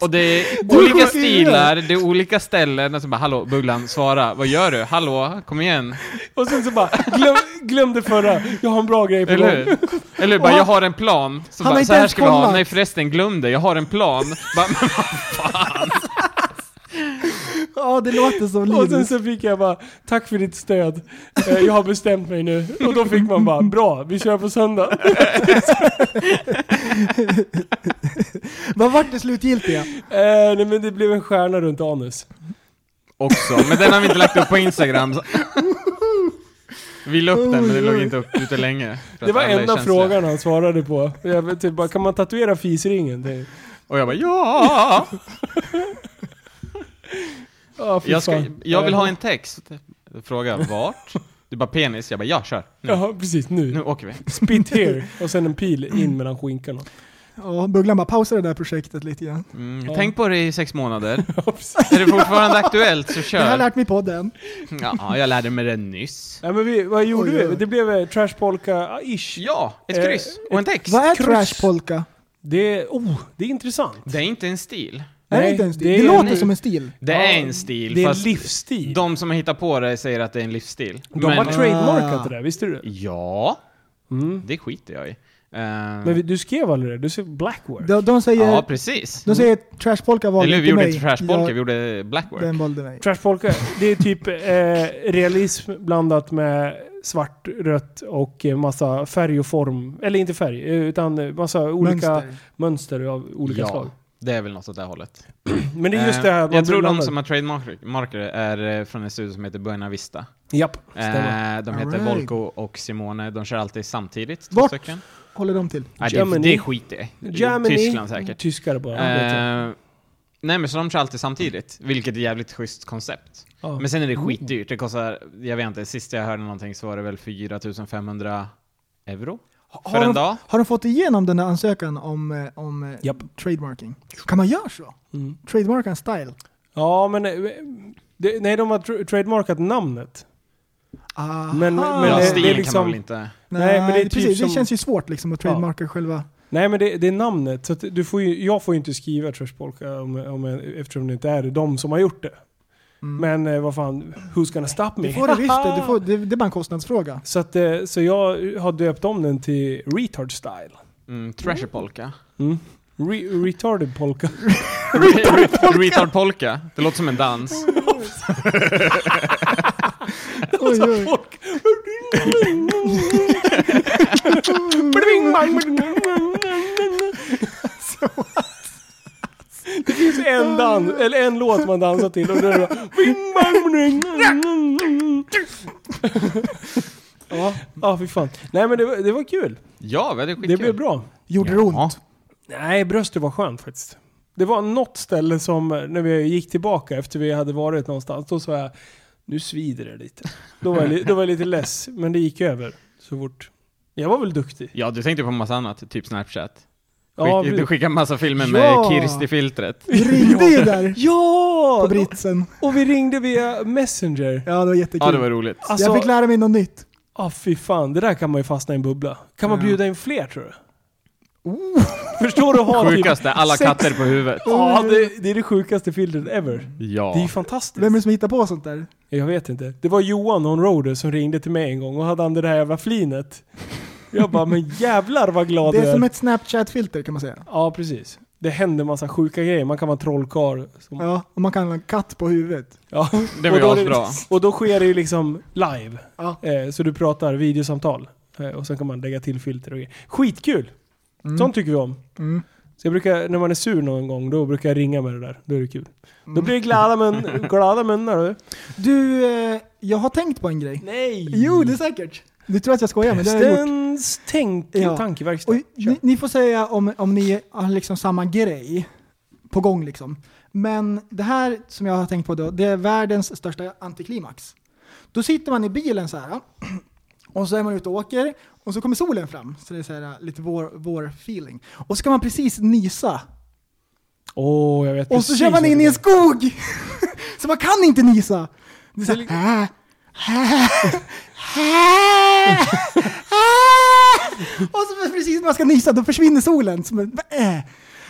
[SPEAKER 4] Och det är
[SPEAKER 3] Du
[SPEAKER 4] olika
[SPEAKER 3] kommer till
[SPEAKER 4] stilar, det är olika ställen och så bara hallå Bugglan, svara, vad gör du? Hallå, kom igen.
[SPEAKER 2] Och sen så bara, glöm, glömde förra. Jag har en bra grej på
[SPEAKER 4] Eller
[SPEAKER 2] gång.
[SPEAKER 4] hur? Eller hur? Bara, jag har en plan. Så
[SPEAKER 3] Han har
[SPEAKER 4] bara,
[SPEAKER 3] inte
[SPEAKER 4] så här
[SPEAKER 3] ens
[SPEAKER 4] ska vi ha.
[SPEAKER 3] kollat.
[SPEAKER 4] Nej förresten, glöm det, jag har en plan. Bara, men vad
[SPEAKER 3] Ja, det låter som
[SPEAKER 2] Och sen
[SPEAKER 3] Linus.
[SPEAKER 2] så fick jag bara, tack för ditt stöd. Eh, Jag har bestämt mig nu. Och då fick man bara, bra, vi kör på söndag.
[SPEAKER 3] Vad vart det slutgiltiga?
[SPEAKER 2] Eh, nej men det blev en stjärna runt anus.
[SPEAKER 4] också, men den har vi inte lagt upp på Instagram. så- Vi la upp den, men den låg inte upp ute länge. för
[SPEAKER 2] Det
[SPEAKER 4] att
[SPEAKER 2] var
[SPEAKER 4] alla är
[SPEAKER 2] enda
[SPEAKER 4] känsliga.
[SPEAKER 2] frågan han svarade på. Jag vet, typ bara, kan man tatuera fisringen? Det,
[SPEAKER 4] Och jag bara ja!
[SPEAKER 2] ah, fy
[SPEAKER 4] Jag, ska,
[SPEAKER 2] fan. Eh,
[SPEAKER 4] jag vill ha en text. Fråga vart? Du bara penis, jag bara ja, kör. Nu,
[SPEAKER 2] Ja, precis. Nu.
[SPEAKER 4] nu åker vi. Mm,
[SPEAKER 2] Spit here. Och sen en pil in mellan skinkorna.
[SPEAKER 3] Ja, Bugglan bara pausade det där projektet lite grann.
[SPEAKER 4] Mm,
[SPEAKER 2] Ja.
[SPEAKER 4] Tänk på det i sex månader.
[SPEAKER 2] Ja, precis.
[SPEAKER 4] Är det fortfarande aktuellt så
[SPEAKER 3] Det har jag
[SPEAKER 4] kör.
[SPEAKER 3] lärt mig på den.
[SPEAKER 4] Ja, jag lärde mig det nyss.
[SPEAKER 2] Nej men vi, vad gjorde
[SPEAKER 3] Oj,
[SPEAKER 2] vi?
[SPEAKER 3] oj.
[SPEAKER 2] Det blev eh, trashpolka-ish.
[SPEAKER 4] Ja,
[SPEAKER 2] Eh,
[SPEAKER 4] ett kryss och en text.
[SPEAKER 3] Vad är
[SPEAKER 2] Kryss.
[SPEAKER 3] trashpolka?
[SPEAKER 2] Det, oh, det är intressant.
[SPEAKER 4] Det är inte en stil.
[SPEAKER 3] Är det
[SPEAKER 2] Nej,
[SPEAKER 3] inte en stil?
[SPEAKER 2] det
[SPEAKER 3] Det,
[SPEAKER 2] är-
[SPEAKER 3] låter
[SPEAKER 2] nej.
[SPEAKER 3] som en stil.
[SPEAKER 4] Det
[SPEAKER 2] Ja,
[SPEAKER 4] är en stil,
[SPEAKER 2] Det är en
[SPEAKER 4] fast
[SPEAKER 2] livsstil.
[SPEAKER 4] de som har hittat på det säger att det är en livsstil.
[SPEAKER 2] De har trademarkat
[SPEAKER 3] Ah.
[SPEAKER 2] det där, visste du det?
[SPEAKER 4] Ja,
[SPEAKER 2] Mm.
[SPEAKER 4] det skiter jag i. Eh,
[SPEAKER 2] Men vi- du skrev aldrig det? Du skrev blackwork?
[SPEAKER 3] De, de säger,
[SPEAKER 4] Ja, precis.
[SPEAKER 3] de säger trashpolka valde
[SPEAKER 4] Eller hur,
[SPEAKER 3] inte
[SPEAKER 4] vi gjorde
[SPEAKER 3] mig.
[SPEAKER 4] inte trashpolka,
[SPEAKER 3] Ja,
[SPEAKER 4] vi gjorde blackwork.
[SPEAKER 3] Den valde mig.
[SPEAKER 2] Trashpolka, det är typ eh, realism blandat med svart, rött och eh, massa färg och form. Eller inte färg, eh, utan eh, massa olika mönster,
[SPEAKER 3] Mönster.
[SPEAKER 2] av olika
[SPEAKER 4] ja,
[SPEAKER 2] slag.
[SPEAKER 4] det är väl något åt det hållet.
[SPEAKER 2] Men det är just
[SPEAKER 4] Eh,
[SPEAKER 2] det här att man
[SPEAKER 4] jag tror de
[SPEAKER 2] blandar.
[SPEAKER 4] som har trademarker är eh, från en studio som heter Buena Vista.
[SPEAKER 2] Japp,
[SPEAKER 4] Eh,
[SPEAKER 2] stämmer.
[SPEAKER 4] de heter
[SPEAKER 3] Alright.
[SPEAKER 4] Volko och Simone, de kör alltid samtidigt. Två
[SPEAKER 3] Vart?
[SPEAKER 4] stycken.
[SPEAKER 3] Håller de till?
[SPEAKER 4] Nej, det,
[SPEAKER 2] Germany.
[SPEAKER 4] det skiter jag i.
[SPEAKER 2] Germany.
[SPEAKER 4] Tyskland säkert.
[SPEAKER 2] Tyskar bara. vet
[SPEAKER 4] Eh, nej men så de kör alltid samtidigt, vilket är jävligt schysst koncept.
[SPEAKER 2] jag. Ja. Mm.
[SPEAKER 4] Men sen är det skitdyrt, det kostar, jag vet inte, sist jag hörde någonting så var det väl 4500 euro? För en
[SPEAKER 3] de,
[SPEAKER 4] dag?
[SPEAKER 3] har de fått igenom den där ansökan om, eh, om eh,
[SPEAKER 2] Japp.
[SPEAKER 3] trademarking? Kan man göra så?
[SPEAKER 2] Mm.
[SPEAKER 3] Trademarka en style?
[SPEAKER 2] ja, men... eh, Det, nej, de har tra- trademarkat namnet.
[SPEAKER 3] Aha.
[SPEAKER 2] Men- men
[SPEAKER 4] ja,
[SPEAKER 2] det- det är
[SPEAKER 4] stilen kan
[SPEAKER 2] liksom-
[SPEAKER 4] man väl inte...
[SPEAKER 2] Ah. Nej, men det är typ
[SPEAKER 3] precis,
[SPEAKER 2] som-
[SPEAKER 3] det känns ju svårt liksom att
[SPEAKER 2] Ja.
[SPEAKER 3] trademarka själva.
[SPEAKER 2] Nej men det, det är namnet. Så att du får ju, jag får ju inte skriva trashpolka om, om, eftersom det inte är de som har gjort det.
[SPEAKER 3] Mm.
[SPEAKER 2] Men eh, vad fan, who's gonna stop me?
[SPEAKER 3] Du får det visst, det, du får, det, det är bara en kostnadsfråga.
[SPEAKER 2] Så, att, eh, så jag har döpt om den till retard style.
[SPEAKER 4] Mm, Thrasher polka.
[SPEAKER 2] Re, retarded polka.
[SPEAKER 4] Retard polka. Det låter som en dans.
[SPEAKER 3] Oj, oj.
[SPEAKER 2] Det finns en dans, eller en låt man dansar till och då är det bara, Ja, ah, fy fan. Nej men det var, det var kul.
[SPEAKER 4] Ja, vi hade skitkul.
[SPEAKER 2] Det blev bra.
[SPEAKER 3] Gjorde det
[SPEAKER 4] Ja.
[SPEAKER 3] ont?
[SPEAKER 2] Nej, bröstet var skönt faktiskt. Det var något ställe som, eh, när vi gick tillbaka efter vi hade varit någonstans, då sa jag nu svider det lite. Då var jag, li- då var jag lite less, men det gick över så fort. Jag var väl duktig?
[SPEAKER 4] Ja, du tänkte på en massa annat, typ Snapchat.
[SPEAKER 2] Ja,
[SPEAKER 4] Skick, du
[SPEAKER 2] vi-
[SPEAKER 4] skickar massa filmer
[SPEAKER 3] Ja.
[SPEAKER 4] med Kirst i filtret.
[SPEAKER 3] Vi ringde ju där
[SPEAKER 2] ja!
[SPEAKER 3] på britsen.
[SPEAKER 2] Och vi ringde via Messenger.
[SPEAKER 3] Ja, det var jättekul.
[SPEAKER 4] Ja, det var roligt.
[SPEAKER 2] Alltså,
[SPEAKER 3] Jag fick lära mig något nytt.
[SPEAKER 2] ah, fy fan. Det där kan man ju fastna i en bubbla. Kan man
[SPEAKER 4] Ja. Oh!
[SPEAKER 2] bjuda in fler tror du? Förstår du? Ha typ
[SPEAKER 4] Sjukaste, Oh. alla
[SPEAKER 2] sex-
[SPEAKER 4] katter på huvudet.
[SPEAKER 2] Ja, det, det är det sjukaste filtret ever. Det är
[SPEAKER 4] Ja.
[SPEAKER 2] ju fantastiskt.
[SPEAKER 3] Vem är det som hittar på sånt där?
[SPEAKER 2] Jag vet inte. Det var Johan on roader som ringde till mig en gång och hade han det där jävla flinet. Jag bara, men jävlar vad glad
[SPEAKER 3] Det
[SPEAKER 2] du
[SPEAKER 3] är
[SPEAKER 2] är.
[SPEAKER 3] som ett Snapchat-filter kan man säga.
[SPEAKER 2] Ja, precis. Det händer massa sjuka grejer. Man kan vara en trollkarl. Som... Ja.
[SPEAKER 3] Ja, och man kan ha en katt på huvudet.
[SPEAKER 4] Det var
[SPEAKER 2] Och då
[SPEAKER 4] ju
[SPEAKER 2] är
[SPEAKER 4] asbra.
[SPEAKER 2] Och då sker det ju liksom live.
[SPEAKER 3] Ja.
[SPEAKER 2] Eh, så du pratar videosamtal. Eh, och sen kan man lägga till filter och grejer. Skitkul!
[SPEAKER 3] Mm.
[SPEAKER 2] Sånt tycker vi om.
[SPEAKER 3] Mm.
[SPEAKER 2] Så jag brukar, när man är sur någon gång, då brukar jag ringa med det där. Då är det kul. Då
[SPEAKER 3] Mm.
[SPEAKER 2] blir det glada, mun, glada munnar du.
[SPEAKER 3] Du, eh, jag har tänkt på en grej.
[SPEAKER 2] Nej!
[SPEAKER 3] Jo, det är säkert. Du tror att jag skojar, men det har jag gjort.
[SPEAKER 2] Pestens tänk,
[SPEAKER 3] Ja.
[SPEAKER 2] tankeverkstad.
[SPEAKER 3] Och ni, ni får säga om, om ni har liksom samma grej på gång liksom. Men det här som jag har tänkt på då, det är världens största antiklimax. Då sitter man i bilen så här och så är man ute och åker och så kommer solen fram. Så det är så här lite vår, vår feeling. Och så ska man precis nysa.
[SPEAKER 2] Åh, jag vet
[SPEAKER 3] Och så kör man in i en skog! så man kan inte nysa! Det är så här, äh, äh, äh. Och så precis när man ska nysa, då försvinner solen. Som en, äh.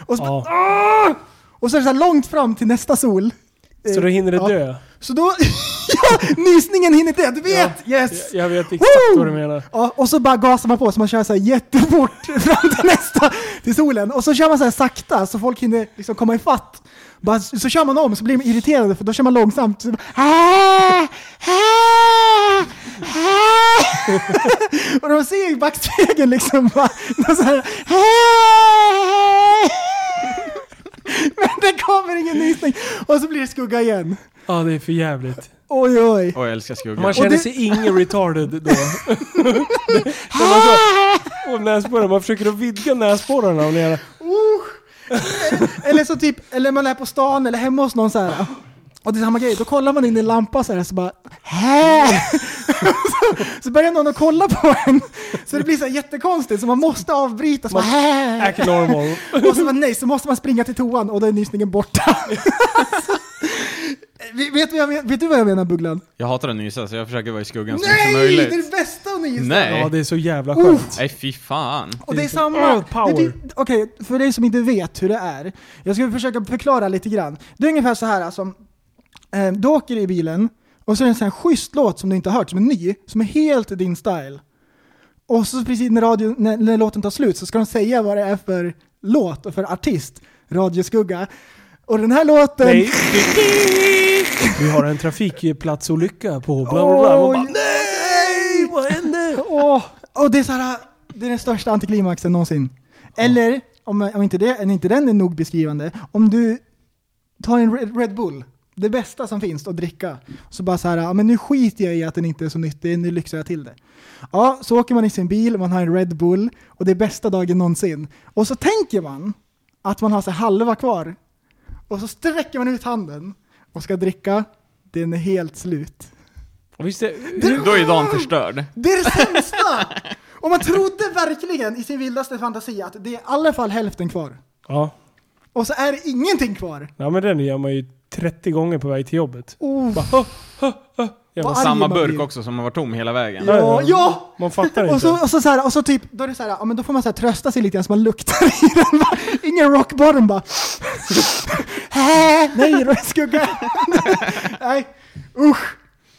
[SPEAKER 3] Och så,
[SPEAKER 2] Ja.
[SPEAKER 3] bara, "Åh!" och så är det så här långt fram till nästa sol.
[SPEAKER 2] Så då hinner det
[SPEAKER 3] Ja.
[SPEAKER 2] dö.
[SPEAKER 3] Så då, ja, nysningen hinner dö, du vet! Yes!
[SPEAKER 2] Jag, jag vet exakt
[SPEAKER 3] Woo!
[SPEAKER 2] vad du menar.
[SPEAKER 3] Ja, och så bara gasar man på så man kör så här jättefort fram till nästa, till solen. Och så kör man så här sakta så folk hinner liksom komma ifatt. Bara, så kör man om så blir de irriterade för då kör man långsamt. Så, "Ah, ah, ah." och de ser i backspegeln liksom bara, de så här, "Ah." Men det kommer ingen nysning och så blir det skugga igen.
[SPEAKER 2] Ja, det är för jävligt.
[SPEAKER 3] Oj oj.
[SPEAKER 4] Åh, jag älskar skugga.
[SPEAKER 2] Man känner
[SPEAKER 3] det-
[SPEAKER 2] sig ingen retarded då. När man så, och näsborrarna, man försöker att vidga näsborrarna. Och ner.
[SPEAKER 3] Eller så typ, eller man är på stan eller hemma hos någon så här. Och det är samma grej, då kollar man in i en lampa så här så bara Hä? så, så börjar någon att kolla på en. Så det blir så här jättekonstigt så man måste avbryta. Så bara, Hä?
[SPEAKER 2] Act normal.
[SPEAKER 3] Och så bara, nej, så måste man springa till toan och då är nysningen borta. Vet, vet, vad jag men- vet du vad jag menar Bugglan?
[SPEAKER 4] Jag hatar att nysa så jag försöker vara i skuggan så mycket
[SPEAKER 3] Nej!
[SPEAKER 4] som
[SPEAKER 3] Det är
[SPEAKER 4] möjligt.
[SPEAKER 3] det bästa att nysa!
[SPEAKER 4] Nej.
[SPEAKER 2] Ja, det är så jävla skönt.
[SPEAKER 4] Nej fy fan.
[SPEAKER 3] Och det är
[SPEAKER 2] så-
[SPEAKER 3] samma...
[SPEAKER 2] Oh, power.
[SPEAKER 3] Det- det- Okej, för dig som inte vet hur det är. Jag ska försöka förklara lite grann. Det är ungefär så här alltså, eh, du åker i bilen och så är det en sån här schysst låt som du inte har hört, som är ny, som är helt i din style. Och så precis när, radio, när, när låten tar slut så ska de säga vad det är för låt och för artist. Radioskugga. Och den här låten...
[SPEAKER 2] Nej. Vi har en trafikplatsolycka på bla bla bla. Man bara,
[SPEAKER 3] Oj.
[SPEAKER 2] nej! Vad hände?
[SPEAKER 3] Åh, och det är så här, det är den största antiklimaxen någonsin. Eller, om, om inte, det, om inte den är nog beskrivande, om du tar en Red, Red Bull, det bästa som finns att dricka, så bara så här, ja men nu skiter jag i att den inte är så nyttig, nu lyxar jag till det. Ja, så åker man i sin bil, man har en Red Bull och det är bästa dagen någonsin. Och så tänker man att man har så här halva kvar och så sträcker man ut handen och ska dricka, den är helt slut.
[SPEAKER 2] Visst är,
[SPEAKER 4] Då är ju dagen förstörd.
[SPEAKER 3] Det är det sämsta! Och man trodde verkligen i sin vildaste fantasi att det är i alla fall hälften kvar.
[SPEAKER 2] ja.
[SPEAKER 3] Och så är det ingenting kvar.
[SPEAKER 2] ja, men den gör man ju 30 gånger på väg till jobbet.
[SPEAKER 3] Oh,
[SPEAKER 2] Jävla
[SPEAKER 3] vad arg
[SPEAKER 4] Samma
[SPEAKER 3] man
[SPEAKER 4] burk
[SPEAKER 3] blir.
[SPEAKER 4] också som har varit tom hela vägen.
[SPEAKER 3] Ja, ja!
[SPEAKER 2] Man fattar
[SPEAKER 3] Och
[SPEAKER 2] inte.
[SPEAKER 3] så, och så, så här, och så typ, då är det så här, ja, men då får man så här trösta sig lite grann så man luktar i den. Bara, ingen rock bottom bara. Hä? Nej, röd skugga. Nej, usch.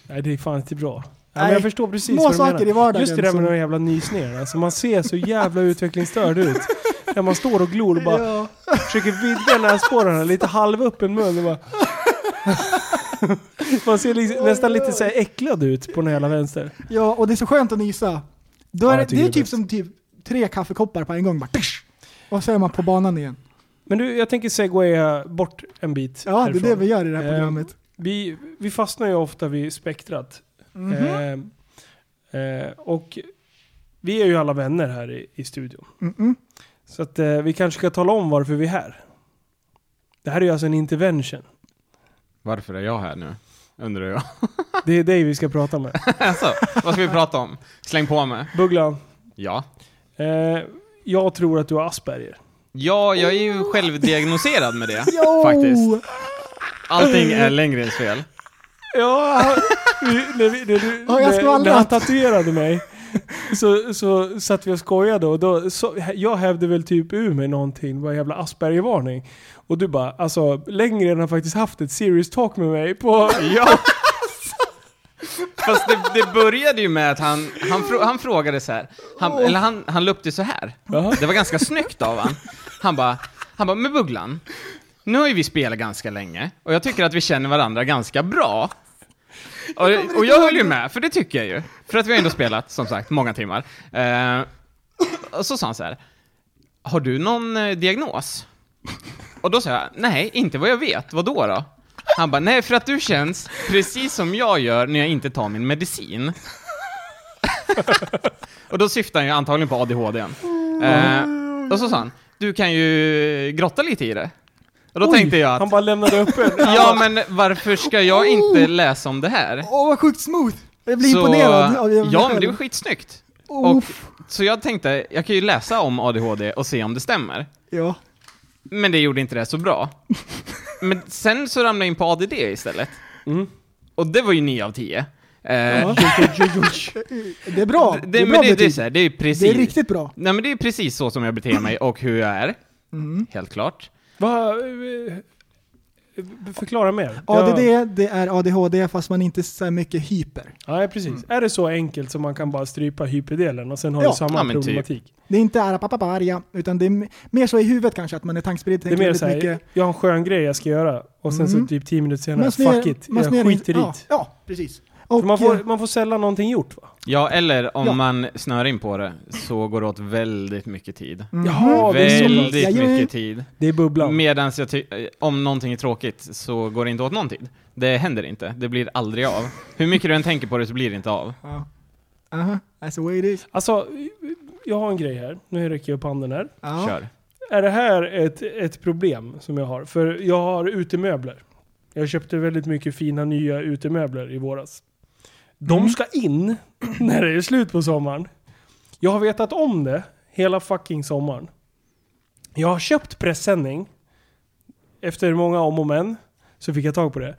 [SPEAKER 2] Nej, det är fan inte bra. Ja, men
[SPEAKER 3] Nej,
[SPEAKER 2] jag förstår precis
[SPEAKER 3] små
[SPEAKER 2] vad du
[SPEAKER 3] saker
[SPEAKER 2] menar.
[SPEAKER 3] i vardagen
[SPEAKER 2] Just det där med
[SPEAKER 3] som-
[SPEAKER 2] de jävla nysningarna. Alltså man ser så jävla utvecklingsstörd ut. När man står och glor och bara
[SPEAKER 3] Ja.
[SPEAKER 2] försöker vidga näsborrarna lite halvöppen mun och bara... Man ser liksom, nästan lite så här äcklad ut på den hela vänster.
[SPEAKER 3] ja, och det är så skönt att nysa. Då
[SPEAKER 2] Ja,
[SPEAKER 3] är det,
[SPEAKER 2] jag tycker
[SPEAKER 3] det är
[SPEAKER 2] det är
[SPEAKER 3] typ
[SPEAKER 2] bäst.
[SPEAKER 3] som typ tre kaffekoppar på en gång. Bara, tsch. och så är man på banan igen.
[SPEAKER 2] Men du, jag tänker segwaya bort en bit
[SPEAKER 3] Ja,
[SPEAKER 2] härifrån.
[SPEAKER 3] det är det vi gör i det
[SPEAKER 4] Ehm,
[SPEAKER 3] här
[SPEAKER 2] Eh,
[SPEAKER 3] programmet.
[SPEAKER 2] Vi, vi fastnar ju ofta vid spektrat. Eh, eh, och vi är ju alla vänner här i, i studion.
[SPEAKER 3] Mm-mm.
[SPEAKER 2] Så att eh, vi kanske ska tala om varför vi är här. Det här är ju alltså en intervention.
[SPEAKER 4] Varför är jag här nu? Undrar jag.
[SPEAKER 2] Det är dig vi ska prata med.
[SPEAKER 4] Alltså, vad ska vi prata om? Släng på mig.
[SPEAKER 2] Bugglan,
[SPEAKER 4] Ja.
[SPEAKER 2] eh, jag tror att du har Asperger.
[SPEAKER 4] Ja, jag är ju självdiagnoserad med det
[SPEAKER 3] Oh. Jo!
[SPEAKER 4] faktiskt. Allting är Lenngrens fel.
[SPEAKER 2] Ja, han- vi- när, vi, när, du,
[SPEAKER 3] Har jag
[SPEAKER 2] när, när
[SPEAKER 3] skvallrat?
[SPEAKER 2] han tatuerade mig så, så satt vi och skojade och då, så, jag hävde väl typ ur mig någonting, bara jävla Aspergervarning. Och du bara, alltså längre än har faktiskt haft ett serious talk med mig på...
[SPEAKER 4] Ja. Fast det, det började ju med att han, han, frå, han frågade så här. Han,
[SPEAKER 3] Oh.
[SPEAKER 4] eller han, han la upp det så här.
[SPEAKER 2] Jaha.
[SPEAKER 4] Det var ganska snyggt av han. Han bara, han bara, men Bugglan, nu har ju vi spelat ganska länge och jag tycker att vi känner varandra ganska bra. Och, och jag höll ju med, för det tycker jag ju. För att vi har ändå spelat, som sagt, många timmar. Eh, och så sa han så här, har du någon eh, diagnos? Och då sa jag, nej, inte vad jag vet, vad då då? Han bara, nej för att du känns precis som jag gör när jag inte tar min medicin. och då syftar han ju antagligen på ADHD. Eh, och så sa han, du kan ju grotta lite i det. Och då tänkte jag
[SPEAKER 2] Han
[SPEAKER 4] att,
[SPEAKER 2] bara lämnade öppen.
[SPEAKER 4] ja men varför ska jag inte läsa om det här?
[SPEAKER 3] Åh vad sjukt smooth! Jag blir
[SPEAKER 4] Så-
[SPEAKER 3] imponerad av mig
[SPEAKER 4] Ja, men
[SPEAKER 3] själv.
[SPEAKER 4] det var skitsnyggt.
[SPEAKER 3] Oh,
[SPEAKER 4] Och, så jag tänkte, jag kan ju läsa om ADHD och se om det stämmer.
[SPEAKER 3] Ja.
[SPEAKER 4] Men det gjorde inte det så bra. Men sen så ramlade jag in på ADD istället.
[SPEAKER 2] Mm.
[SPEAKER 4] Och det var ju 9 av 10. Eh,
[SPEAKER 3] Det är bra.
[SPEAKER 4] det,
[SPEAKER 3] Det är bra
[SPEAKER 4] men det, det, är
[SPEAKER 3] betyg.
[SPEAKER 4] så här, det är precis...
[SPEAKER 3] Det är riktigt bra.
[SPEAKER 4] Nej men det är precis så som jag beter mig och hur jag är.
[SPEAKER 3] Mm.
[SPEAKER 4] Helt klart.
[SPEAKER 2] Va, eh, förklara mer. Jag-
[SPEAKER 3] ADD, det är ADHD fast man inte är så här mycket hyper.
[SPEAKER 2] Nej, precis. Är det så enkelt som man kan bara strypa hyperdelen och sen har
[SPEAKER 3] Mm. Ja,
[SPEAKER 2] du samma
[SPEAKER 4] ja, men typ.
[SPEAKER 2] problematik?
[SPEAKER 3] Det är inte arapapaparia, utan det är m- mer så i huvudet kanske, att man är tankspridd.
[SPEAKER 2] Det är mer såhär, jag har en skön grej jag ska göra och sen
[SPEAKER 3] Mm.
[SPEAKER 2] så typ 10 minuter senare, fuck it, jag skiter i
[SPEAKER 3] ja,
[SPEAKER 2] det.
[SPEAKER 3] ja, precis. Och,
[SPEAKER 2] För man, får,
[SPEAKER 3] eh,
[SPEAKER 2] man får sällan någonting gjort va?
[SPEAKER 4] Ja, eller om
[SPEAKER 3] Ja.
[SPEAKER 4] man snör in på det så går det åt väldigt mycket tid.
[SPEAKER 3] mhm.
[SPEAKER 2] Jaha, det är så pass.
[SPEAKER 4] väldigt
[SPEAKER 3] Jajamän.
[SPEAKER 4] mycket tid.
[SPEAKER 2] Det är bubblan.
[SPEAKER 4] Medan jag ty- eh, om någonting är tråkigt så går det inte åt någon tid. Det händer inte. Det blir aldrig av. Hur mycket du än tänker på det så blir det inte av.
[SPEAKER 3] Ja. Aha, that's the way it is.
[SPEAKER 2] Alltså, jag har en grej här. Nu räcker jag upp handen här.
[SPEAKER 3] Ja.
[SPEAKER 4] Kör.
[SPEAKER 2] Är det här ett, ett problem som jag har? För jag har utemöbler. Jag köpte väldigt mycket fina nya utemöbler i våras. De ska in när det är slut på sommaren. Jag har vetat om det hela fucking sommaren. Jag har köpt presenning. Efter många om och men så fick jag tag på det.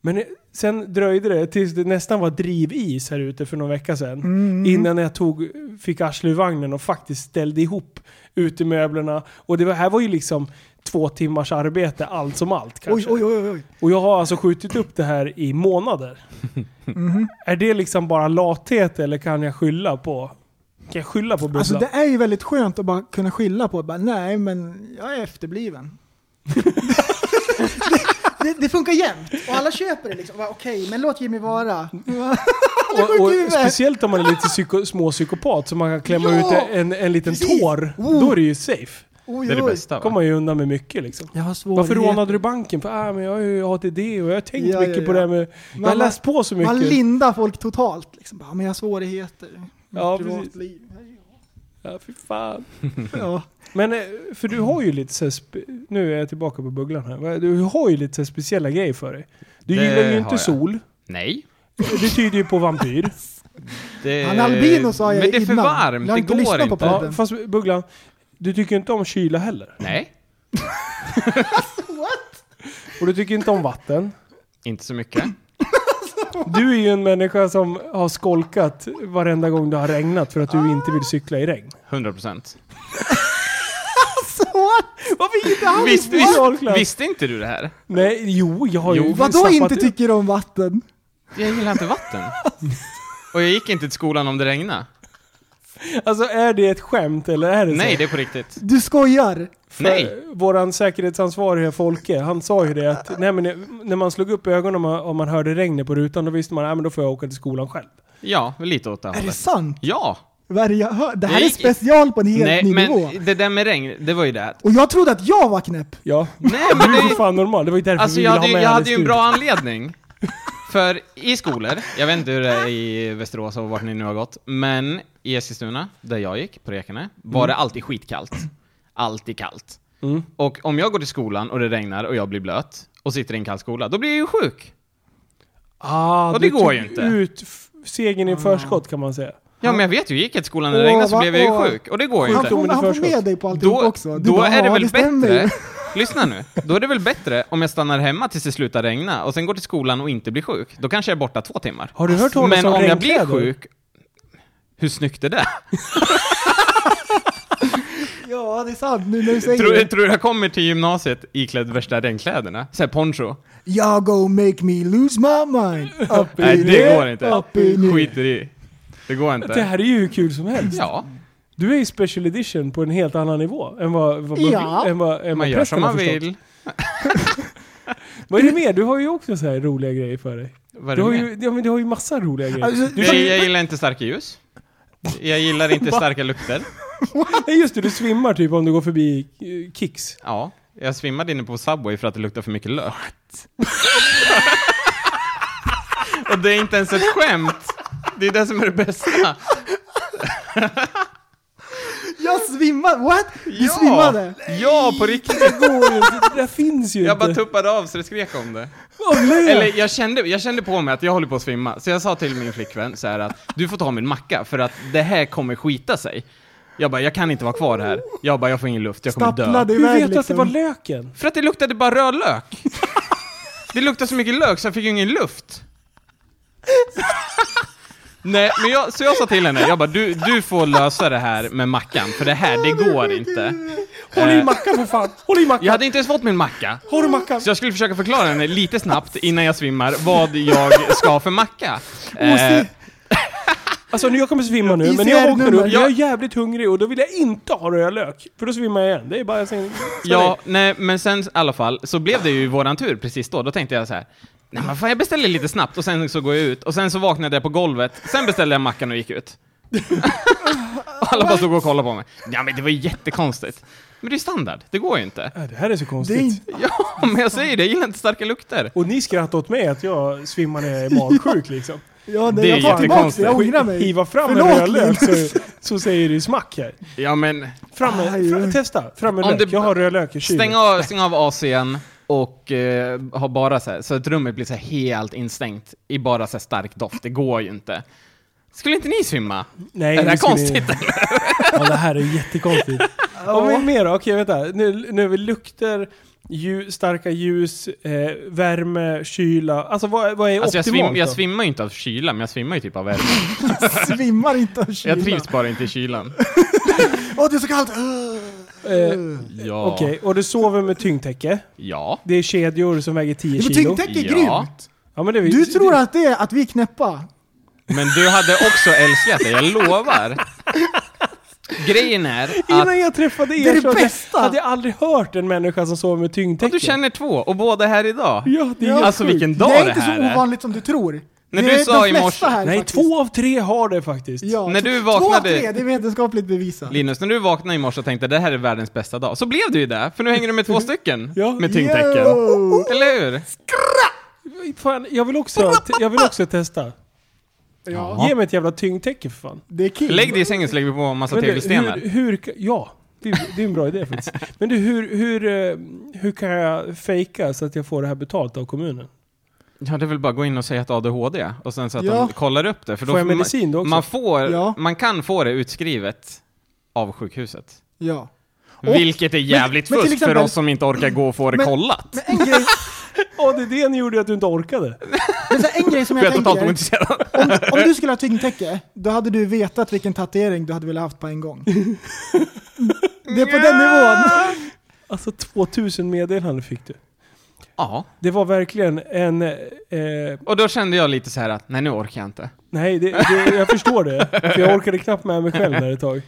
[SPEAKER 2] Men eh, sen dröjde det tills det nästan var drivis här ute för någon vecka sedan. Innan jag tog, fick arslet ur vagnen och faktiskt ställde ihop utemöblerna. Och det var, här var ju liksom två timmars arbete allt som allt
[SPEAKER 3] Oj,
[SPEAKER 2] kanske.
[SPEAKER 3] oj, oj, oj, oj.
[SPEAKER 2] Och jag har alltså skjutit upp det här i månader.
[SPEAKER 3] Mhm.
[SPEAKER 2] Är det liksom bara lathet eller kan jag skylla på... Kan jag skylla på bubblan?
[SPEAKER 3] Alltså det är ju väldigt skönt att bara kunna skylla på bara, nej men jag är efterbliven. det, det, det funkar jämt och alla köper det liksom. Bara, Okej, men låt Jimmy vara. sjuk
[SPEAKER 2] och,
[SPEAKER 3] i
[SPEAKER 2] och
[SPEAKER 3] huvudet.
[SPEAKER 2] speciellt om man är lite psyko, småpsykopat så man kan klämma
[SPEAKER 3] Ja,
[SPEAKER 2] ut en, en liten
[SPEAKER 3] precis.
[SPEAKER 2] tår.
[SPEAKER 3] Oh.
[SPEAKER 2] Då är det ju safe.
[SPEAKER 3] Oj,
[SPEAKER 4] Det är det
[SPEAKER 3] oj.
[SPEAKER 4] bästa va?
[SPEAKER 2] kommer man ju undan med mycket liksom.
[SPEAKER 3] Jag har
[SPEAKER 2] Varför
[SPEAKER 3] svårigheter.
[SPEAKER 2] rånade du banken? För, ah, men jag har ju ATD och jag har tänkt
[SPEAKER 3] Ja, ja,
[SPEAKER 2] mycket på det
[SPEAKER 3] ja.
[SPEAKER 2] här med... Jag har
[SPEAKER 3] Man-
[SPEAKER 2] läst på så
[SPEAKER 3] Man
[SPEAKER 2] mycket.
[SPEAKER 3] lindar folk totalt. Liksom. Bara, men jag har svårigheter. Mitt
[SPEAKER 2] Ja,
[SPEAKER 3] privatliv.
[SPEAKER 2] Ja, fy fan.
[SPEAKER 3] Ja.
[SPEAKER 2] Men, eh, för du har ju lite så här spe- Nu är jag tillbaka på bugglan här. Du har ju lite så här speciella grejer för dig. Du
[SPEAKER 4] Det
[SPEAKER 2] gillar ju
[SPEAKER 4] har
[SPEAKER 2] inte
[SPEAKER 4] jag.
[SPEAKER 2] sol.
[SPEAKER 4] Nej.
[SPEAKER 2] Det tyder ju på vampyr.
[SPEAKER 4] Det,
[SPEAKER 3] Han är albino, sa jag
[SPEAKER 4] Men det är för
[SPEAKER 3] innan.
[SPEAKER 4] varmt,
[SPEAKER 3] Jag har
[SPEAKER 4] det
[SPEAKER 3] inte lyssnat
[SPEAKER 4] går
[SPEAKER 3] på
[SPEAKER 4] inte.
[SPEAKER 3] podden.
[SPEAKER 2] Ja, fast Bugglan, du tycker inte om kyla heller.
[SPEAKER 4] Nej,
[SPEAKER 2] Och du tycker inte om vatten.
[SPEAKER 4] inte så mycket.
[SPEAKER 2] Du är ju en människa som har skolkat varenda gång det har regnat för att du inte vill cykla i regn.
[SPEAKER 4] 100 procent.
[SPEAKER 3] Så, varför inte han?
[SPEAKER 4] Visst,
[SPEAKER 2] bra
[SPEAKER 4] visst,
[SPEAKER 2] förklarat.
[SPEAKER 4] visste inte du det här?
[SPEAKER 2] Nej, jo, jag har ju...
[SPEAKER 4] Jo,
[SPEAKER 3] Vadå
[SPEAKER 2] zappat
[SPEAKER 3] inte
[SPEAKER 2] ut.
[SPEAKER 3] tycker om vatten?
[SPEAKER 4] Jag gillar inte vatten. Och jag gick inte till skolan om det regnade.
[SPEAKER 2] Alltså är det ett skämt eller är det så?
[SPEAKER 4] Nej, det är på riktigt.
[SPEAKER 3] Du skojar?
[SPEAKER 2] För
[SPEAKER 4] Nej.
[SPEAKER 2] Våran säkerhetsansvarige Folke, han sa ju det att nej, men när man slog upp ögonen om man, om man hörde regnet på rutan då visste man att då får jag åka till skolan själv.
[SPEAKER 4] Ja, lite åt det
[SPEAKER 3] Är det
[SPEAKER 4] hållet.
[SPEAKER 3] sant?
[SPEAKER 4] Ja!
[SPEAKER 3] Vad är det jag hör? Det här
[SPEAKER 4] Nej.
[SPEAKER 3] är special på en helt
[SPEAKER 4] Nej,
[SPEAKER 3] ny nivå.
[SPEAKER 4] men det där med regn, det var ju det. att-
[SPEAKER 3] Och jag trodde att jag var knäpp.
[SPEAKER 2] Ja.
[SPEAKER 4] Nej,
[SPEAKER 2] Du är
[SPEAKER 4] men
[SPEAKER 2] ju för
[SPEAKER 4] det...
[SPEAKER 2] fan normal, det var ju därför
[SPEAKER 4] Alltså
[SPEAKER 2] vi
[SPEAKER 4] jag
[SPEAKER 2] ville ha
[SPEAKER 4] hade, ju-
[SPEAKER 2] med
[SPEAKER 4] jag
[SPEAKER 2] henne i
[SPEAKER 4] hade ju
[SPEAKER 2] studion.
[SPEAKER 4] en bra anledning. För i skolor, jag vet inte hur det är i Västerås och vart ni nu har gått, men i Eskilstuna, där jag gick, på Rekarne, var det alltid skitkallt. Alltid kallt.
[SPEAKER 2] Mm.
[SPEAKER 4] Och om jag går till skolan och det regnar och jag blir blöt och sitter i en kall skola, då blir jag ju sjuk.
[SPEAKER 2] Ah,
[SPEAKER 4] Och
[SPEAKER 2] du
[SPEAKER 4] det går
[SPEAKER 2] Ah, tog
[SPEAKER 4] ju inte. Ah.
[SPEAKER 2] ut f- segern i förskott kan man säga.
[SPEAKER 4] Ja, men jag vet ju, gick jag till skolan när det regnade så
[SPEAKER 3] Åh,
[SPEAKER 4] blev jag
[SPEAKER 3] vad-
[SPEAKER 4] ju sjuk. Och det går ju
[SPEAKER 3] Han
[SPEAKER 2] Sjukdom
[SPEAKER 4] inte.
[SPEAKER 3] får,
[SPEAKER 2] under
[SPEAKER 3] han får
[SPEAKER 2] förskott.
[SPEAKER 3] med dig på alltihop
[SPEAKER 4] Då,
[SPEAKER 3] också. Du
[SPEAKER 4] då
[SPEAKER 3] bara,
[SPEAKER 4] är det
[SPEAKER 3] "Ja,
[SPEAKER 4] väl
[SPEAKER 3] stämmer ju."
[SPEAKER 4] bättre... Lyssna nu. Då är det väl bättre om jag stannar hemma tills det slutar regna och sen går till skolan och inte blir sjuk. Då kanske jag är borta två timmar.
[SPEAKER 2] Har du hört talas
[SPEAKER 4] Men
[SPEAKER 2] om
[SPEAKER 4] om jag blir
[SPEAKER 2] regnkläder?
[SPEAKER 4] sjuk, hur snyggt är det?
[SPEAKER 3] Ja, det är sant nu när du säger
[SPEAKER 4] Tror,
[SPEAKER 3] det.
[SPEAKER 4] tror du jag kommer till gymnasiet iklädd värsta regnkläderna? Såhär poncho?
[SPEAKER 3] Jag go make me lose my mind. Upp i
[SPEAKER 4] Nej, det
[SPEAKER 3] ner,
[SPEAKER 4] går inte.
[SPEAKER 3] Upp i ner.
[SPEAKER 4] Skiter i. Det går inte.
[SPEAKER 2] Det här är ju hur kul som helst.
[SPEAKER 4] Ja,
[SPEAKER 2] Du är ju special edition på en helt annan nivå än vad, vad, bubbl-
[SPEAKER 3] Ja.
[SPEAKER 2] än vad, än vad
[SPEAKER 4] man gör
[SPEAKER 2] prästen
[SPEAKER 4] som man
[SPEAKER 2] har förstått.
[SPEAKER 4] vill.
[SPEAKER 2] Vad är det mer? Du har ju också så här roliga grejer för dig.
[SPEAKER 4] Vad
[SPEAKER 2] Du
[SPEAKER 4] är
[SPEAKER 2] har
[SPEAKER 4] det
[SPEAKER 2] ju,
[SPEAKER 4] mer?
[SPEAKER 2] ja, men du har ju massa roliga grejer.
[SPEAKER 3] Alltså,
[SPEAKER 2] du,
[SPEAKER 4] jag, jag gillar inte starka ljus. Jag gillar inte starka lukter.
[SPEAKER 3] Alltså-
[SPEAKER 2] nej, just det, du svimmar typ om du går förbi eh, Kicks.
[SPEAKER 4] Ja, jag svimmade inne på Subway för att det luktar för mycket lök. Och det är inte ens ett skämt! Det är det som är det bästa.
[SPEAKER 3] Jag svimmade, what? Du
[SPEAKER 4] Ja.
[SPEAKER 3] svimmade?
[SPEAKER 4] Ja, på riktigt!
[SPEAKER 2] Det går ju inte, det där finns ju
[SPEAKER 4] Jag bara
[SPEAKER 2] inte.
[SPEAKER 4] tuppade av så det skrek om det.
[SPEAKER 2] Åh, nej.
[SPEAKER 4] Eller jag kände, jag kände på mig att jag håller på att svimma, så jag sa till min flickvän så här att du får ta min macka för att det här kommer skita sig. Jag bara, jag kan inte vara kvar här. Jag bara, jag får ingen luft, jag kommer dö.
[SPEAKER 3] Stapplade
[SPEAKER 2] Hur vet
[SPEAKER 3] iväg
[SPEAKER 2] du att det
[SPEAKER 3] liksom.
[SPEAKER 2] var löken?
[SPEAKER 4] För att det luktade bara rödlök. Det luktade så mycket lök så jag fick ju ingen luft. Nej, men jag, så jag sa till henne, jag bara du, du får lösa det här med mackan, för det här, det går inte.
[SPEAKER 2] Håll i
[SPEAKER 4] Eh.
[SPEAKER 2] mackan för fan! Håll i mackan!
[SPEAKER 4] Jag hade inte ens fått min macka.
[SPEAKER 2] Har du mackan?
[SPEAKER 4] Så jag skulle försöka förklara henne lite snabbt innan jag svimmar vad jag ska ha för macka. Eh,
[SPEAKER 2] Alltså nu, jag kommer svimma nu, men när
[SPEAKER 3] ICR
[SPEAKER 2] jag vaknar upp,
[SPEAKER 3] nummer.
[SPEAKER 2] jag är jävligt hungrig och då vill jag inte ha rödlök. För då svimmar jag igen. Det är bara jag säger,
[SPEAKER 4] ja, nej, men sen i alla fall så blev det ju våran tur precis då. Då tänkte jag så här. Nej men fan jag beställer lite snabbt och sen så går jag ut och sen så vaknade jag på golvet. Sen beställde jag mackan och gick ut. och alla bara stod och kollade på mig. Ja men det var ju jättekonstigt. Men det är standard, det går ju inte.
[SPEAKER 2] Nej, Det här är så
[SPEAKER 3] Det är
[SPEAKER 2] konstigt.
[SPEAKER 3] inte...
[SPEAKER 4] Ja, men jag säger det, jag gillar inte starka lukter.
[SPEAKER 2] Och ni skrattar åt mig att jag svimmar när jag är magsjuk liksom.
[SPEAKER 3] Ja, nej,
[SPEAKER 4] Det är
[SPEAKER 3] jag tar tillbaka det,
[SPEAKER 4] jättekonstigt.
[SPEAKER 3] jag ångrar mig.
[SPEAKER 2] Hiva fram en
[SPEAKER 3] Förlåt,
[SPEAKER 2] rödlök
[SPEAKER 3] Linus.
[SPEAKER 2] så, så säger det smack här.
[SPEAKER 4] Ja men,
[SPEAKER 2] Fram med,
[SPEAKER 3] Aj,
[SPEAKER 2] fra,
[SPEAKER 3] aj.
[SPEAKER 2] testa, fram med
[SPEAKER 4] Om
[SPEAKER 2] lök.
[SPEAKER 4] det-
[SPEAKER 2] Jag har rödlök i kylen.
[SPEAKER 4] stäng av, stäng av AC'n och eh, ha bara så här, så att rummet blir så här helt instängt i bara så här stark doft. Det går ju inte. Skulle inte ni svimma?
[SPEAKER 2] Nej,
[SPEAKER 4] är det här
[SPEAKER 2] vi skulle-
[SPEAKER 4] konstigt?
[SPEAKER 2] Ja, det här är jättekonstigt. Om vi mer då? Okej, vänta. Nu, nu är vi lukter, ljus, starka ljus, eh, värme, kyla. Alltså vad, vad är
[SPEAKER 4] Alltså jag,
[SPEAKER 2] optimalt
[SPEAKER 4] svim, jag
[SPEAKER 2] då?
[SPEAKER 4] svimmar ju inte av kyla, men jag svimmar ju typ av värme.
[SPEAKER 3] Svimmar inte av kyla.
[SPEAKER 4] Jag trivs bara inte i kylan.
[SPEAKER 3] Åh, det är så kallt!
[SPEAKER 2] Eh,
[SPEAKER 4] Ja.
[SPEAKER 2] Okej, och du sover med tyngdtäcke.
[SPEAKER 4] Ja.
[SPEAKER 2] Det är kedjor som väger 10
[SPEAKER 3] Men
[SPEAKER 2] kilo.
[SPEAKER 3] tyngdtäcke är
[SPEAKER 4] Ja.
[SPEAKER 3] grymt!
[SPEAKER 2] Ja, men det är,
[SPEAKER 3] Du tror att det är att vi är knäppa?
[SPEAKER 4] Men du hade också älskat det, jag lovar. Grejen är att
[SPEAKER 2] Innan jag träffade er
[SPEAKER 3] Det är det
[SPEAKER 2] så hade jag-
[SPEAKER 3] bästa.
[SPEAKER 2] hade jag aldrig hört en människa som sover med tyngdtäcke.
[SPEAKER 4] du känner två, och båda här idag.
[SPEAKER 2] Ja, det är helt
[SPEAKER 4] Alltså
[SPEAKER 2] sjukt.
[SPEAKER 4] vilken
[SPEAKER 3] Det
[SPEAKER 4] dag
[SPEAKER 3] är
[SPEAKER 4] det
[SPEAKER 3] inte så
[SPEAKER 4] här är.
[SPEAKER 3] ovanligt som du tror.
[SPEAKER 4] När
[SPEAKER 3] Det
[SPEAKER 4] du
[SPEAKER 3] är
[SPEAKER 4] sa
[SPEAKER 3] de
[SPEAKER 4] i
[SPEAKER 3] flesta
[SPEAKER 4] morse-
[SPEAKER 3] här
[SPEAKER 2] Nej,
[SPEAKER 3] faktiskt.
[SPEAKER 2] två av tre har det faktiskt.
[SPEAKER 3] Ja,
[SPEAKER 4] När du
[SPEAKER 3] två
[SPEAKER 4] vaknade-
[SPEAKER 3] av tre, det är vetenskapligt bevisat.
[SPEAKER 4] Linus, när du vaknade i morse och tänkte det här är världens bästa dag, så blev det ju det, för nu hänger du med två stycken
[SPEAKER 2] Ja.
[SPEAKER 4] med tyngdtäcken.
[SPEAKER 3] Yo!
[SPEAKER 4] Eller hur?
[SPEAKER 2] Fan, jag vill också, jag vill också testa.
[SPEAKER 3] Ja,
[SPEAKER 2] Ge mig ett jävla tyngdtäcke för fan.
[SPEAKER 3] det är kul.
[SPEAKER 4] Lägg dig i sängen så lägger vi på en massa
[SPEAKER 2] Men du,
[SPEAKER 4] tegelstenar.
[SPEAKER 2] Hur, hur, ka- ja, det, är- det är en bra idé faktiskt. Men du, hur, hur, eh, hur kan jag fejka så att jag får det här betalt av kommunen?
[SPEAKER 4] Ja, det är väl bara att gå in och säga att ADHD och sen så att
[SPEAKER 3] Ja.
[SPEAKER 4] de kollar upp det. För då
[SPEAKER 2] Får jag
[SPEAKER 4] man-
[SPEAKER 2] medicin då också?
[SPEAKER 4] Man, får,
[SPEAKER 3] Ja.
[SPEAKER 4] man kan få det utskrivet av sjukhuset.
[SPEAKER 3] Ja.
[SPEAKER 4] Vilket är jävligt
[SPEAKER 3] men till
[SPEAKER 4] fusk för
[SPEAKER 3] exempel-
[SPEAKER 4] oss som inte orkar gå och få det
[SPEAKER 3] Men-
[SPEAKER 4] kollat.
[SPEAKER 3] Men en grej,
[SPEAKER 2] Ja, det är det ni gjorde att du inte orkade.
[SPEAKER 3] men så här, en grej som
[SPEAKER 4] För jag
[SPEAKER 3] jag
[SPEAKER 4] är totalt
[SPEAKER 3] tänker.
[SPEAKER 4] ointresserad.
[SPEAKER 3] Om, om du skulle ha tyngdtäcke, då hade du vetat vilken tatuering du hade velat haft på en gång. Det är på den nivån.
[SPEAKER 2] Alltså 2000 meddelanden fick du.
[SPEAKER 4] Ja,
[SPEAKER 2] Det var verkligen en... Eh,
[SPEAKER 4] och då kände jag lite så här att nej nu orkar jag inte.
[SPEAKER 2] nej, det, det, jag förstår det. För jag orkade knappt med mig själv där ett tag.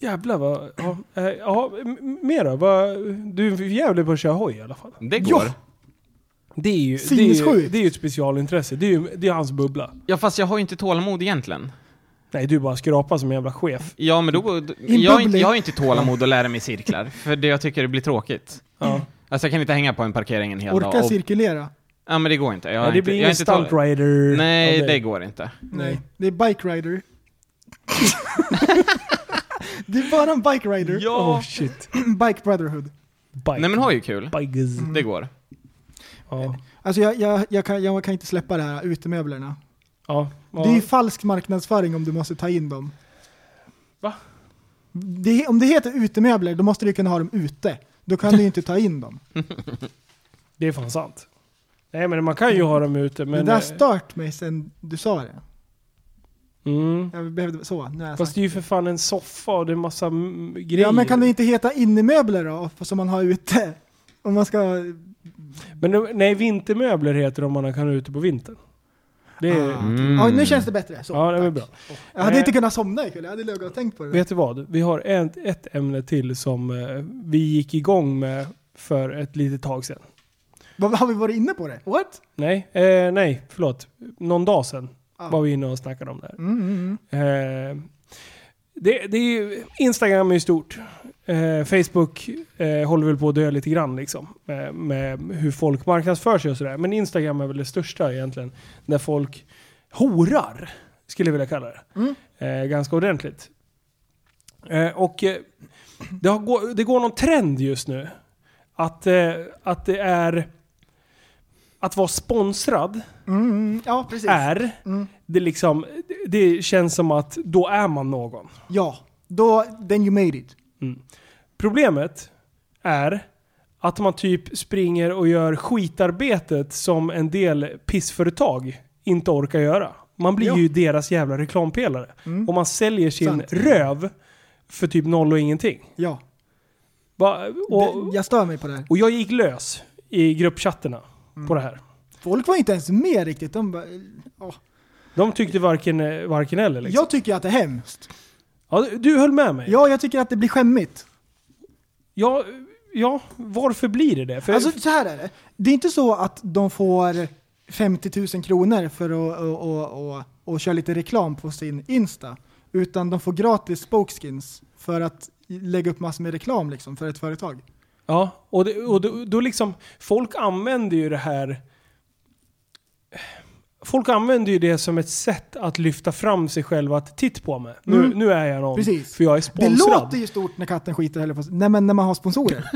[SPEAKER 2] Jävlar vad... Ja, eh, ja m- mer då? Vad, du är för jävlig på att köra hoj i alla fall.
[SPEAKER 4] Det går. Ja.
[SPEAKER 2] Det är ju, det är ju,
[SPEAKER 3] Sinnessjukt.
[SPEAKER 2] det är ju ett specialintresse. Det är ju det är hans bubbla.
[SPEAKER 4] fast jag har ju inte tålamod egentligen.
[SPEAKER 2] Nej, du bara skrapar som en jävla chef.
[SPEAKER 4] Ja, men då... då jag, har inte, jag har inte tålamod att lära mig cirklar, för det jag tycker det blir tråkigt.
[SPEAKER 2] Ja.
[SPEAKER 4] Alltså jag kan inte hänga på en parkering en hel dag.
[SPEAKER 3] Orka
[SPEAKER 4] och-
[SPEAKER 3] cirkulera.
[SPEAKER 4] Ja, men det går inte. Jag har
[SPEAKER 2] Nej, det
[SPEAKER 4] inte,
[SPEAKER 2] blir
[SPEAKER 4] jag
[SPEAKER 2] ingen
[SPEAKER 4] har inte tål-
[SPEAKER 2] stunt rider.
[SPEAKER 4] Nej,
[SPEAKER 2] av
[SPEAKER 4] det
[SPEAKER 2] dig.
[SPEAKER 4] går inte.
[SPEAKER 3] Nej, det är bike rider. det är bara en bike rider.
[SPEAKER 2] Oh shit.
[SPEAKER 3] Bike brotherhood.
[SPEAKER 2] Bike.
[SPEAKER 4] Nej, men har ju kul.
[SPEAKER 2] Bikes.
[SPEAKER 3] Mm.
[SPEAKER 4] Det går.
[SPEAKER 2] Ja.
[SPEAKER 3] Alltså jag, jag, jag, kan, jag kan inte släppa det här utemöblerna.
[SPEAKER 2] Ja. ja.
[SPEAKER 3] Det är ju falsk marknadsföring om du måste ta in dem.
[SPEAKER 2] Va?
[SPEAKER 3] Det, om det heter utemöbler, då måste du kunna ha dem ute. Då kan du ju inte ta in dem.
[SPEAKER 2] Det är fan sant. Nej men man kan ju ha dem ute men...
[SPEAKER 3] det där
[SPEAKER 2] eh,
[SPEAKER 3] stört mig sen du sa det.
[SPEAKER 2] mm.
[SPEAKER 3] Jag behövde, så, nu är jag
[SPEAKER 2] Fast
[SPEAKER 3] sagt.
[SPEAKER 2] det är ju för fan en soffa och det är massa mm, grejer.
[SPEAKER 3] Alltså, Ja men kan det inte heta innemöbler då, som man har ute? Om man ska...
[SPEAKER 2] Men de- nej, vintermöbler heter de man kan ha ute på vintern. Det är... Mm.
[SPEAKER 3] Ah. Ja, nu känns det bättre. Så,
[SPEAKER 2] Ja, det var
[SPEAKER 3] tack.
[SPEAKER 2] bra.
[SPEAKER 3] Jag hade
[SPEAKER 2] Eh.
[SPEAKER 3] inte kunnat somna ikväll, jag hade legat och tänkt på det.
[SPEAKER 2] Vet du vad? Vi har ett, ett ämne till som eh, vi gick igång med för ett litet tag sedan.
[SPEAKER 3] Vad, har vi varit inne på det? What?
[SPEAKER 2] Nej, eh, nej, förlåt. Någon dag sedan
[SPEAKER 3] Ah.
[SPEAKER 2] var vi inne och snackade om det här.
[SPEAKER 3] Mm, mm, mm.
[SPEAKER 2] Eh, det, det är ju, Instagram är ju stort. Eh, Facebook eh, håller väl på att dö lite grann liksom. Med, med hur folk marknadsför sig och sådär. Men Instagram är väl det största egentligen. När folk horar, skulle jag vilja kalla det. Eh, ganska ordentligt. Eh, och eh, det, har, gå- det går någon trend just nu. Att, eh, att det är... Att vara sponsrad
[SPEAKER 3] Mm, mm. Ja, precis.
[SPEAKER 2] är,
[SPEAKER 3] Mm.
[SPEAKER 2] det, liksom, det känns som att då är man någon.
[SPEAKER 3] Ja, då, then you made it.
[SPEAKER 2] Problemet är att man typ springer och gör skitarbetet som en del pissföretag inte orkar göra. Man blir
[SPEAKER 3] Ja. Mm.
[SPEAKER 2] ju deras jävla reklampelare. Och man säljer sin
[SPEAKER 3] Sant.
[SPEAKER 2] röv för typ noll och ingenting.
[SPEAKER 3] Ja,
[SPEAKER 2] Va?
[SPEAKER 3] det,
[SPEAKER 2] Och,
[SPEAKER 3] jag stör mig på det här.
[SPEAKER 2] och jag gick lös i gruppchatterna
[SPEAKER 3] Mm.
[SPEAKER 2] på det här.
[SPEAKER 3] Folk var inte ens med riktigt. De bara, eh, ja.
[SPEAKER 2] De tyckte varken, varken eller liksom.
[SPEAKER 3] Jag tycker att det är hemskt.
[SPEAKER 2] Ja, du- du höll med mig?
[SPEAKER 3] Ja, jag tycker att det blir skämmigt.
[SPEAKER 2] Ja, ja, varför blir det det? För,
[SPEAKER 3] Alltså så här är det. Det är inte så att de får 50 000 kronor för att och, och, och, och köra lite reklam på sin Insta. Utan de får gratis spokeskins för att lägga upp massor med reklam liksom för ett företag.
[SPEAKER 2] Ja, och, det, och då, då liksom, folk använder ju det här... Folk använder ju det som ett sätt att lyfta fram sig själva, att titta på mig. Nu,
[SPEAKER 3] Mm.
[SPEAKER 2] nu är jag någon,
[SPEAKER 3] Precis.
[SPEAKER 2] för jag är
[SPEAKER 3] Det
[SPEAKER 2] sponsrad.
[SPEAKER 3] låter ju stort när katten skiter eller på Nej men när man har sponsorer.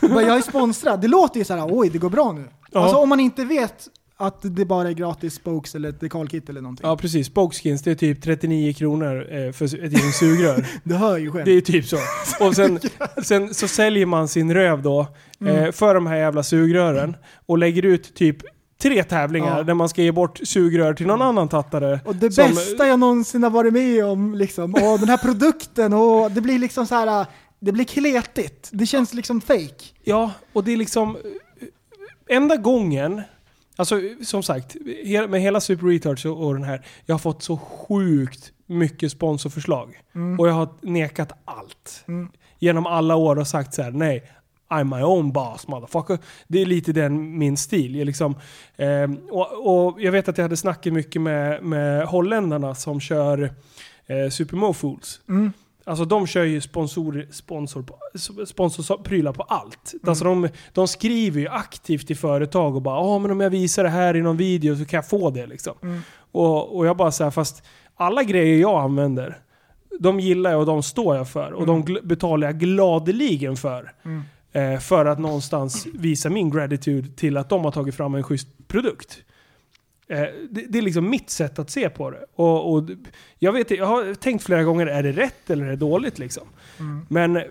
[SPEAKER 3] Men jag är sponsrad. Det låter ju så här, oj det går bra nu.
[SPEAKER 2] Ja.
[SPEAKER 3] Alltså om man inte vet att det bara är gratis spokes eller ett dekalkit eller någonting.
[SPEAKER 2] Ja precis, Spokeskins det är typ 39 kronor eh, för ett gäng sugrör.
[SPEAKER 3] Du hör ju själv.
[SPEAKER 2] Det är typ så. Och sen, sen så säljer man sin röv då
[SPEAKER 3] Mm.
[SPEAKER 2] eh, för de här jävla sugrören och lägger ut typ tre tävlingar
[SPEAKER 3] Ja. Mm.
[SPEAKER 2] där man ska ge bort sugrör till någon annan tattare.
[SPEAKER 3] Och det
[SPEAKER 2] som-
[SPEAKER 3] bästa jag någonsin har varit med om liksom. Och den här produkten och det blir liksom så här. Det blir kletigt. Det känns liksom fake.
[SPEAKER 2] Ja, och det är liksom... eh, Enda gången, alltså som sagt, he- med hela Super Retards och och den här, jag har fått så sjukt mycket sponsorförslag. Och jag har nekat allt. Genom alla år och sagt så här: nej, I'm my own boss motherfucker. Det är lite den min stil. Jag, liksom, ehm, och, och jag vet att jag hade snackat mycket med, med holländarna som kör eh, Super Mofools. Alltså de kör ju sponsor, sponsor, på- sponsorprylar på allt. Alltså de, de skriver ju aktivt till företag och bara ja men om jag visar det här i någon video så kan jag få det liksom. Och, och jag bara säger fast alla grejer jag använder, de gillar jag och de står jag för. Och de gl- betalar jag gladeligen för. Eh, för att någonstans visa min gratitude till att de har tagit fram en schysst produkt. Eh, det, det är liksom mitt sätt att se på det. Och, och jag, vet, jag har tänkt flera gånger, är det rätt eller är det dåligt? Liksom?
[SPEAKER 3] Mm.
[SPEAKER 2] Men,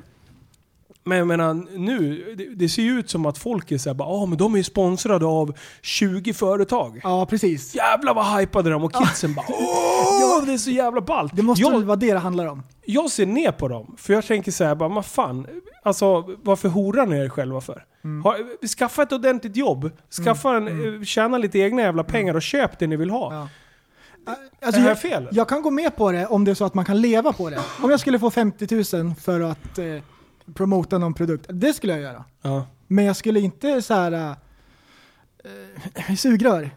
[SPEAKER 2] men jag menar, nu, det, det ser ju ut som att folk är såhär, bara, ah, men de är ju sponsrade av 20 företag.
[SPEAKER 3] Ja, precis.
[SPEAKER 2] Jävlar vad hypade de och kidsen bara åh, det är så jävla ballt.
[SPEAKER 3] Det måste
[SPEAKER 2] jag,
[SPEAKER 3] väl vara det det handlar om.
[SPEAKER 2] jag ser ner på dem, för jag tänker så här, bara, vad fan, alltså varför horar ni er själva för?
[SPEAKER 3] Mm.
[SPEAKER 2] Ha, skaffa ett ordentligt jobb, skaffa en, eh, tjäna lite egna jävla pengar och köp det ni vill ha.
[SPEAKER 3] Ja.
[SPEAKER 2] Är det
[SPEAKER 3] Alltså, jag,
[SPEAKER 2] här fel?
[SPEAKER 3] jag kan gå med på det om det är så att man kan leva på det. Om jag skulle få 50 000 för att eh, promota någon produkt, det skulle jag göra.
[SPEAKER 2] Ja.
[SPEAKER 3] Men jag skulle inte så här eh, sugrör.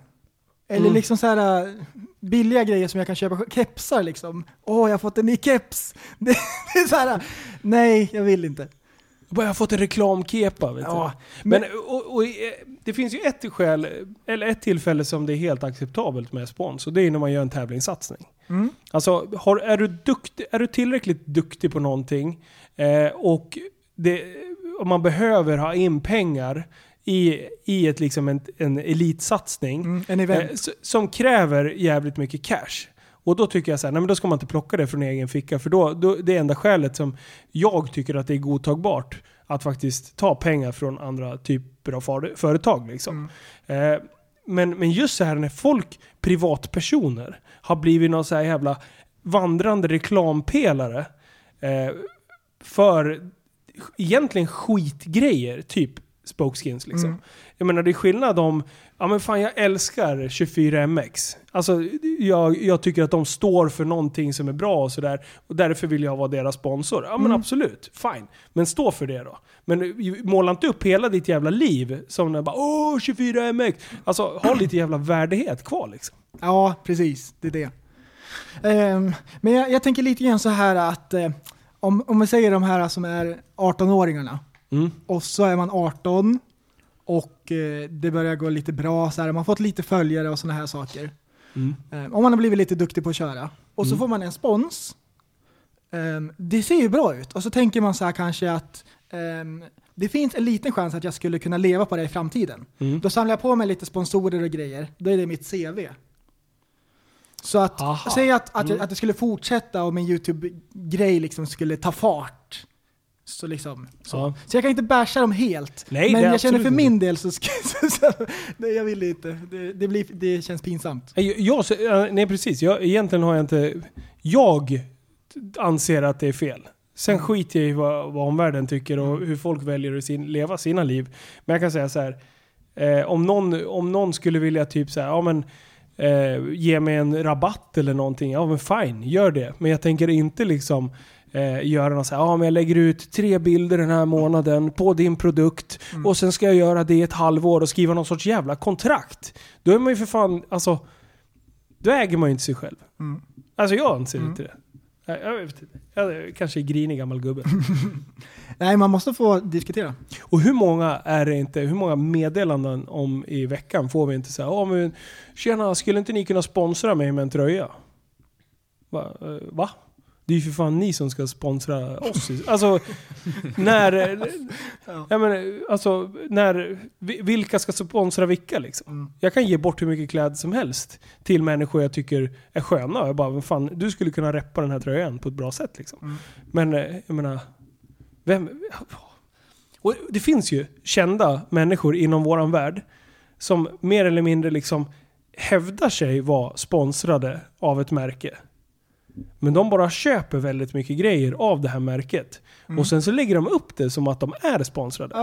[SPEAKER 3] Eller
[SPEAKER 2] Mm.
[SPEAKER 3] liksom så här eh, billiga grejer som jag kan köpa. Kepsar liksom. Åh, jag har fått en ny keps. Det, det är så här, äh, nej, jag vill inte.
[SPEAKER 2] Jag bara, jag har fått en reklamkepa. Vet
[SPEAKER 3] Ja,
[SPEAKER 2] du. Men, och, och, eh, det finns ju ett skäl, eller ett tillfälle som det är helt acceptabelt med spons. Och det är när man gör en tävlingssatsning. Alltså, har, är, du duktig, är du tillräckligt duktig på någonting eh, och det, om man behöver ha in pengar i, i ett, liksom en, en elitsatsning
[SPEAKER 3] Mm, en event.
[SPEAKER 2] eh, s- som kräver jävligt mycket cash. Och då tycker jag så här, nej men då ska man inte plocka det från egen ficka. För då, då det är enda skälet som jag tycker att det är godtagbart att faktiskt ta pengar från andra typer av far- företag. Liksom. Eh, men, men just så här när folk, privatpersoner, har blivit någon så här jävla vandrande reklampelare eh, för egentligen skitgrejer, typ spokeskins liksom. Jag menar det är skillnad om, ja men fan jag älskar 24MX. Alltså jag, jag tycker att de står för någonting som är bra och sådär. Och därför vill jag vara deras sponsor. Ja men absolut, fine. Men stå för det då. Men eh, måla inte upp hela ditt jävla liv som när bara åh 24MX. Alltså ha lite jävla värdighet kvar liksom.
[SPEAKER 3] Ja, precis. Det är det. Ehm, men jag, jag tänker lite grann så här att eh, om, om vi säger de här som är 18-åringarna
[SPEAKER 2] Mm.
[SPEAKER 3] och så är man 18 och eh, det börjar gå lite bra, så här, man har fått lite följare och sådana här saker.
[SPEAKER 2] Mm.
[SPEAKER 3] Ehm, om man har blivit lite duktig på att köra och så får man en spons. Ehm, det ser ju bra ut och så tänker man så här kanske att ehm, det finns en liten chans att jag skulle kunna leva på det i framtiden.
[SPEAKER 2] Mm.
[SPEAKER 3] Då samlar jag på mig lite sponsorer och grejer. Då är det mitt CV. Så att,
[SPEAKER 2] Aha. Mm.
[SPEAKER 3] säg att, att, jag, att jag skulle fortsätta och min YouTube-grej liksom skulle ta fart. Så liksom, så.
[SPEAKER 2] Ja.
[SPEAKER 3] Så jag kan inte basha dem helt.
[SPEAKER 2] Nej, det
[SPEAKER 3] men
[SPEAKER 2] är
[SPEAKER 3] jag känner för
[SPEAKER 2] absolut
[SPEAKER 3] min del så, sk- så, så nej, jag vill inte. Det, det, blir, det känns pinsamt.
[SPEAKER 2] Eh, Jag, jag, nej precis, jag, egentligen har jag inte... Jag anser att det är fel. Sen skiter jag i vad, vad omvärlden tycker och hur folk väljer att sin, leva sina liv. Men jag kan säga så här. Eh, om, någon, om någon skulle vilja typ så här, ja men eh, ge mig en rabatt eller någonting. Ja men fine, gör det. Men jag tänker inte liksom eh, göra något så här, ja men jag lägger ut tre bilder den här månaden på din produkt och sen ska jag göra det i ett halvår och skriva någon sorts jävla kontrakt. Då är man ju för fan, alltså, då äger man ju inte sig själv. Alltså jag anser inte det. Jag, jag vet inte. Jag är kanske är grinig gammal gubbe.
[SPEAKER 3] Nej, man måste få diskutera.
[SPEAKER 2] Och hur många är det inte, hur många meddelanden om i veckan får vi inte säga oh, men Tjena, skulle inte ni kunna sponsra mig med en tröja? Va? Eh, Va? Det är ju för fan ni som ska sponsra oss. Alltså, när... Jag menar, alltså, när... vi- Vilka ska sponsra vilka liksom? Jag kan ge bort hur mycket kläder som helst till människor jag tycker är sköna. Jag bara, "Vad fan, du skulle kunna reppa den här tröjan på ett bra sätt liksom. Men eh, jag menar, vem... Och det finns ju kända människor inom våran värld som mer eller mindre liksom hävdar sig vara sponsrade av ett märke. Men de bara köper väldigt mycket grejer av det här märket. Och sen så lägger de upp det som att de är sponsrade.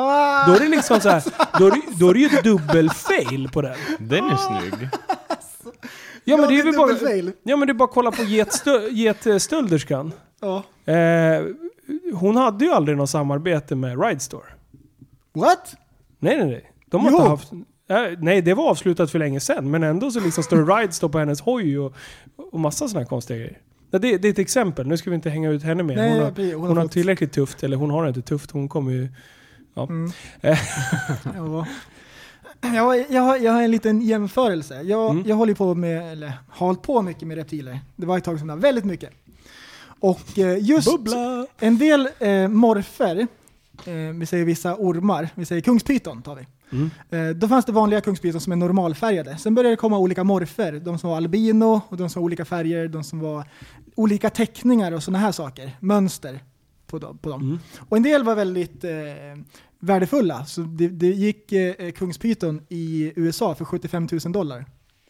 [SPEAKER 2] Då är det liksom så här, då är det, då är det ju dubbel-fail på den.
[SPEAKER 4] Den är snygg.
[SPEAKER 2] Ja men det är
[SPEAKER 3] det är
[SPEAKER 2] väl bara...
[SPEAKER 3] dubbelfail.
[SPEAKER 2] Ja men det är bara att kolla på getstö- getstölderskan.
[SPEAKER 3] Ja.
[SPEAKER 2] Eh, hon hade ju aldrig något samarbete med Ride Store.
[SPEAKER 3] What?
[SPEAKER 2] Nej, nej, nej. De har
[SPEAKER 3] Jo.
[SPEAKER 2] inte haft... Äh, Nej, det var avslutat för länge sedan. Men ändå så liksom står det rides då på hennes hoj och, och massa sådana konstiga grejer. Nej, det, det är ett exempel. Nu ska vi inte hänga ut henne mer.
[SPEAKER 3] Nej,
[SPEAKER 2] hon
[SPEAKER 3] jag
[SPEAKER 2] har,
[SPEAKER 3] blir- hon har
[SPEAKER 2] hon har
[SPEAKER 3] fått-
[SPEAKER 2] tillräckligt tufft. Eller hon har det inte tufft. Hon kommer ju... Ja.
[SPEAKER 3] Mm. Ja. Ja, jag, har- jag har en liten jämförelse. Jag,
[SPEAKER 2] Mm.
[SPEAKER 3] jag håller ju på med, eller har hållit på mycket med reptiler. Det var ett tag som det var väldigt mycket. Och eh, just
[SPEAKER 2] Bubbla!
[SPEAKER 3] en del eh, morfer, eh, vi säger vissa ormar, vi säger kungspyton tar vi. Eh, då fanns det vanliga kungspyton som är normalfärgade. Sen började det komma olika morfer, de som var albino, och de som var olika färger, de som var olika teckningar och sådana här saker. Mönster på dem. På dem. Och en del var väldigt eh, värdefulla. Så det, det gick eh, kungspyton i USA för 75 000 dollar.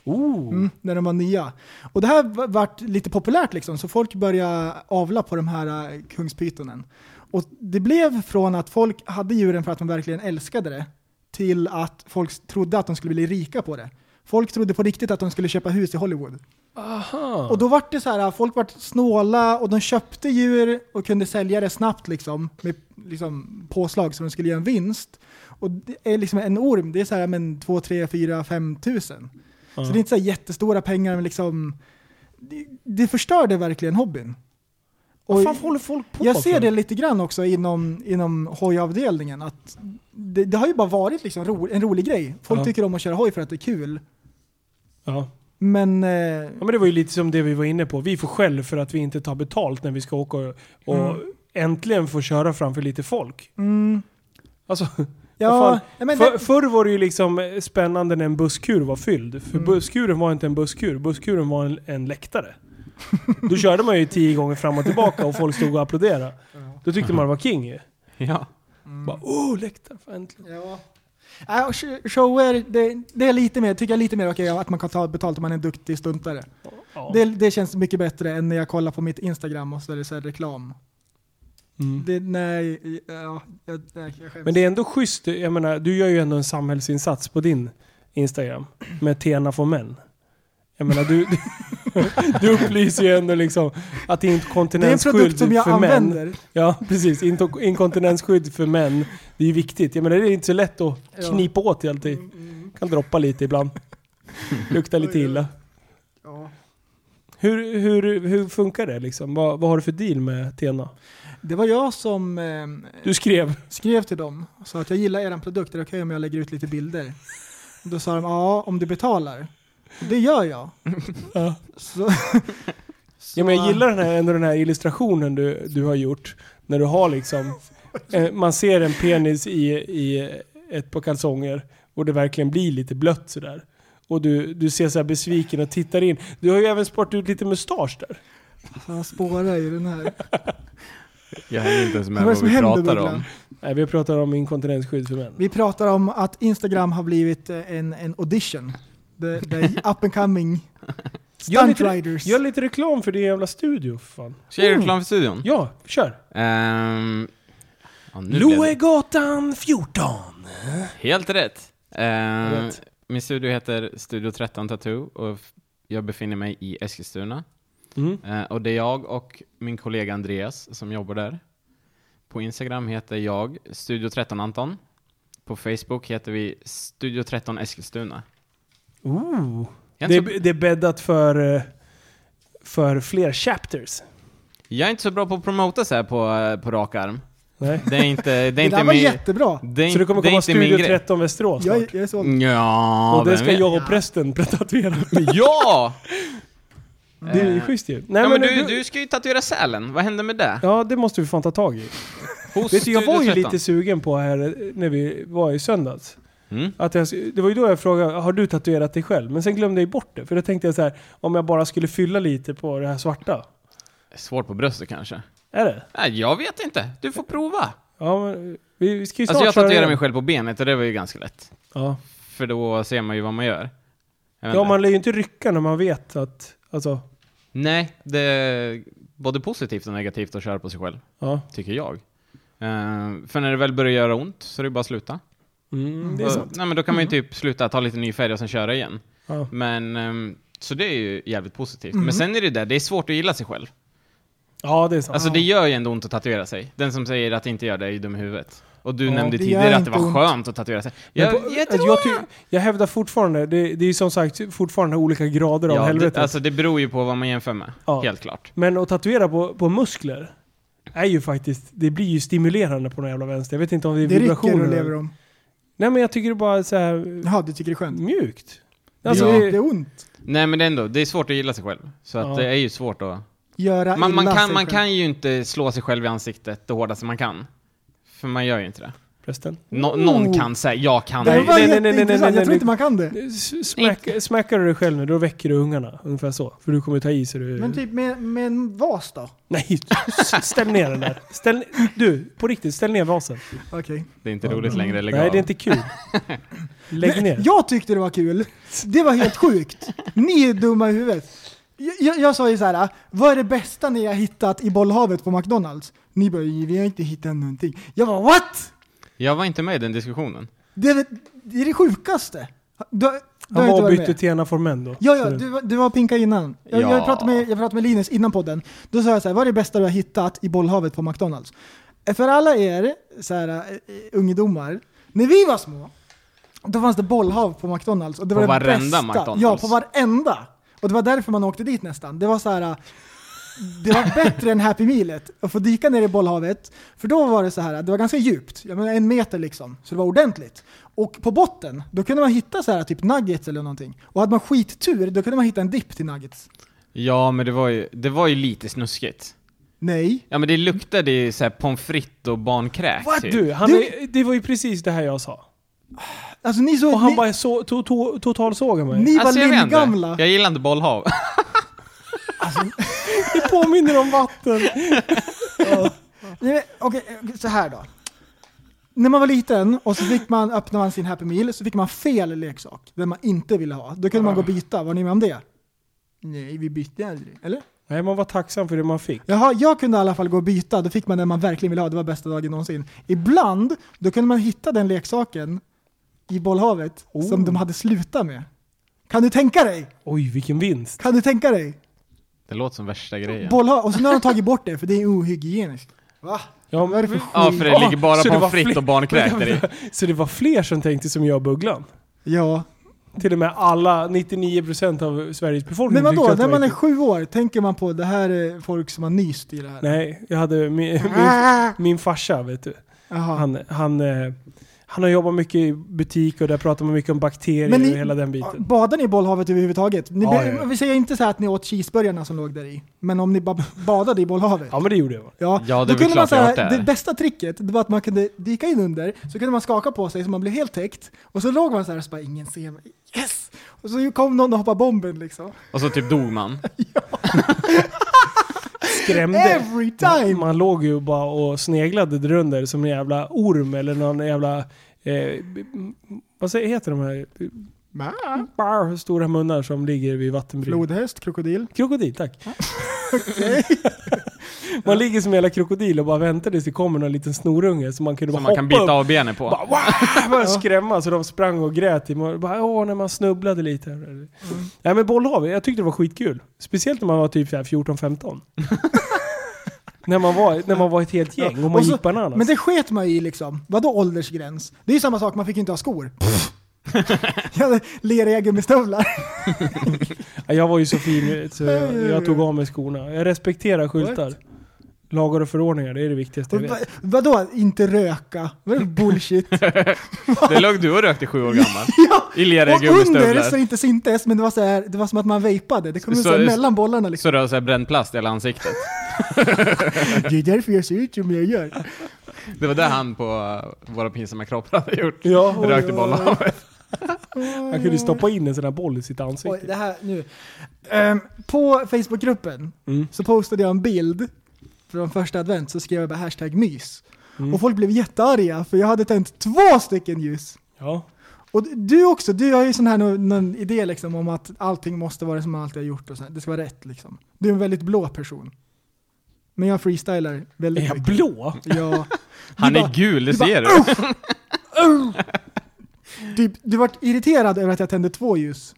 [SPEAKER 2] Oh.
[SPEAKER 3] Mm, när de var nya. Och det här v- vart lite populärt liksom, så folk började avla på de här eh, kungspytonen. Och det blev från att folk hade djuren för att de verkligen älskade det, till att folk trodde att de skulle bli rika på det. Folk trodde på riktigt att de skulle köpa hus i Hollywood.
[SPEAKER 2] Aha.
[SPEAKER 3] Och då vart det så här, folk vart snåla och de köpte djur och kunde sälja det snabbt liksom, med liksom, påslag så de skulle göra en vinst. Och det är liksom en orm, det är så här men 2, 3, 4, 5 tusen. Så det är inte så här jättestora pengar men liksom, det, det förstörde verkligen hobbyn.
[SPEAKER 2] Vad fan håller folk på
[SPEAKER 3] Jag ser
[SPEAKER 2] för?
[SPEAKER 3] det lite grann också inom, inom hojavdelningen. Att det, det har ju bara varit liksom ro, en rolig grej. Folk
[SPEAKER 2] Ja.
[SPEAKER 3] tycker om att köra hoj för att det är kul.
[SPEAKER 2] Ja.
[SPEAKER 3] Men eh,
[SPEAKER 2] ja, men det var ju lite som det vi var inne på. Vi får skäll för att vi inte tar betalt när vi ska
[SPEAKER 3] Mm.
[SPEAKER 2] åka och, och äntligen få köra framför lite folk. Alltså, Vad
[SPEAKER 3] Ja,
[SPEAKER 2] fan,
[SPEAKER 3] nej, men
[SPEAKER 2] för,
[SPEAKER 3] det,
[SPEAKER 2] förr var det ju liksom spännande när en busskur var fylld.
[SPEAKER 3] Mm.
[SPEAKER 2] För busskuren var inte en busskur, busskuren var en, en läktare. Då körde man ju tio gånger fram och tillbaka och folk stod och applåderade. Då tyckte man det var king ju.
[SPEAKER 4] Ja.
[SPEAKER 2] Bara oh, läktare, fan, äntligen.
[SPEAKER 3] ja. Äh, och sh- shower, det, det är lite mer, tycker jag lite mer okej att man kan ta betalt om man är en duktig stuntare.
[SPEAKER 2] Ja.
[SPEAKER 3] Det, det känns mycket bättre än när jag kollar på mitt Instagram och så är det så här reklam.
[SPEAKER 2] Mm.
[SPEAKER 3] Det, nej, ja, jag, nej, jag skäms.
[SPEAKER 2] Men det är ändå schysst, jag menar, du gör ju ändå en samhällsinsats på din Instagram. Med Tena för män. Jag menar, du, du, du upplyser ju ändå liksom att
[SPEAKER 3] det är en produkt
[SPEAKER 2] inkontinensskydd
[SPEAKER 3] som jag
[SPEAKER 2] för män
[SPEAKER 3] använder.
[SPEAKER 2] Ja, precis. Into- Inkontinensskydd för män. Det är ju viktigt. Jag menar, det är inte så lätt att
[SPEAKER 3] Ja. Mm,
[SPEAKER 2] knipa åt i alltid. Kan droppa lite ibland. Lukta lite illa.
[SPEAKER 3] Ja.
[SPEAKER 2] Hur, hur, hur funkar det liksom? Vad, vad har du för deal med Tena?
[SPEAKER 3] Det var jag som eh,
[SPEAKER 2] Du skrev.
[SPEAKER 3] skrev till dem och sa att jag gillar er produkt, är det okej om jag lägger ut lite bilder? Då sa de ja, om du betalar. Det gör jag.
[SPEAKER 2] Ja.
[SPEAKER 3] Så,
[SPEAKER 2] Ja, men jag gillar den här, ändå den här illustrationen du, du har gjort. När du har liksom... eh, Man ser en penis i, i ett par kalsonger och det verkligen blir lite blött sådär. Och du, du ser så här besviken och tittar in. Du har ju även sparat ut lite mustasch där.
[SPEAKER 3] Han spårar i den här.
[SPEAKER 4] Jag hänger inte ens
[SPEAKER 3] Vad
[SPEAKER 4] med
[SPEAKER 3] är det
[SPEAKER 4] vad,
[SPEAKER 3] som
[SPEAKER 4] vi
[SPEAKER 3] händer,
[SPEAKER 4] pratar
[SPEAKER 3] Bubblan?
[SPEAKER 4] om.
[SPEAKER 2] Nej, vi pratar om inkontinensskydd för män.
[SPEAKER 3] Vi pratar om att Instagram har blivit eh, en, en audition. The, the up and coming
[SPEAKER 2] Gör lite,
[SPEAKER 3] stuntriders.
[SPEAKER 2] gör lite reklam för din jävla studio, för fan.
[SPEAKER 4] Ska jag göra reklam för studion?
[SPEAKER 2] Ja, kör!
[SPEAKER 4] Ehm, ja, nu blev det-
[SPEAKER 2] Loegatan 14!
[SPEAKER 4] Helt rätt. Ehm,
[SPEAKER 2] Rätt.
[SPEAKER 4] Min studio heter Studio 13 Tattoo och f- jag befinner mig i Eskilstuna.
[SPEAKER 2] Mm.
[SPEAKER 4] Eh, och det är jag och min kollega Andreas som jobbar där. På Instagram heter jag Studio 13 Anton. På Facebook heter vi Studio 13 Eskilstuna.
[SPEAKER 2] Ooh.
[SPEAKER 4] Jag
[SPEAKER 2] Det,
[SPEAKER 4] är,
[SPEAKER 2] är,
[SPEAKER 4] inte så,
[SPEAKER 2] det är bäddat för, eh, för fler chapters.
[SPEAKER 4] jag är inte så bra på att promota så här på, eh, på rak arm.
[SPEAKER 2] Nej.
[SPEAKER 4] Det är inte, det är
[SPEAKER 3] det
[SPEAKER 4] inte
[SPEAKER 3] där var
[SPEAKER 4] min...
[SPEAKER 3] jättebra.
[SPEAKER 4] Det är,
[SPEAKER 2] Så det kommer
[SPEAKER 4] det är
[SPEAKER 2] komma
[SPEAKER 4] inte min
[SPEAKER 2] Studio
[SPEAKER 4] grej.
[SPEAKER 2] 13 Västerås
[SPEAKER 3] Jag,
[SPEAKER 2] snart.
[SPEAKER 3] jag är såld.
[SPEAKER 4] Ja,
[SPEAKER 2] och det
[SPEAKER 4] vem
[SPEAKER 2] ska
[SPEAKER 4] vet?
[SPEAKER 2] jag och prästen tatuera.
[SPEAKER 4] Ja!
[SPEAKER 2] Det är ju schysst ju. Nej,
[SPEAKER 4] ja men du, du ska ju tatuera Sälen, vad hände med det?
[SPEAKER 2] Ja, det måste vi fan ta tag i.
[SPEAKER 4] Hos
[SPEAKER 2] Vet du, jag
[SPEAKER 4] Studio
[SPEAKER 2] var ju
[SPEAKER 4] 13.
[SPEAKER 2] lite sugen på här eh, när vi var i söndags.
[SPEAKER 4] Mm.
[SPEAKER 2] Att jag, det var ju då jag frågade, har du tatuerat dig själv? Men sen glömde jag ju bort det. För då tänkte jag så här, om jag bara skulle fylla lite på det här svarta.
[SPEAKER 4] Svårt på bröstet kanske?
[SPEAKER 2] Är det?
[SPEAKER 4] Nej, jag vet inte. Du får prova.
[SPEAKER 2] Ja, men vi, vi ska ju snart
[SPEAKER 4] Alltså jag
[SPEAKER 2] köra
[SPEAKER 4] tatuerade
[SPEAKER 2] igen.
[SPEAKER 4] mig själv på benet och det var ju ganska lätt.
[SPEAKER 2] Ja,
[SPEAKER 4] För då ser man ju vad man gör. Jag vet
[SPEAKER 2] ja
[SPEAKER 4] inte.
[SPEAKER 2] man lär ju inte rycka när man vet att, alltså,
[SPEAKER 4] Nej, det är både positivt och negativt att köra på sig själv,
[SPEAKER 2] ja.
[SPEAKER 4] tycker jag. Eh, för när det väl börjar göra ont så är det bara att sluta.
[SPEAKER 2] Mm, det är
[SPEAKER 4] Och-
[SPEAKER 2] sant. Mm.
[SPEAKER 4] Nej men då kan man ju typ sluta, ta lite ny färg och sen köra igen.
[SPEAKER 2] Ja.
[SPEAKER 4] Men, ehm, så det är ju jävligt positivt.
[SPEAKER 2] Mm.
[SPEAKER 4] Men sen är det där, det är svårt att gilla sig själv.
[SPEAKER 2] ja, det är sant.
[SPEAKER 4] Alltså det gör ju ändå ont att tatuera sig. Den som säger att det inte gör det är ju dum i huvudet. Och du
[SPEAKER 2] Ja,
[SPEAKER 4] nämnde
[SPEAKER 3] det
[SPEAKER 4] tidigare
[SPEAKER 3] gör
[SPEAKER 4] att det
[SPEAKER 3] inte
[SPEAKER 4] var
[SPEAKER 3] ont.
[SPEAKER 4] skönt att tatuera sig.
[SPEAKER 2] Men
[SPEAKER 4] Jag,
[SPEAKER 2] på-
[SPEAKER 4] jag
[SPEAKER 2] alltså,
[SPEAKER 4] tror
[SPEAKER 2] jag, ty- jag hävdar fortfarande, det, det är ju som sagt fortfarande olika grader av
[SPEAKER 4] ja,
[SPEAKER 2] helvetet.
[SPEAKER 4] det, alltså det beror ju på vad man jämför med.
[SPEAKER 2] Ja.
[SPEAKER 4] Helt klart.
[SPEAKER 2] Men att tatuera på, på muskler är ju faktiskt, det blir ju stimulerande på den jävla vänster. Jag vet inte om det är
[SPEAKER 3] Det rycker
[SPEAKER 2] vibrationer.
[SPEAKER 3] och lever om.
[SPEAKER 2] Nej men jag tycker det bara är så här eh,
[SPEAKER 3] Jaha, du tycker det är skönt?
[SPEAKER 2] mjukt. Alltså,
[SPEAKER 4] Ja.
[SPEAKER 2] det-
[SPEAKER 3] Det är ont.
[SPEAKER 4] Nej men det är ändå, det är svårt att gilla sig själv. Så att
[SPEAKER 2] Ja.
[SPEAKER 4] det är ju svårt att...
[SPEAKER 3] Göra
[SPEAKER 4] Man, man,
[SPEAKER 3] illa
[SPEAKER 4] kan,
[SPEAKER 3] sig
[SPEAKER 4] man
[SPEAKER 3] själv.
[SPEAKER 4] kan ju inte slå sig själv i ansiktet det hårdaste man kan. För man gör ju inte det.
[SPEAKER 2] Förresten.
[SPEAKER 4] Nå- Någon kan säga, jag kan
[SPEAKER 3] Det
[SPEAKER 2] Nej,
[SPEAKER 3] var
[SPEAKER 2] nej, nej, nej,
[SPEAKER 3] jätteintressant.
[SPEAKER 2] nej, nej,
[SPEAKER 3] Jag tror
[SPEAKER 2] nej.
[SPEAKER 3] inte man kan det.
[SPEAKER 2] S- Smack, smackar du dig själv nu, då väcker du ungarna. Ungefär så. För du kommer ta i så du...
[SPEAKER 3] Men typ med, med en vas då?
[SPEAKER 2] Nej, s- ställ ner den där. Ställ, du, på riktigt, ställ ner vasen.
[SPEAKER 3] Okej.
[SPEAKER 4] Det är inte roligt längre, lägg
[SPEAKER 2] Mm. Nej,
[SPEAKER 4] av.
[SPEAKER 2] det är inte kul. Lägg ner.
[SPEAKER 3] Jag tyckte det var kul. Det var helt sjukt. Ni är dumma i huvudet. Jag, jag, jag sa ju så här, "Ah, vad är det bästa ni har hittat i bollhavet på McDonalds? Ni bara, vi har inte hittat någonting. Jag bara, what?
[SPEAKER 4] Jag var inte med i den diskussionen.
[SPEAKER 3] Det är det, det, är det sjukaste. Du, du
[SPEAKER 2] Han
[SPEAKER 3] har inte
[SPEAKER 2] var och
[SPEAKER 3] varit
[SPEAKER 2] bytte
[SPEAKER 3] med.
[SPEAKER 2] till ena formen då.
[SPEAKER 3] Ja,
[SPEAKER 2] Så
[SPEAKER 3] ja,
[SPEAKER 2] det-
[SPEAKER 3] du, var- du var pinka innan. Jag,
[SPEAKER 4] Ja.
[SPEAKER 3] jag, pratade med, jag pratade med Linus innan podden. Då sa jag så här, vad är det bästa du har hittat i bollhavet på McDonalds? För alla er så här, eh, ungdomar, när vi var små, då fanns det bollhav på McDonalds. Och det
[SPEAKER 4] På
[SPEAKER 3] var det
[SPEAKER 4] varenda
[SPEAKER 3] bästa.
[SPEAKER 4] McDonald's.
[SPEAKER 3] Ja, på varenda. Och det var därför man åkte dit nästan. Det var så här... eh, Det var bättre än Happy Mealet att få dyka ner i bollhavet. För då var det så här, det var ganska djupt, jag menar en meter liksom, så det var ordentligt. Och på botten, då kunde man hitta så här typ nuggets eller någonting. Och hade man skittur, då kunde man hitta en dipp till nuggets.
[SPEAKER 4] Ja, men det var ju, det var ju lite snuskigt.
[SPEAKER 3] Nej.
[SPEAKER 4] Ja men det luktade ju såhär pommes frites och barnkräk
[SPEAKER 3] Vad
[SPEAKER 4] typ.
[SPEAKER 2] Du, han
[SPEAKER 3] Du-
[SPEAKER 2] Är, det var ju precis det här jag sa.
[SPEAKER 3] Alltså ni såg...
[SPEAKER 2] Och han
[SPEAKER 3] ni,
[SPEAKER 2] bara så, to, to, totalsågar mig.
[SPEAKER 3] ni var
[SPEAKER 4] Alltså, jag vet inte.
[SPEAKER 3] lillgamla.
[SPEAKER 4] Jag gillar inte bollhav.
[SPEAKER 2] Det påminner om vatten.
[SPEAKER 3] Nej, men, Okej, så här då. När man var liten och så fick man, öppnade man sin Happy Meal så fick man fel leksak, den man inte ville ha. Då kunde man gå och byta, var ni med om det? Nej, vi bytte aldrig. Eller?
[SPEAKER 2] Nej, man var tacksam för det man fick.
[SPEAKER 3] Jaha, jag kunde i alla fall gå och byta, då fick man den man verkligen ville ha, det var bästa dagen någonsin. Ibland, då kunde man hitta den leksaken i bollhavet
[SPEAKER 2] Oh.
[SPEAKER 3] som de hade slutat med. Kan du tänka dig?
[SPEAKER 2] Oj, vilken vinst.
[SPEAKER 3] Kan du tänka dig?
[SPEAKER 4] Det låter som värsta grejen.
[SPEAKER 3] Bollhavet, och så nu har de tagit bort det för det är ohygieniskt. Va?
[SPEAKER 2] Ja,
[SPEAKER 3] Vad är det för skit?
[SPEAKER 4] Mm. Ja för det ligger bara
[SPEAKER 2] så det var
[SPEAKER 4] pommes frites
[SPEAKER 2] fler-
[SPEAKER 4] och barnkräk där i.
[SPEAKER 2] Så det var fler som tänkte som jag och Bugglan? Mm,
[SPEAKER 3] Ja.
[SPEAKER 2] Till och med alla 99% av Sveriges befolkning
[SPEAKER 3] Men vadå,
[SPEAKER 2] tyckte att det
[SPEAKER 3] när
[SPEAKER 2] var
[SPEAKER 3] man är
[SPEAKER 2] äckligt.
[SPEAKER 3] sju år, tänker man på det här är folk som har nyst i det här?
[SPEAKER 2] Nej, jag hade min, min,
[SPEAKER 3] Ah!
[SPEAKER 2] min farsa, vet du.
[SPEAKER 3] Jaha.
[SPEAKER 2] Han, han, eh, han har jobbat mycket i butik och där pratar man mycket om bakterier
[SPEAKER 3] Men ni-
[SPEAKER 2] och hela den biten.
[SPEAKER 3] Badar ni i bollhavet överhuvudtaget? Ni,
[SPEAKER 2] Ja,
[SPEAKER 3] be-
[SPEAKER 2] ja, ja.
[SPEAKER 3] Vi säger inte så här att ni åt cheeseburgarna som låg där i, men om ni ba badade i bollhavet?
[SPEAKER 2] Ja men det gjorde jag.
[SPEAKER 3] Ja,
[SPEAKER 4] Ja, det är
[SPEAKER 3] då
[SPEAKER 4] väl
[SPEAKER 3] kunde man
[SPEAKER 4] klart jag
[SPEAKER 3] säga,
[SPEAKER 4] har varit
[SPEAKER 3] det.
[SPEAKER 4] där.
[SPEAKER 3] bästa tricket det var att man kunde dyka in under, så kunde man skaka på sig så man blev helt täckt. Och så låg man så här och så bara ingen ser mig. Yes! Och så kom någon och hoppade bomben liksom.
[SPEAKER 4] Och så typ dog man.
[SPEAKER 2] Skrämde.
[SPEAKER 3] Every time!
[SPEAKER 2] Man låg ju bara och sneglade där under som en jävla orm eller någon jävla... Eh, vad säger, heter de här
[SPEAKER 3] Ma-
[SPEAKER 2] Bar, stora munnar som ligger vid vattenbryn?
[SPEAKER 3] Flodhäst, krokodil.
[SPEAKER 2] Krokodil, tack. man ligger som en jävla krokodil och bara väntar tills det kommer någon liten snorunge som man kunde
[SPEAKER 4] Som
[SPEAKER 2] bara
[SPEAKER 4] man kan bita
[SPEAKER 2] hoppa upp.
[SPEAKER 4] av benen på.
[SPEAKER 2] Bara, "Wah!" bara skrämma så de sprang och grät i morgon. Bara, Åh, när man snubblade lite.
[SPEAKER 3] Mm.
[SPEAKER 2] Nej men bollhav, jag tyckte det var skitkul. Speciellt när man var typ så här 14-15. när, man var, när man var ett helt gäng och man
[SPEAKER 3] Och så-
[SPEAKER 2] gick bananas.
[SPEAKER 3] Men det sket man ju i liksom. Vadå åldersgräns? Det är ju samma sak, man fick ju inte ha skor. jag hade leriga gummistövlar.
[SPEAKER 2] Ja, Jag var ju så fin ut, så jag, jag tog av mig skorna. Jag respekterar skyltar. Lagar och förordningar, det är det viktigaste jag
[SPEAKER 3] Och
[SPEAKER 2] vet.
[SPEAKER 3] va- Vadå inte röka? Vad är det för bullshit?
[SPEAKER 4] Det låg du och rökte sju år gammal.
[SPEAKER 3] ja.
[SPEAKER 4] I
[SPEAKER 3] Och
[SPEAKER 4] leriga
[SPEAKER 3] under så
[SPEAKER 4] gummistövlar.
[SPEAKER 3] det inte syntes, men det var, så här, det var som att man vejpade. Det kom
[SPEAKER 4] Så-
[SPEAKER 3] så, här
[SPEAKER 4] så-
[SPEAKER 3] mellan bollarna liksom.
[SPEAKER 4] Så du har såhär bränd plast i hela ansiktet.
[SPEAKER 3] Det är därför jag ser ut som jag gör.
[SPEAKER 4] Det var det han på eh, Våra pinsamma kroppar hade gjort.
[SPEAKER 2] Ja, oj,
[SPEAKER 4] Rökte
[SPEAKER 2] oj,
[SPEAKER 4] bollhavet.
[SPEAKER 2] Han kunde ju stoppa in en sån där boll i sitt ansikte.
[SPEAKER 3] Oj, det här nu. Ehm, på Facebookgruppen så postade jag en bild från första advent, så skrev jag bara hashtag mys. Och folk blev jättearga, för jag hade tänt två stycken ljus.
[SPEAKER 2] Ja.
[SPEAKER 3] Och du också, du har ju sån här någon, någon idé liksom om att allting måste vara som man alltid har gjort och så här. det ska vara rätt liksom. Du är en väldigt blå person. Men jag freestylar
[SPEAKER 2] Är
[SPEAKER 3] väldigt
[SPEAKER 2] jag
[SPEAKER 3] mycket.
[SPEAKER 2] blå?
[SPEAKER 3] Ja.
[SPEAKER 4] Han
[SPEAKER 3] Du
[SPEAKER 4] är
[SPEAKER 3] bara-
[SPEAKER 4] gul, det
[SPEAKER 3] du bara,
[SPEAKER 4] ser du.
[SPEAKER 3] Du, typ, du vart irriterad över att jag tände två ljus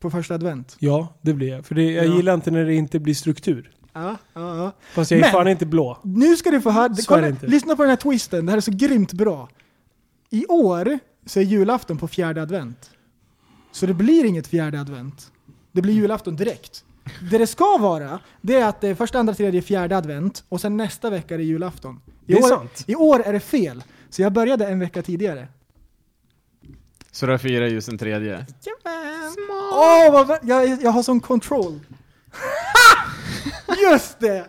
[SPEAKER 3] på första advent.
[SPEAKER 2] Ja, det blir jag. För det, jag
[SPEAKER 3] Ja.
[SPEAKER 2] gillar inte när det inte blir struktur.
[SPEAKER 3] Ja, ja, ja.
[SPEAKER 2] Fast jag är
[SPEAKER 3] Men-
[SPEAKER 2] fan inte blå.
[SPEAKER 3] Nu ska du få höra,
[SPEAKER 2] Så är det
[SPEAKER 3] kolla,
[SPEAKER 2] inte.
[SPEAKER 3] lyssna på den här twisten, det här är så grymt bra. I år så är julafton på fjärde advent. Så det blir inget fjärde advent. Det blir julafton direkt. Det det ska vara, det är att det är första, andra, tredje, fjärde advent och sen nästa vecka är det julafton. I
[SPEAKER 2] Det är
[SPEAKER 3] år,
[SPEAKER 2] sant.
[SPEAKER 3] I år är det fel, så jag började en vecka tidigare.
[SPEAKER 4] Så du har fyra ljus en tredje.
[SPEAKER 3] Åh, vad vä- jag, jag har sån control. Just det!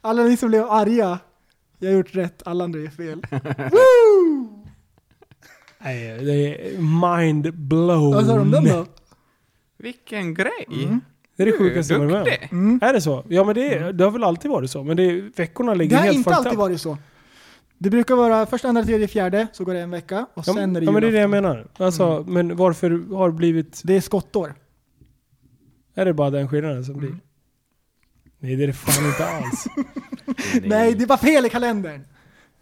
[SPEAKER 3] Alla ni som blev arga, jag har gjort rätt, alla andra är fel.
[SPEAKER 2] Nej, det är mind blown.
[SPEAKER 3] Vad sa de om den då?
[SPEAKER 4] Vilken grej!
[SPEAKER 2] Mm. Det är det
[SPEAKER 4] Du är
[SPEAKER 2] sjukaste jag varit med
[SPEAKER 4] duktig.
[SPEAKER 2] om. Är det så? Ja men det, är, det har väl alltid varit så. Men det, är- veckorna ligger
[SPEAKER 3] Det har
[SPEAKER 2] helt
[SPEAKER 3] inte
[SPEAKER 2] fucked
[SPEAKER 3] alltid
[SPEAKER 2] up.
[SPEAKER 3] varit så. Det brukar vara första, andra, tredje, fjärde, så går det en vecka och
[SPEAKER 2] Ja,
[SPEAKER 3] sen är det
[SPEAKER 2] ja men det är det jag
[SPEAKER 3] julafton. Mm.
[SPEAKER 2] menar. Alltså, men varför har det blivit...
[SPEAKER 3] Det är skottår.
[SPEAKER 2] Är det bara den skillnaden som
[SPEAKER 3] Mm.
[SPEAKER 2] blir? Nej det är det fan inte alls.
[SPEAKER 3] Nej, det är bara fel i kalendern.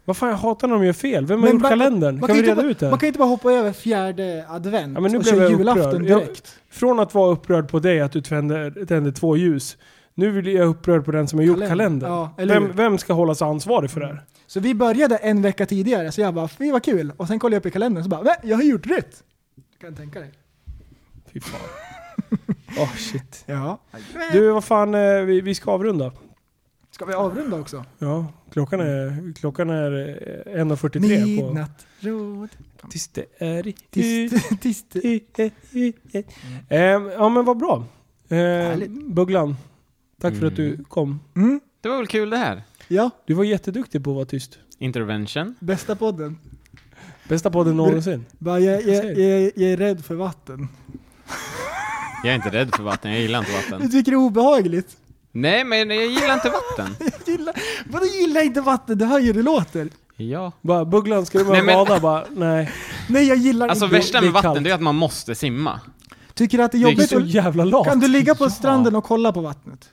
[SPEAKER 2] Vad fan jag hatar när de gör fel. Vem har gjort
[SPEAKER 3] man-
[SPEAKER 2] kalendern?
[SPEAKER 3] man
[SPEAKER 2] kan vi
[SPEAKER 3] inte
[SPEAKER 2] reda
[SPEAKER 3] bara,
[SPEAKER 2] ut det? här?
[SPEAKER 3] Man kan inte bara hoppa över fjärde advent
[SPEAKER 2] Ja, men nu
[SPEAKER 3] och
[SPEAKER 2] blev
[SPEAKER 3] köra
[SPEAKER 2] jag
[SPEAKER 3] julafton
[SPEAKER 2] upprörd. Jag-
[SPEAKER 3] direkt.
[SPEAKER 2] Från att vara upprörd på dig att du tände, tände två ljus. Nu blir jag upprörd på den som har gjort
[SPEAKER 3] Kalender.
[SPEAKER 2] kalendern.
[SPEAKER 3] Ja, eller hur? Mm.
[SPEAKER 2] vem, vem ska hållas ansvarig för det här?
[SPEAKER 3] Så vi började en vecka tidigare, så jag bara fy vad kul. Och sen kollade jag upp i kalendern så bara "Va? jag har gjort rätt. Du kan tänka dig.
[SPEAKER 2] Fy fan. Åh shit.
[SPEAKER 3] Ja.
[SPEAKER 2] Du, vad fan, eh, vi, vi ska avrunda.
[SPEAKER 3] Ska vi avrunda också?
[SPEAKER 2] Ja, klockan är, klockan är eh, 1.43 på...
[SPEAKER 3] Midnattråd.
[SPEAKER 2] Tills det är...
[SPEAKER 3] Tyst, tyst.
[SPEAKER 2] Eh, Ja men vad bra. Eh,
[SPEAKER 3] Härligt.
[SPEAKER 2] Bugglan, tack för att du kom.
[SPEAKER 3] Mm.
[SPEAKER 4] Det var väl kul det här?
[SPEAKER 3] Ja,
[SPEAKER 2] Du var jätteduktig på att vara tyst.
[SPEAKER 4] Intervention.
[SPEAKER 3] bästa podden.
[SPEAKER 2] Bästa podden någonsin.
[SPEAKER 3] Bara, jag, jag,
[SPEAKER 2] ser.
[SPEAKER 3] jag, jag är rädd för vatten.
[SPEAKER 4] Jag är inte rädd för vatten, jag gillar inte
[SPEAKER 3] Du
[SPEAKER 4] vatten.
[SPEAKER 3] tycker det är obehagligt?
[SPEAKER 4] Nej, men jag gillar inte vatten.
[SPEAKER 3] Gilla, vadå gillar inte vatten? Du hör ju hur det låter.
[SPEAKER 4] Ja.
[SPEAKER 2] Bara, Bugglan, ska du börja
[SPEAKER 4] Nej, men-
[SPEAKER 2] bada? Bara, nej.
[SPEAKER 3] Nej jag gillar
[SPEAKER 4] Alltså
[SPEAKER 3] inte.
[SPEAKER 4] värsta
[SPEAKER 2] det är
[SPEAKER 4] med vatten,
[SPEAKER 2] kallt.
[SPEAKER 4] det är att man måste simma.
[SPEAKER 3] Tycker du att det är
[SPEAKER 4] Det är
[SPEAKER 2] Du är
[SPEAKER 3] jobbigt?
[SPEAKER 2] så
[SPEAKER 3] att-
[SPEAKER 2] jävla lat.
[SPEAKER 3] Kan du ligga på stranden och kolla på vattnet?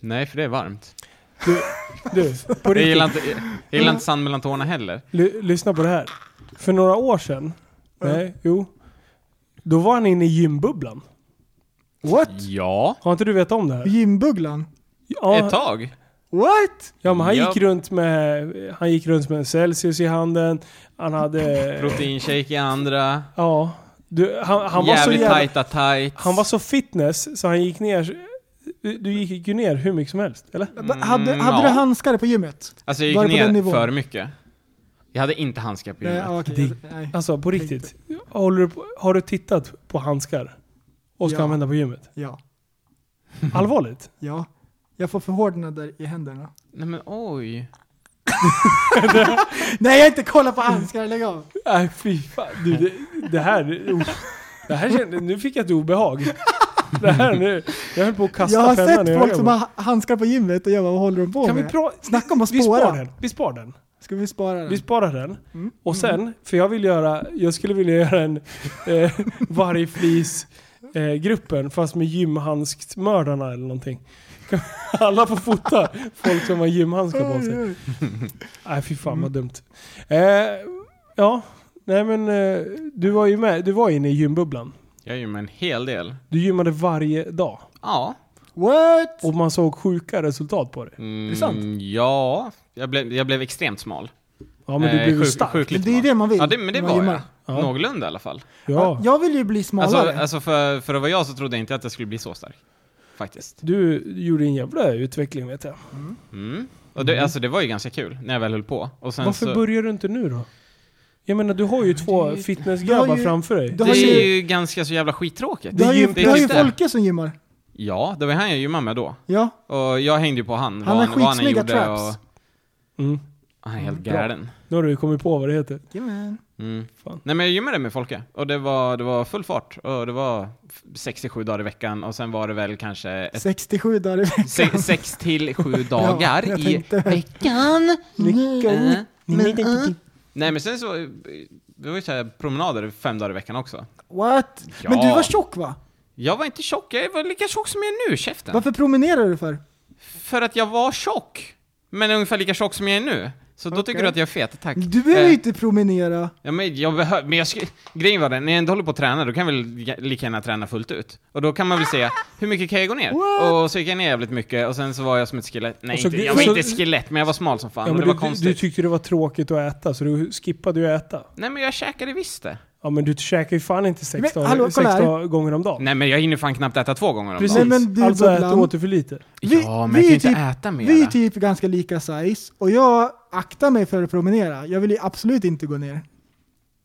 [SPEAKER 4] Nej, för det är varmt.
[SPEAKER 2] Du, du på
[SPEAKER 4] Jag gillar
[SPEAKER 2] riktigt.
[SPEAKER 4] inte, jag gillar inte sand mellan tårna heller.
[SPEAKER 2] Ly- lyssna på det här. För några år sedan. Nej, jo. Då var han inne i gymbubblan.
[SPEAKER 3] What?
[SPEAKER 4] Ja,
[SPEAKER 2] Har inte du vetat om det här?
[SPEAKER 3] Gymbugglan?
[SPEAKER 4] ett
[SPEAKER 2] Ja,
[SPEAKER 4] tag.
[SPEAKER 3] What?
[SPEAKER 2] ja men han
[SPEAKER 4] Ja.
[SPEAKER 2] gick runt med... Han gick runt med en Celsius i handen. Han hade...
[SPEAKER 4] Proteinshake i andra,
[SPEAKER 2] Ja. Du, han, han var så
[SPEAKER 4] jävligt
[SPEAKER 2] jävla...
[SPEAKER 4] tajta tights.
[SPEAKER 2] Han var så fitness så han gick ner... Du gick ju ner hur mycket som helst, eller?
[SPEAKER 3] Men hade
[SPEAKER 4] Mm,
[SPEAKER 3] hade
[SPEAKER 4] ja.
[SPEAKER 3] du handskar på gymmet?
[SPEAKER 4] Alltså
[SPEAKER 3] Var
[SPEAKER 4] jag
[SPEAKER 3] det på
[SPEAKER 4] gick
[SPEAKER 3] den
[SPEAKER 4] ner
[SPEAKER 3] nivån?
[SPEAKER 4] för mycket. Jag hade inte handskar på
[SPEAKER 3] Nej,
[SPEAKER 4] gymmet.
[SPEAKER 3] ja, okej.
[SPEAKER 2] Det-
[SPEAKER 3] Nej.
[SPEAKER 2] Alltså på riktigt. Håller du på, har du tittat på handskar? Och ska
[SPEAKER 3] Ja.
[SPEAKER 2] använda på gymmet?
[SPEAKER 3] Ja,
[SPEAKER 2] Allvarligt?
[SPEAKER 3] ja. Jag får förhårdnader i händerna.
[SPEAKER 4] Nej men oj.
[SPEAKER 3] Nej jag har inte kollat på handskar, lägg av.
[SPEAKER 2] Nej fy fan. Du, det, det här... uff. Det här kände, nu fick jag ett obehag. Det här nu. Jag höll på att kasta
[SPEAKER 3] Jag har
[SPEAKER 2] pennan i
[SPEAKER 3] sett folk
[SPEAKER 2] ögonen.
[SPEAKER 3] som har handskar på gymmet och jag bara, vad håller de på
[SPEAKER 2] Kan vi
[SPEAKER 3] med?
[SPEAKER 2] prata...
[SPEAKER 3] Snacka om att
[SPEAKER 2] Vi
[SPEAKER 3] spåra.
[SPEAKER 2] sparar den. Vi sparar den.
[SPEAKER 3] Ska vi spara den?
[SPEAKER 2] Vi sparar den. Och sen, för jag vill göra, jag skulle vilja göra en eh, vargflis-gruppen eh, gruppen, fast med gymhandsmördarna eller någonting. Alla får fota folk som har gymhandskar på sig.
[SPEAKER 3] Oj, Mm. oj.
[SPEAKER 2] Nej fy fan vad dumt. Eh, ja, nej men eh, du var ju med, du var inne i gymbubblan.
[SPEAKER 4] Jag gymmar en hel del.
[SPEAKER 2] Du gymmade varje dag.
[SPEAKER 4] Ja.
[SPEAKER 3] What?
[SPEAKER 2] Och man såg sjuka resultat på det.
[SPEAKER 4] Mm,
[SPEAKER 3] det sant?
[SPEAKER 4] Ja. Jag blev, jag blev extremt smal.
[SPEAKER 2] Ja men du
[SPEAKER 4] Eh,
[SPEAKER 2] blev ju
[SPEAKER 4] sjuk-
[SPEAKER 2] stark.
[SPEAKER 3] Men
[SPEAKER 4] sjukligt
[SPEAKER 3] det är ju det man vill.
[SPEAKER 4] Ja, det, men det
[SPEAKER 3] när man
[SPEAKER 4] var jag.
[SPEAKER 3] gymmar.
[SPEAKER 2] Ja.
[SPEAKER 4] Någorlunda i alla fall.
[SPEAKER 2] Ja.
[SPEAKER 3] Jag vill ju bli smalare.
[SPEAKER 4] Alltså, alltså för, för att vara jag så trodde jag inte att jag skulle bli så stark. Faktiskt.
[SPEAKER 2] Du gjorde en jävla utveckling vet jag.
[SPEAKER 4] Mm. Och det, Alltså det var ju ganska kul när jag väl höll på. Och sen
[SPEAKER 2] Varför
[SPEAKER 4] så,
[SPEAKER 2] börjar du inte nu då? Jag menar, du har ju två
[SPEAKER 3] du har
[SPEAKER 2] fitnessgrabbar
[SPEAKER 3] ju-
[SPEAKER 2] framför dig.
[SPEAKER 3] du
[SPEAKER 4] det
[SPEAKER 3] har
[SPEAKER 4] är
[SPEAKER 3] ju-
[SPEAKER 4] ju ganska så jävla skittråkigt.
[SPEAKER 3] du har ju,
[SPEAKER 4] är
[SPEAKER 3] du har ju
[SPEAKER 4] typ det.
[SPEAKER 3] Folke som gymmar.
[SPEAKER 4] Ja, det var han jag gymmade med då.
[SPEAKER 3] Ja.
[SPEAKER 4] Och jag hängde ju på han.
[SPEAKER 3] Han
[SPEAKER 4] vad
[SPEAKER 3] har
[SPEAKER 4] vad han
[SPEAKER 3] skitsnygga
[SPEAKER 4] gjorde
[SPEAKER 3] traps.
[SPEAKER 2] Mm.
[SPEAKER 4] Och, han är helt
[SPEAKER 2] Bra.
[SPEAKER 4] galen.
[SPEAKER 2] Nu har du ju kommit på vad det heter.
[SPEAKER 3] Jajamän.
[SPEAKER 4] Mm.
[SPEAKER 2] Fan.
[SPEAKER 4] Nej men jag gymmade med Folke, och det var, det var full fart. Och det var f- 67 dagar i veckan, och sen var det väl kanske ett,
[SPEAKER 3] 67 dagar i veckan.
[SPEAKER 4] se, sex till sju dagar
[SPEAKER 3] jag
[SPEAKER 4] i
[SPEAKER 3] tänkte.
[SPEAKER 4] veckan.
[SPEAKER 3] Lycka
[SPEAKER 4] Eh.
[SPEAKER 3] mm.
[SPEAKER 4] Nej men sen så, eh, det var ju så här promenader fem dagar i veckan också.
[SPEAKER 3] What?
[SPEAKER 4] Ja.
[SPEAKER 3] Men du var tjock va?
[SPEAKER 4] Jag var inte tjock, jag var lika tjock som jag är nu, käften.
[SPEAKER 3] Varför promenerar du för?
[SPEAKER 4] För att jag var tjock. Men ungefär lika tjock som jag är nu. Så då tycker du att jag är fet, tack.
[SPEAKER 3] Du behöver
[SPEAKER 4] Eh,
[SPEAKER 3] ju inte promenera.
[SPEAKER 4] Ja, men jag behöver, men jag sk- grejen var den, när jag inte håller på att träna, då kan jag väl lika- lika gärna träna fullt ut. Och då kan man väl säga, hur mycket kan jag gå ner? Och så gick jag ner jävligt mycket, och sen så var jag som ett skelett. Nej,
[SPEAKER 2] Och så
[SPEAKER 4] inte,
[SPEAKER 2] blir-
[SPEAKER 4] jag var
[SPEAKER 2] så-
[SPEAKER 4] inte ett skelett, men jag var smal som fan.
[SPEAKER 2] Ja,
[SPEAKER 4] och
[SPEAKER 2] men
[SPEAKER 4] det
[SPEAKER 2] du,
[SPEAKER 4] var
[SPEAKER 2] du,
[SPEAKER 4] konstigt.
[SPEAKER 2] du tyckte det var tråkigt att äta, så du skippade ju att äta.
[SPEAKER 4] Nej, men jag käkade visst det.
[SPEAKER 2] Ja, men du käkar ju fan inte sex,
[SPEAKER 3] Men,
[SPEAKER 2] dagar,
[SPEAKER 3] hallå,
[SPEAKER 2] sex
[SPEAKER 3] kolla här.
[SPEAKER 2] dagar gånger om dagen.
[SPEAKER 4] Nej, men jag hinner fan knappt äta två gånger om
[SPEAKER 2] Precis.
[SPEAKER 4] dagen.
[SPEAKER 3] Nej, men du,
[SPEAKER 2] alltså äter
[SPEAKER 3] Bubblan.
[SPEAKER 2] du åter för lite.
[SPEAKER 3] Vi-
[SPEAKER 4] ja,
[SPEAKER 3] vi
[SPEAKER 4] men
[SPEAKER 3] är
[SPEAKER 4] jag kan ju inte
[SPEAKER 3] typ-
[SPEAKER 4] äta mer.
[SPEAKER 3] Vi är typ ganska lika size och jag aktar mig för att promenera. Jag vill ju absolut inte gå ner.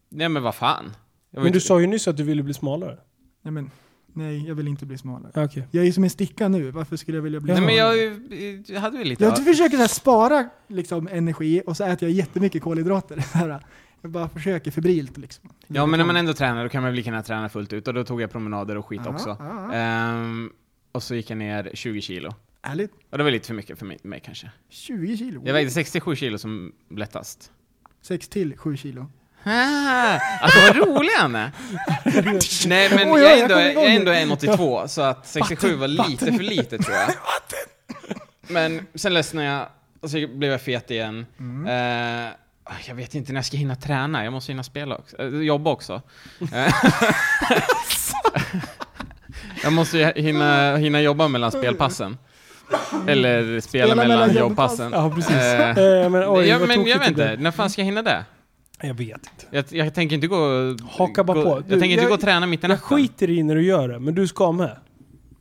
[SPEAKER 4] Nej, men vad fan. Jag var
[SPEAKER 2] Men du
[SPEAKER 4] inte-
[SPEAKER 2] sa ju nyss att du ville bli smalare.
[SPEAKER 3] Nej men, nej jag vill inte bli smalare.
[SPEAKER 2] Okej.
[SPEAKER 3] Jag är ju som en sticka nu, varför skulle jag vilja bli
[SPEAKER 2] Nej,
[SPEAKER 4] Nej,
[SPEAKER 3] smalare?
[SPEAKER 4] men jag, eh, jag hade väl lite...
[SPEAKER 3] Jag försöker så här spara liksom, energi och så äter jag jättemycket kolhydrater. Så här. Jag bara försöker febrilt liksom.
[SPEAKER 4] Ja, men när man ändå tränar, då kan man väl lika gärna träna fullt ut. Och då tog jag promenader och skit
[SPEAKER 3] Ja,
[SPEAKER 4] också.
[SPEAKER 3] ja, ja.
[SPEAKER 4] Ehm, och så gick jag ner 20 kilo.
[SPEAKER 3] Ärligt,
[SPEAKER 4] Och det var lite för mycket för mig, mig kanske.
[SPEAKER 3] 20 kilo?
[SPEAKER 4] Jag vägde 67 kilo som lättast.
[SPEAKER 3] 6 till 7 kilo.
[SPEAKER 4] Ah, alltså vad rolig han är! Nej men
[SPEAKER 3] Oj, oj,
[SPEAKER 4] jag
[SPEAKER 3] jag
[SPEAKER 4] är ändå,
[SPEAKER 3] kommer igång
[SPEAKER 4] jag är ändå
[SPEAKER 3] nu.
[SPEAKER 4] 1,82 så att 67 var lite för lite tror jag. Men sen ledsnade jag och så blev jag fet igen. Eh, jag vet inte när jag ska hinna träna, jag måste hinna spela också. eh, jobba också. Eh, jag måste ju hinna, hinna jobba mellan spelpassen. Eller spela,
[SPEAKER 3] Spela mellan
[SPEAKER 4] mellan
[SPEAKER 3] jobbpassen.
[SPEAKER 4] jobbpassen.
[SPEAKER 2] Ja, precis.
[SPEAKER 4] Eh,
[SPEAKER 2] Eh, men oj,
[SPEAKER 4] ja,
[SPEAKER 2] vad
[SPEAKER 4] men
[SPEAKER 2] tokigt det
[SPEAKER 4] jag vet inte,
[SPEAKER 2] blev.
[SPEAKER 4] när fan ska jag hinna det?
[SPEAKER 2] Jag vet inte.
[SPEAKER 4] Jag, jag tänker inte gå...
[SPEAKER 2] Haka bara
[SPEAKER 4] gå,
[SPEAKER 2] på. Du,
[SPEAKER 4] jag tänker inte
[SPEAKER 2] jag-
[SPEAKER 4] gå och träna mitt i
[SPEAKER 2] Jag
[SPEAKER 4] natten.
[SPEAKER 2] skiter i när du gör det, men du ska med.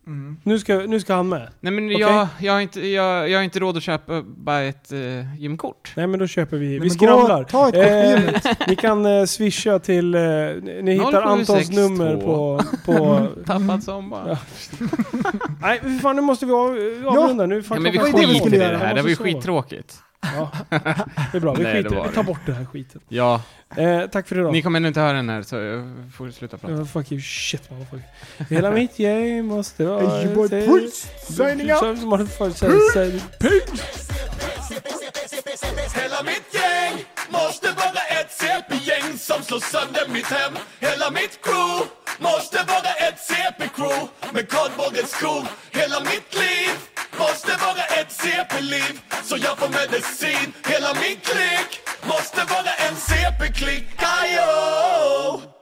[SPEAKER 3] Mm.
[SPEAKER 2] Nu, ska, nu ska han med.
[SPEAKER 4] Nej men
[SPEAKER 2] Okej.
[SPEAKER 4] jag, jag, har inte, jag, jag har inte råd att köpa bara ett eh, gymkort.
[SPEAKER 2] Nej men då köper vi. vi
[SPEAKER 3] men gå-
[SPEAKER 2] skramlar. Eh,
[SPEAKER 3] ta ett kort på gymmet.
[SPEAKER 2] ni kan eh, swisha till... Eh, ni ni hittar Antons
[SPEAKER 4] 0762.
[SPEAKER 2] nummer på... på
[SPEAKER 4] Tappad sommar. Ja,
[SPEAKER 2] nej för fan nu måste vi av, avrunda. Nu är fan
[SPEAKER 4] men vi
[SPEAKER 2] klockan-
[SPEAKER 3] det vi
[SPEAKER 4] skiter
[SPEAKER 3] skulle
[SPEAKER 4] i det
[SPEAKER 3] göra.
[SPEAKER 4] här, det
[SPEAKER 2] Jag
[SPEAKER 4] var ju
[SPEAKER 2] måste sova.
[SPEAKER 4] skittråkigt.
[SPEAKER 2] Ja, det är bra. Vi
[SPEAKER 4] Nej, det
[SPEAKER 2] skiter i det.
[SPEAKER 4] var
[SPEAKER 2] Vi
[SPEAKER 4] det.
[SPEAKER 2] tar bort den här skiten.
[SPEAKER 4] Ja,
[SPEAKER 2] Eh, tack för idag.
[SPEAKER 4] ni kommer ännu inte höra den här så jag får sluta prata.
[SPEAKER 2] Oh, fuck you, shit motherfucker. Hela mitt gäng måste vara...
[SPEAKER 3] Hey, your boy Prince, signing out.
[SPEAKER 2] Som- som motherfucker, säg-
[SPEAKER 1] Hela mitt gäng måste vara ett CP-gäng som slår sönder mitt hem Hela mitt crew måste vara ett CP-crew med kardborrens skog Hela mitt liv måste vara ett CP-liv så jag får medicin Hela min klick måste vara en CP-klick, ajå!